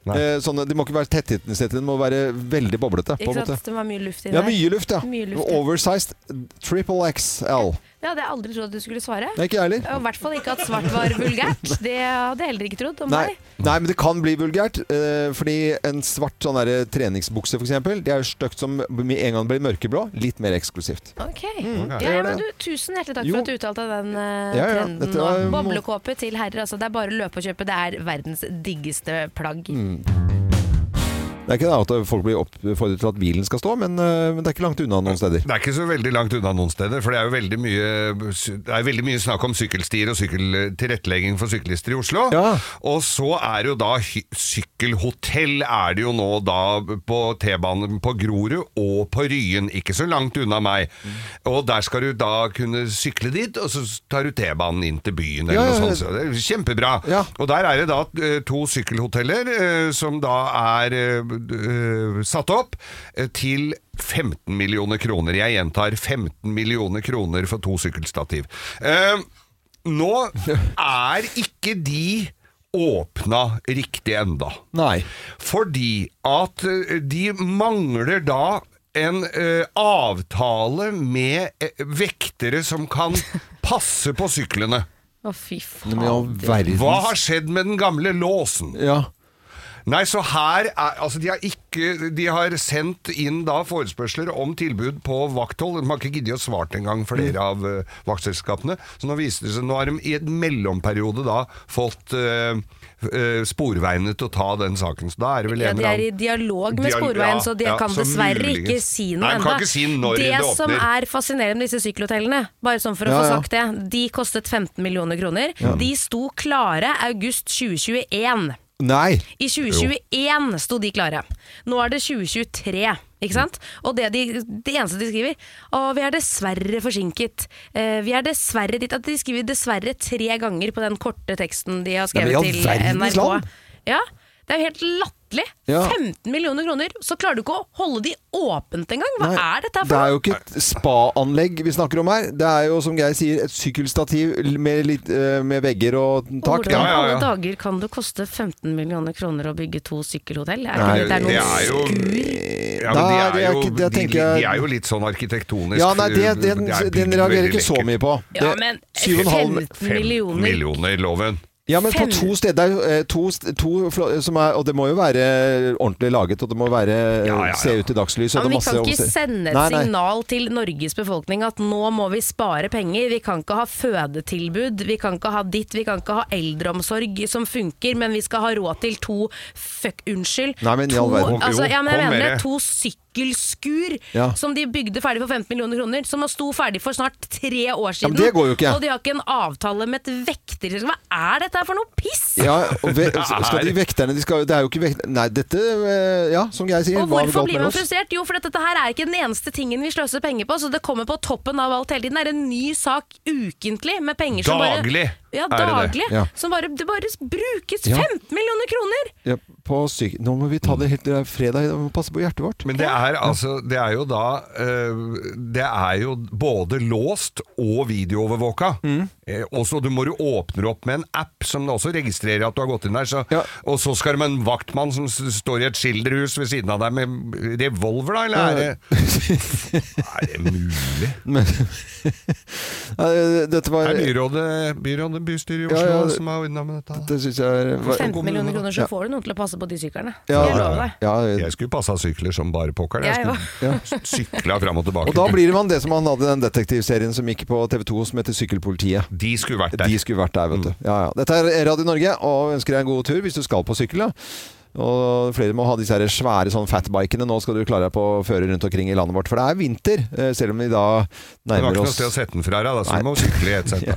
[SPEAKER 2] Nei.
[SPEAKER 1] Eh, sånne, de må ikke være tettsittende, sett, de må være veldig boblete. På
[SPEAKER 3] Ikke
[SPEAKER 1] en
[SPEAKER 3] sant?
[SPEAKER 1] måte.
[SPEAKER 3] Det var mye luft inni
[SPEAKER 1] Ja, mye luft, ja.
[SPEAKER 3] Mye luft, ja.
[SPEAKER 1] Oversized triple XL.
[SPEAKER 3] Det hadde jeg aldri trodd at du skulle svare.
[SPEAKER 1] Nei, ikke jeg heller.
[SPEAKER 3] Og I hvert fall ikke at svart var
[SPEAKER 1] (laughs)
[SPEAKER 3] vulgært. Det hadde jeg heller ikke trodd om
[SPEAKER 1] Nei.
[SPEAKER 3] deg.
[SPEAKER 1] Nei, men det kan bli vulgært. eh, fordi en svart sånn der, treningsbukse, f.eks., det er jo stygt som med en gang blir mørkeblå. Litt mer eksklusivt.
[SPEAKER 3] Ok.
[SPEAKER 1] jeg
[SPEAKER 3] ja,
[SPEAKER 1] Mm. gjør
[SPEAKER 3] ja, men du,
[SPEAKER 1] det.
[SPEAKER 3] tusen hjertelig takk
[SPEAKER 1] Jo.
[SPEAKER 3] for at du uttalte den uh,
[SPEAKER 1] Ja, ja, dette
[SPEAKER 3] trenden. nå.
[SPEAKER 1] var-
[SPEAKER 3] Boblekåpe til herrer, altså. Det er bare å løpe og kjøpe. Det er verdens diggeste plagg.
[SPEAKER 1] Mm. Det er ikke det at folk blir oppfordret til at bilen skal stå, men, eh, men det er ikke langt unna noen steder.
[SPEAKER 2] Det er ikke så veldig langt unna noen steder, for det er jo veldig mye, det er veldig mye snakk om sykkelstier og sykkel, tilrettelegging for syklister i Oslo.
[SPEAKER 1] Ja.
[SPEAKER 2] Og så er det jo da hy- sykkelhotell er det jo nå da på T-banen på Grorud og på Ryen, ikke så langt unna meg.
[SPEAKER 1] Mm.
[SPEAKER 2] Og der skal du da kunne sykle dit, og så tar du T-banen inn til byen eller
[SPEAKER 1] Ja, ja,
[SPEAKER 2] noe
[SPEAKER 1] ja.
[SPEAKER 2] sånt. Så det er kjempebra.
[SPEAKER 1] Ja.
[SPEAKER 2] Og der er det da eh, to sykkelhoteller eh, som da er eh, eh, satt opp eh, til 15 millioner kroner. Jeg gjentar 15 millioner kroner for to sykkelstativ. Eh, Nå er ikke de åpna riktig enda.
[SPEAKER 1] Nei.
[SPEAKER 2] Fordi at eh, de mangler da en eh, avtale med eh, vektere som kan passe på syklene.
[SPEAKER 3] Å, fy
[SPEAKER 1] Men i all
[SPEAKER 3] faen.
[SPEAKER 2] Hva
[SPEAKER 1] verden
[SPEAKER 2] har skjedd med den gamle låsen?
[SPEAKER 1] Ja.
[SPEAKER 2] Nei, så her er, altså de, har ikke, de har sendt inn da forespørsler om tilbud på vakthold. De har ikke giddet å svare engang, flere
[SPEAKER 1] Mm.
[SPEAKER 2] av eh, vaktselskapene. Så nå viser det seg, nå har de i en mellomperiode da fått eh, eh, sporveiene til å ta den saken. Så da er det vel
[SPEAKER 3] Ja,
[SPEAKER 2] en
[SPEAKER 3] de
[SPEAKER 2] eller
[SPEAKER 3] er i
[SPEAKER 2] annen
[SPEAKER 3] dialog med
[SPEAKER 2] Dial-
[SPEAKER 3] Sporveien,
[SPEAKER 2] ja,
[SPEAKER 3] så de
[SPEAKER 2] ja,
[SPEAKER 3] kan
[SPEAKER 2] så
[SPEAKER 3] dessverre
[SPEAKER 2] muligens.
[SPEAKER 3] ikke si noe
[SPEAKER 2] Nei, de kan
[SPEAKER 3] ennå.
[SPEAKER 2] ikke si når
[SPEAKER 3] det
[SPEAKER 2] det åpner.
[SPEAKER 3] som er fascinerende med disse sykkelhotellene, bare sånn for å
[SPEAKER 1] Ja,
[SPEAKER 3] få
[SPEAKER 1] ja.
[SPEAKER 3] sagt det, de kostet 15 millioner kroner. De sto klare august 2021.
[SPEAKER 1] Nei.
[SPEAKER 3] I 2021 sto de klare. Nå er det 2023. Ikke sant?
[SPEAKER 1] Mm.
[SPEAKER 3] Og det, de, det eneste de skriver Å, vi er dessverre forsinket. Eh, vi er dessverre ditt At de skriver 'dessverre' tre ganger på den korte teksten de har skrevet
[SPEAKER 1] Ja, men i all
[SPEAKER 3] til
[SPEAKER 1] verdens
[SPEAKER 3] NRK.
[SPEAKER 1] land!
[SPEAKER 3] Ja, Det er jo helt latterlig.
[SPEAKER 1] Ja.
[SPEAKER 3] 15 millioner kroner, så klarer du ikke å holde de åpent engang! Hva
[SPEAKER 1] Nei,
[SPEAKER 3] er dette her
[SPEAKER 1] Det er
[SPEAKER 3] for
[SPEAKER 1] jo
[SPEAKER 3] noe?
[SPEAKER 1] ikke et spa-anlegg vi snakker om her. Det er jo, som Geir sier, et sykkelstativ med, litt, eh, med vegger og tak.
[SPEAKER 3] Hvordan i
[SPEAKER 2] Ja, ja, ja.
[SPEAKER 3] alle dager kan det koste 15 millioner kroner å bygge to sykkelhotell? Er
[SPEAKER 1] Nei,
[SPEAKER 3] ikke det, det
[SPEAKER 2] det
[SPEAKER 3] er
[SPEAKER 2] er jo-
[SPEAKER 3] noen skur?
[SPEAKER 2] ja, men
[SPEAKER 1] Nei, det
[SPEAKER 2] de, er
[SPEAKER 1] er
[SPEAKER 2] jo,
[SPEAKER 1] ikke- det
[SPEAKER 2] de,
[SPEAKER 1] tenker
[SPEAKER 2] de,
[SPEAKER 1] jeg-
[SPEAKER 2] de er jo litt sånn arkitektonisk
[SPEAKER 1] Ja, nei, det,
[SPEAKER 2] det er
[SPEAKER 1] den,
[SPEAKER 2] bygd
[SPEAKER 1] den reagerer
[SPEAKER 2] veldig
[SPEAKER 1] ikke så
[SPEAKER 2] lekkert.
[SPEAKER 1] mye på.
[SPEAKER 3] Ja,
[SPEAKER 1] Det-
[SPEAKER 3] men
[SPEAKER 1] 7,5
[SPEAKER 3] 15
[SPEAKER 2] 15
[SPEAKER 3] millioner
[SPEAKER 2] millioner, loven.
[SPEAKER 1] Ja, men på
[SPEAKER 3] Fem-
[SPEAKER 1] to steder, det er jo, eh, to, st- to fl- som er, og det må jo være ordentlig laget, og det må være, eh,
[SPEAKER 2] Ja, ja, ja.
[SPEAKER 1] se ut i dagslys. og
[SPEAKER 3] Ja,
[SPEAKER 1] det er
[SPEAKER 3] men vi
[SPEAKER 1] masse
[SPEAKER 3] kan ikke
[SPEAKER 1] omse-
[SPEAKER 3] sende et
[SPEAKER 1] Nei, nei.
[SPEAKER 3] signal til Norges befolkning at nå må vi spare penger, vi kan ikke ha fødetilbud, vi kan ikke ha ditt, vi kan ikke ha eldreomsorg som funker, men vi skal ha råd til to fuck, unnskyld,
[SPEAKER 1] Nei, men i
[SPEAKER 3] to,
[SPEAKER 1] all verden.
[SPEAKER 3] altså, ja, men
[SPEAKER 2] Jo,
[SPEAKER 3] jeg
[SPEAKER 2] kom
[SPEAKER 3] mener
[SPEAKER 2] med
[SPEAKER 3] det,
[SPEAKER 2] det.
[SPEAKER 3] to sykkelskur
[SPEAKER 1] Ja.
[SPEAKER 3] som de bygde ferdig for 15 millioner kroner, som sto ferdig for snart tre år
[SPEAKER 1] Ja,
[SPEAKER 3] siden.
[SPEAKER 1] men det går jo ikke.
[SPEAKER 3] Og de har ikke en avtale med et vekterselskap. Hva er dette her for noe piss?
[SPEAKER 1] Ja, og
[SPEAKER 2] (laughs)
[SPEAKER 1] ve skal de vekterne de skal, Det er jo ikke vekterne Nei, dette eh, Ja, som jeg sier.
[SPEAKER 3] Og
[SPEAKER 1] hva er
[SPEAKER 3] hvorfor
[SPEAKER 1] galt
[SPEAKER 3] blir
[SPEAKER 1] med
[SPEAKER 3] man
[SPEAKER 1] oss?
[SPEAKER 3] frustrert? Jo, for at dette her er ikke den eneste tingen vi sløser penger på, så det kommer på toppen av alt hele tiden. Det er en ny sak ukentlig med penger som
[SPEAKER 2] Daglig
[SPEAKER 3] bare Ja,
[SPEAKER 2] er det det.
[SPEAKER 3] daglig.
[SPEAKER 1] Ja.
[SPEAKER 3] Som bare, det bare brukes
[SPEAKER 1] Ja.
[SPEAKER 3] 15 millioner kroner!
[SPEAKER 1] Ja, på syk Nå må vi ta det helt det er fredag, vi må passe på hjertet vårt.
[SPEAKER 2] Men det er, altså, det er jo da eh, Det er jo både låst og videoovervåka.
[SPEAKER 1] Mm.
[SPEAKER 2] Eh, og så du må du åpner opp med en app som da også registrerer at du har gått inn der. Så,
[SPEAKER 1] Ja.
[SPEAKER 2] Og så skal det med en vaktmann som s- står i et skilderhus ved siden av deg med revolver, da? Eller er det, er det mulig?
[SPEAKER 1] (laughs) Men, (laughs) Nei, dette var
[SPEAKER 2] Det er byrådet, byrådet bystyret i Oslo
[SPEAKER 1] Ja, ja, det-
[SPEAKER 2] som har ordna med dette. her.
[SPEAKER 1] Det syns jeg var,
[SPEAKER 3] 15 millioner kroner,
[SPEAKER 1] Ja.
[SPEAKER 3] så får du noen til å passe på de syklene.
[SPEAKER 1] ja,
[SPEAKER 3] Det lover jeg.
[SPEAKER 1] ja,
[SPEAKER 2] Jeg skulle passa sykler som bare pokker. Jeg
[SPEAKER 3] Jeg
[SPEAKER 2] skulle s- sykla fram og tilbake.
[SPEAKER 1] Og da blir man det som han hadde i den detektivserien som gikk på TV2 som heter Sykkelpolitiet.
[SPEAKER 2] De skulle vært der. Mm.
[SPEAKER 1] De skulle vært der, vet du. Ja, ja. Dette er Radio Norge, og ønsker deg en god tur hvis du skal på sykkel. da. Og flere må ha disse her svære sånn fatbikene. Nå skal du klare deg på å føre rundt omkring i landet vårt, for det er vinter. eh, Selv om vi da
[SPEAKER 2] Det var
[SPEAKER 1] nærmer
[SPEAKER 2] ikke noe
[SPEAKER 1] oss
[SPEAKER 2] sted å sette den fra deg, da, så
[SPEAKER 1] Nei.
[SPEAKER 2] du må sykle i
[SPEAKER 1] (laughs)
[SPEAKER 2] et sett. da.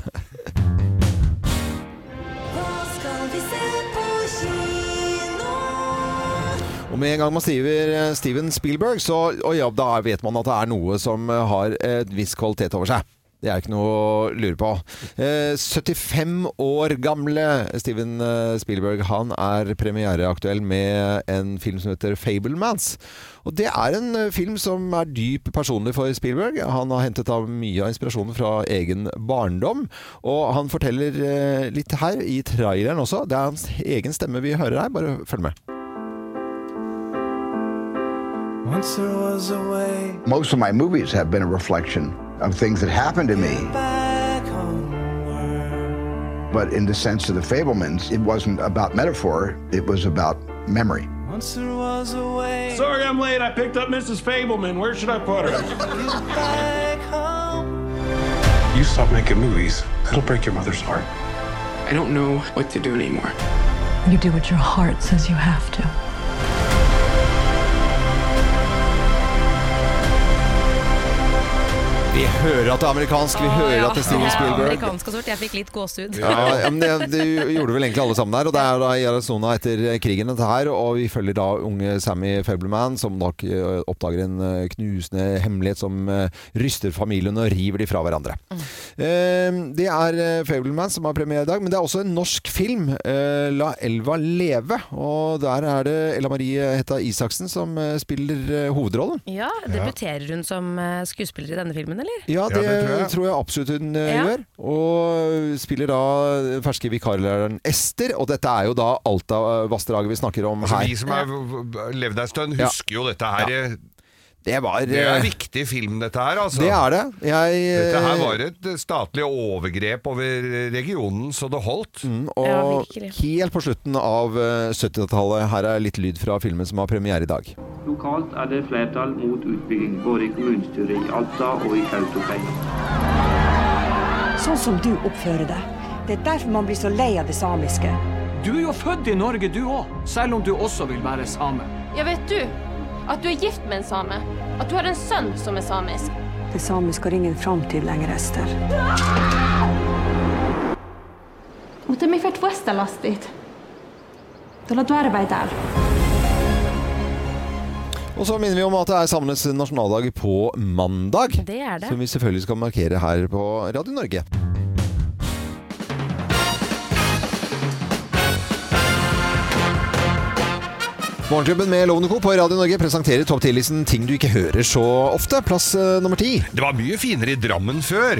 [SPEAKER 5] Hva skal vi se på kino?
[SPEAKER 1] Og med en gang man skriver eh, Steven Spielberg, så og ja, da vet man at det er noe som eh, har et viss kvalitet over seg. Det er ikke noe å lure på. Eh, 75 år gamle Steven eh, Spielberg han er premiereaktuell med en film som heter Fablemans. Og det er en eh, film som er dyp personlig for Spielberg. Han har hentet av mye av inspirasjonen fra egen barndom. Og han forteller eh, litt her i traileren også. Det er hans egen stemme vi hører her. Bare følg med.
[SPEAKER 10] Once there was a way. Most of Oh, my movies have been a reflection of things that happened to me. But in the sense of the Fablemans, it wasn't about metaphor, it was about memory.
[SPEAKER 11] Once there was a way.
[SPEAKER 12] Sorry I'm late. I picked up Mrs. Fableman. Where should I put her?
[SPEAKER 13] You stop making movies, it'll break your mother's heart. I don't know what to do anymore.
[SPEAKER 14] You do what your heart says you have to.
[SPEAKER 1] Vi hører at det er amerikansk, vi hører
[SPEAKER 3] Ja,
[SPEAKER 1] at det er Steven
[SPEAKER 3] det er
[SPEAKER 1] Spielberg.
[SPEAKER 3] Amerikansk og sort. Jeg fikk litt gåsehud.
[SPEAKER 1] Ja, ja, men det, det gjorde vel egentlig alle sammen der. Og det er da i Arizona etter krigen dette her. Og vi følger da unge Sammy Fableman, som da eh, oppdager en eh, knusende hemmelighet som eh, ryster familien og river de fra hverandre. Eh, Det er eh, Fableman som har premiere i dag, men det er også en norsk film. eh, La elva leve. Og der er det Ella Marie eh, Hetta Isaksen som eh, spiller eh, hovedrollen.
[SPEAKER 3] (laughs) Ja, Debuterer hun som eh, skuespiller i denne filmen, eller?
[SPEAKER 1] Ja, det, tror, jeg. absolutt hun eh,
[SPEAKER 3] Ja.
[SPEAKER 1] gjør. Og spiller da den ferske vikarlæreren Ester. Og dette er jo da Alta-vassdraget vi snakker om
[SPEAKER 2] Altså,
[SPEAKER 1] her.
[SPEAKER 2] vi som har levd ei stund,
[SPEAKER 1] Ja.
[SPEAKER 2] husker jo dette her. eh,
[SPEAKER 1] Det var
[SPEAKER 2] Det er
[SPEAKER 1] eh,
[SPEAKER 2] en viktig film, dette her. altså.
[SPEAKER 1] Det er det. Jeg, eh,
[SPEAKER 2] Dette her var et statlig overgrep over regionen, så det holdt.
[SPEAKER 1] og helt på slutten av eh, 70-tallet. Her er litt lyd fra filmen som har premiere i dag.
[SPEAKER 15] Lokalt er det flertall mot utbygging, både i kommunestyret i Alta og i Kautokeino.
[SPEAKER 16] Sånn som du oppfører deg. Det er derfor man blir så lei av det samiske.
[SPEAKER 17] Du er jo født i Norge, du òg, selv om du også vil være same.
[SPEAKER 18] Ja, vet du at du er gift med en same? At du har en sønn som er samisk?
[SPEAKER 16] Det samiske har ingen framtid lenger, Ester.
[SPEAKER 18] Og de har fått Westelas dit. Da lar du arbeide der.
[SPEAKER 1] Og så minner vi om at det er samenes nasjonaldag på mandag.
[SPEAKER 3] Det er det.
[SPEAKER 1] Som vi selvfølgelig skal markere her på Radio Norge. Morgenklubben med Lovende Co. på Radio Norge presenterer topp 10-listen ting du ikke hører så ofte. Plass eh, nummer ti.
[SPEAKER 2] Det var mye finere i Drammen før.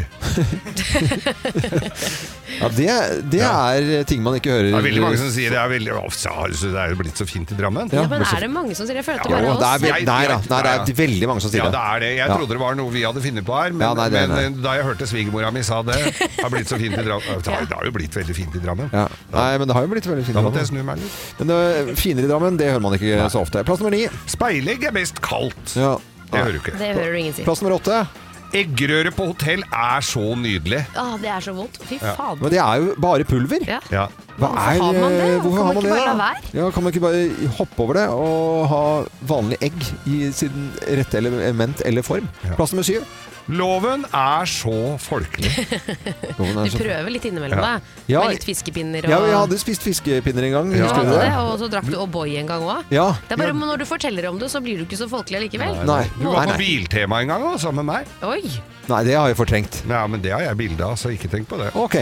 [SPEAKER 1] Ja, det det er eh, ting man ikke hører.
[SPEAKER 2] Det er veldig mange som sier det er veldig «Å, så har det- så det er jo blitt så fint i Drammen.
[SPEAKER 1] Ja, Ja,
[SPEAKER 3] Men er det mange som sier Jeg følte
[SPEAKER 1] Jo,
[SPEAKER 3] bare
[SPEAKER 1] det er
[SPEAKER 3] oss.
[SPEAKER 1] ve- nei da, nei, det er veldig mange som sier
[SPEAKER 2] ja,
[SPEAKER 1] det.
[SPEAKER 2] det er det. Jeg
[SPEAKER 1] Ja.
[SPEAKER 2] trodde det var noe vi hadde funnet på her, men,
[SPEAKER 1] Ja, nei, det er
[SPEAKER 2] men
[SPEAKER 1] det.
[SPEAKER 2] eh, da jeg hørte svigermora mi sa
[SPEAKER 1] (laughs)
[SPEAKER 2] det, har blitt så fint i Drammen. Det har- det har jo blitt veldig fint i Drammen.
[SPEAKER 1] Ja. Nei, men det har jo blitt veldig fint.
[SPEAKER 2] Da måtte jeg snu meg litt.
[SPEAKER 1] Men eh, finere i Drammen, det hører man ikke så ofte. Plass nummer ni.
[SPEAKER 2] Speilegg er mest kaldt.
[SPEAKER 1] Ja.
[SPEAKER 2] Det hører du ikke.
[SPEAKER 3] Det hører du ingen si.
[SPEAKER 1] Plass nummer åtte.
[SPEAKER 2] Eggerøre på hotell er så nydelig.
[SPEAKER 3] Ah, det er så vondt. Fy
[SPEAKER 2] Ja.
[SPEAKER 3] fader.
[SPEAKER 1] Men det er jo bare pulver.
[SPEAKER 3] Ja.
[SPEAKER 1] Hva er,
[SPEAKER 3] har man det?
[SPEAKER 1] eh, Hvorfor
[SPEAKER 3] Kan
[SPEAKER 1] har
[SPEAKER 3] man
[SPEAKER 1] man det?
[SPEAKER 3] ikke bare la
[SPEAKER 1] da? Ja, kan man ikke bare hoppe over det og ha vanlig egg i sin rette element eller form? Plass nummer syv.
[SPEAKER 2] Loven er så folkelig.
[SPEAKER 1] (laughs) Loven er
[SPEAKER 3] Du
[SPEAKER 1] så-
[SPEAKER 3] prøver litt
[SPEAKER 1] Ja.
[SPEAKER 3] innimellom deg.
[SPEAKER 1] Ja.
[SPEAKER 3] Med litt fiskepinner og
[SPEAKER 1] Ja, jeg hadde spist fiskepinner en gang.
[SPEAKER 3] Du
[SPEAKER 1] Husker du
[SPEAKER 3] hadde
[SPEAKER 1] det?
[SPEAKER 3] det, Og så drakk du O'boy en gang òg.
[SPEAKER 1] Ja.
[SPEAKER 3] Det er bare Når du forteller om det, så blir du ikke så folkelig likevel.
[SPEAKER 2] Du var på Biltema en gang, da, sammen med meg.
[SPEAKER 3] Oi!
[SPEAKER 1] Nei, det har jeg fortrengt.
[SPEAKER 2] Ja, men det har jeg bilde av, så ikke tenk på det.
[SPEAKER 1] Ok,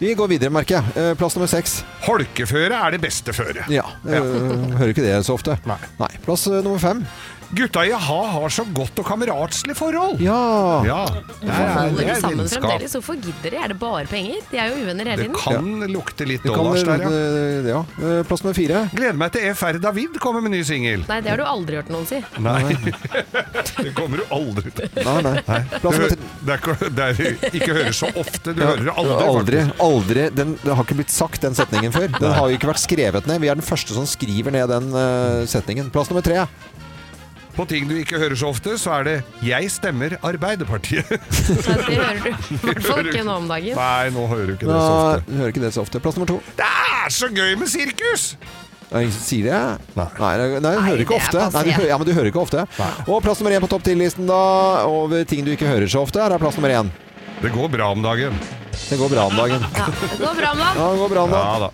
[SPEAKER 1] vi går videre, merker jeg. Eh, Plass nummer seks.
[SPEAKER 2] Holkeføre er det beste føre.
[SPEAKER 1] Ja, eh, hører ikke det så ofte. Nei. Plass eh, nummer fem.
[SPEAKER 2] Gutta i ha har så godt og kameratslig forhold.
[SPEAKER 1] Ja.
[SPEAKER 2] ja.
[SPEAKER 3] Hvorfor holder de sammen fremdeles? Hvorfor gidder de? Er det bare penger? De er jo uvenner hele
[SPEAKER 2] Det
[SPEAKER 3] tiden.
[SPEAKER 2] kan lukte litt
[SPEAKER 1] Det kan-
[SPEAKER 2] dollars der, ja.
[SPEAKER 1] eh, ja. Eh, Plass nummer fire.
[SPEAKER 2] Gleder meg til FR David kommer med ny singel.
[SPEAKER 3] Nei, det har du aldri hørt noen si.
[SPEAKER 2] Nei. (laughs) Det kommer du aldri til.
[SPEAKER 1] Nei, nei.
[SPEAKER 2] Det,
[SPEAKER 1] Plass nummer
[SPEAKER 2] hø-
[SPEAKER 1] tre.
[SPEAKER 2] det er ikke, det er ikke hører så ofte. Du
[SPEAKER 1] Ja,
[SPEAKER 2] hører det aldri.
[SPEAKER 1] aldri,
[SPEAKER 2] faktisk.
[SPEAKER 1] aldri. Den, det har ikke blitt sagt, den setningen før. Den har jo ikke vært skrevet ned. Vi er den første som skriver ned den eh, setningen. Plass nummer tre.
[SPEAKER 2] På ting du ikke hører så ofte, så er det 'Jeg stemmer Arbeiderpartiet'.
[SPEAKER 3] Nei, det hører
[SPEAKER 1] (laughs)
[SPEAKER 3] du i hvert fall ikke nå om dagen.
[SPEAKER 2] Nei, nå hører du ikke det så ofte.
[SPEAKER 1] Nå hører ikke det så ofte. Plass nummer to.
[SPEAKER 2] Det er så gøy med sirkus!
[SPEAKER 1] Det er ingen som sier det. Nei, nei, nei du
[SPEAKER 2] Nei,
[SPEAKER 1] hører ikke
[SPEAKER 2] det er
[SPEAKER 1] ofte.
[SPEAKER 2] passé.
[SPEAKER 1] Nei, du, hø- ja, men du hører ikke ofte. Og plass nummer én på topp 10-listen da, over ting du ikke hører så ofte, her er plass nummer én.
[SPEAKER 2] Det går bra om dagen.
[SPEAKER 1] Det går bra om dagen.
[SPEAKER 3] Det går bra med
[SPEAKER 1] Ja, det går bra om dagen.
[SPEAKER 2] Ja, da.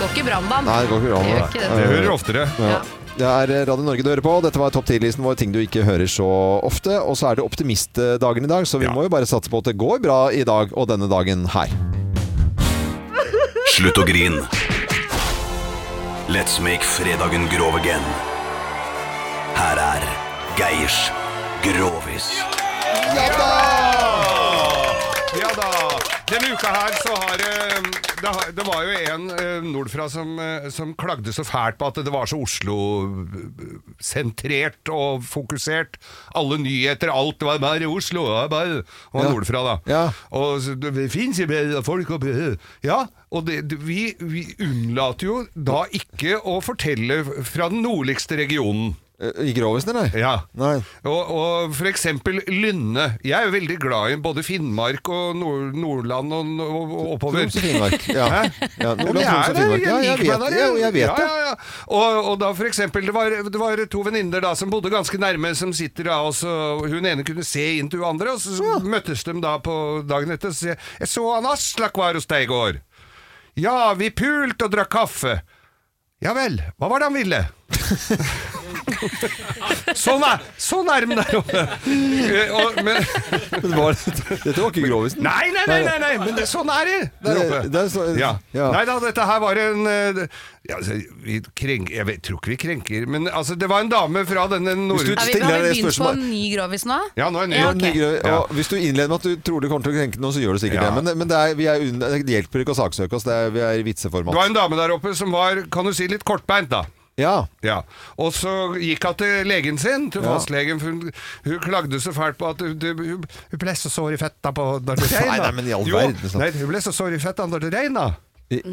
[SPEAKER 3] Går ikke bra med
[SPEAKER 1] Nei, det går ikke bra om
[SPEAKER 3] Det gjør
[SPEAKER 1] dagen.
[SPEAKER 3] ikke det.
[SPEAKER 2] Det hører oftere.
[SPEAKER 1] Ja. Det er eh, Radio Norge du hører på. Dette var topp 10-listen vår, ting du ikke hører så ofte. Og så er det optimistdagen i dag, så vi må jo bare satse på at det går bra i dag og denne dagen her.
[SPEAKER 19] Slutt å grin. Let's make fredagen grov again. Her er Geirs Grovis.
[SPEAKER 2] Ja da. Denne uka her så har eh, det, har- det var jo en eh, nordfra som, eh, som klagde så fælt på at det var så Oslo-sentrert og fokusert. Alle nyheter, alt var bare Oslo. ja, Bare, og
[SPEAKER 1] Ja.
[SPEAKER 2] nordfra, da. Og så, det fins jo bedre folk oppi her. Ja. Og det, det- vi, vi unnlater jo da ikke å fortelle fra den nordligste regionen.
[SPEAKER 1] Eh, I Grovisen, eller?
[SPEAKER 2] Ja. Og, og for eksempel Lynne. Jeg er jo veldig glad i både Finnmark og Nord Nordland og, og, og oppover.
[SPEAKER 1] Troms og Finnmark, ja.
[SPEAKER 2] Hæ?
[SPEAKER 1] Ja,
[SPEAKER 2] Og
[SPEAKER 1] Nordland,
[SPEAKER 2] det
[SPEAKER 1] Troms og
[SPEAKER 2] er det,
[SPEAKER 1] Finnmark. Ja, jeg
[SPEAKER 2] liker
[SPEAKER 1] vet
[SPEAKER 2] meg der,
[SPEAKER 1] det, og jeg vet det.
[SPEAKER 2] Ja, ja, ja. Og, og da for eksempel, det var, det var to venninner da som bodde ganske nærme, som sitter da, og så hun ene kunne se inn til hun andre, og så møttes de da på dagen etter, og så sier jeg, jeg så han Aslak var hos deg i går. Ja, vi pult og drakk kaffe. Ja vel, hva var det han ville? (laughs) sånn er, så nærme der oppe! Eh, og-
[SPEAKER 1] (laughs)
[SPEAKER 2] men,
[SPEAKER 1] Dette var ikke Grovisen?
[SPEAKER 2] nei, nei, nei, nei, nei, men det, sånn er det der
[SPEAKER 1] Det-
[SPEAKER 2] oppe.
[SPEAKER 1] det er så-
[SPEAKER 2] ja.
[SPEAKER 1] ja.
[SPEAKER 2] Nei da, dette her var en eh, ja, altså, vi krenk, Jeg vet, tror ikke vi krenker, men altså, det var en dame fra denne nord...
[SPEAKER 1] du
[SPEAKER 3] Har vi, har vi begynt på en ny grovis nå?
[SPEAKER 2] Ja, nå er det ny.
[SPEAKER 1] Ja,
[SPEAKER 2] ok.
[SPEAKER 1] ny grø-
[SPEAKER 2] Ja.
[SPEAKER 1] og Hvis du innleder med at du tror du kommer til å krenke noen, så gjør du sikkert det. Men, men det, er, vi er unn- det hjelper ikke å saksøke oss. Det er, vi er i
[SPEAKER 2] Det
[SPEAKER 1] vitseformat.
[SPEAKER 2] var en dame der oppe som var, kan du si, litt kortbeint, da.
[SPEAKER 1] Ja.
[SPEAKER 2] Og så gikk hun til legen sin, til
[SPEAKER 1] Ja.
[SPEAKER 2] fastlegen, for hun, hun klagde så fælt på at hun, hun, hun ble så sår i fetta på når det
[SPEAKER 1] Nei,
[SPEAKER 2] regna.
[SPEAKER 1] nei, men i all
[SPEAKER 2] Jo,
[SPEAKER 1] verden, sant.
[SPEAKER 2] Nei, hun ble så sår i fetta når det regna.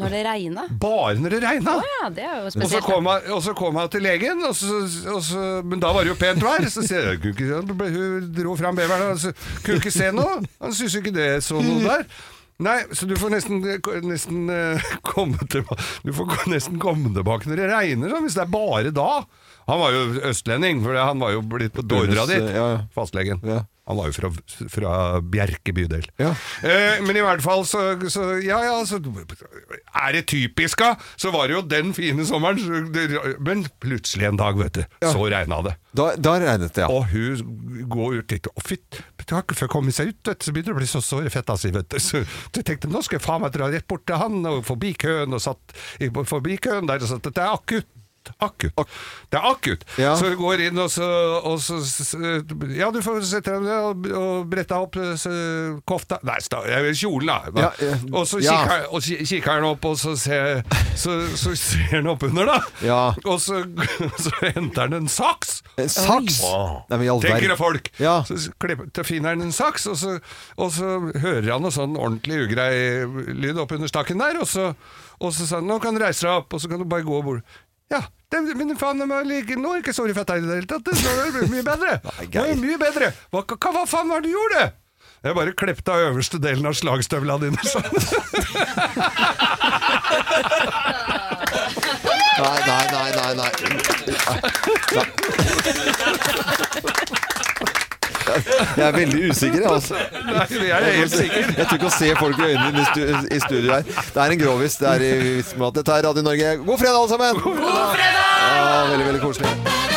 [SPEAKER 3] Når det regna?
[SPEAKER 2] Bare når det regna.
[SPEAKER 3] Å ja, det er jo
[SPEAKER 2] Og så
[SPEAKER 3] spesielt.
[SPEAKER 2] kom han, og så kom han til legen, og så, og så, men da var det jo pent vær. Så sier jeg, «Kunne ikke- hun dro fram beveren og så kunne ikke se noe. Han syntes jo ikke det så noe der. Nei, så du får nesten, nesten eh, komme tilbake Du får gå- nesten komme tilbake når det regner, sånn, hvis det er bare da. Han var jo østlending, for han var jo blitt på dåra
[SPEAKER 1] Bønes,
[SPEAKER 2] dit,
[SPEAKER 1] eh, ja, ja.
[SPEAKER 2] fastlegen. Han var jo fra, fra Bjerke bydel. Eh, men i hvert fall så, så Ja ja, så er det typisk, da. Så var det jo den fine sommeren. så det- Men plutselig en dag, vet du, så regna det.
[SPEAKER 1] Da, da regnet det, ja.
[SPEAKER 2] Og hun går ut litt Å, fytt, det har ikke før kommet seg ut, vet du. Så begynner det å bli så såre fett av seg, vet du. Så jeg tenkte nå skal jeg faen meg dra rett bort til han, og forbi køen, og satt i- forbi køen der, og satt Dette er akutt. Akutt. Det er akutt. Så hun går inn og så, og så s- s- Ja, du får sette deg ned og, og brette deg opp så, kofta Nei, sta, eh, kjolen, da.
[SPEAKER 1] Ja, eh,
[SPEAKER 2] og så
[SPEAKER 1] ja.
[SPEAKER 2] kikker, og ki- kikker han opp, og så ser, så, så ser han oppunder, da.
[SPEAKER 1] Ja.
[SPEAKER 2] Og så, (laughs) så henter han en saks.
[SPEAKER 1] En Eh, saks?
[SPEAKER 2] Åh.
[SPEAKER 1] Nei, men i all
[SPEAKER 2] Tenker
[SPEAKER 1] verden.
[SPEAKER 2] det folk. Så s- klipper- til finner han en saks, og så, og så hører han noe sånn ordentlig ugrei lyd opp under stakken der, og så, og så sa han 'nå kan du reise deg opp', og så kan du bare gå bort. Ja, det, men faen, de er like, nå er ikke sorry fett her i det hele tatt. Det nå er det mye
[SPEAKER 1] (laughs)
[SPEAKER 2] bedre. Nå er det mye bedre. Hva, hva, hva faen var det du gjorde? Jeg bare klepte av øverste delen av slagstøvla dine. sånn. (laughs)
[SPEAKER 1] Nei, nei, nei, nei. (laughs) nei. nei. Jeg er veldig usikker, jeg. Altså.
[SPEAKER 2] Nei, jeg er helt sikker.
[SPEAKER 1] Jeg tror ikke å se folk i øynene i stu- i studio her. Det er en grovis. Det er i vits med at dette er Radio Norge. God fredag, alle sammen! God fredag! Ja, veldig, veldig koselig.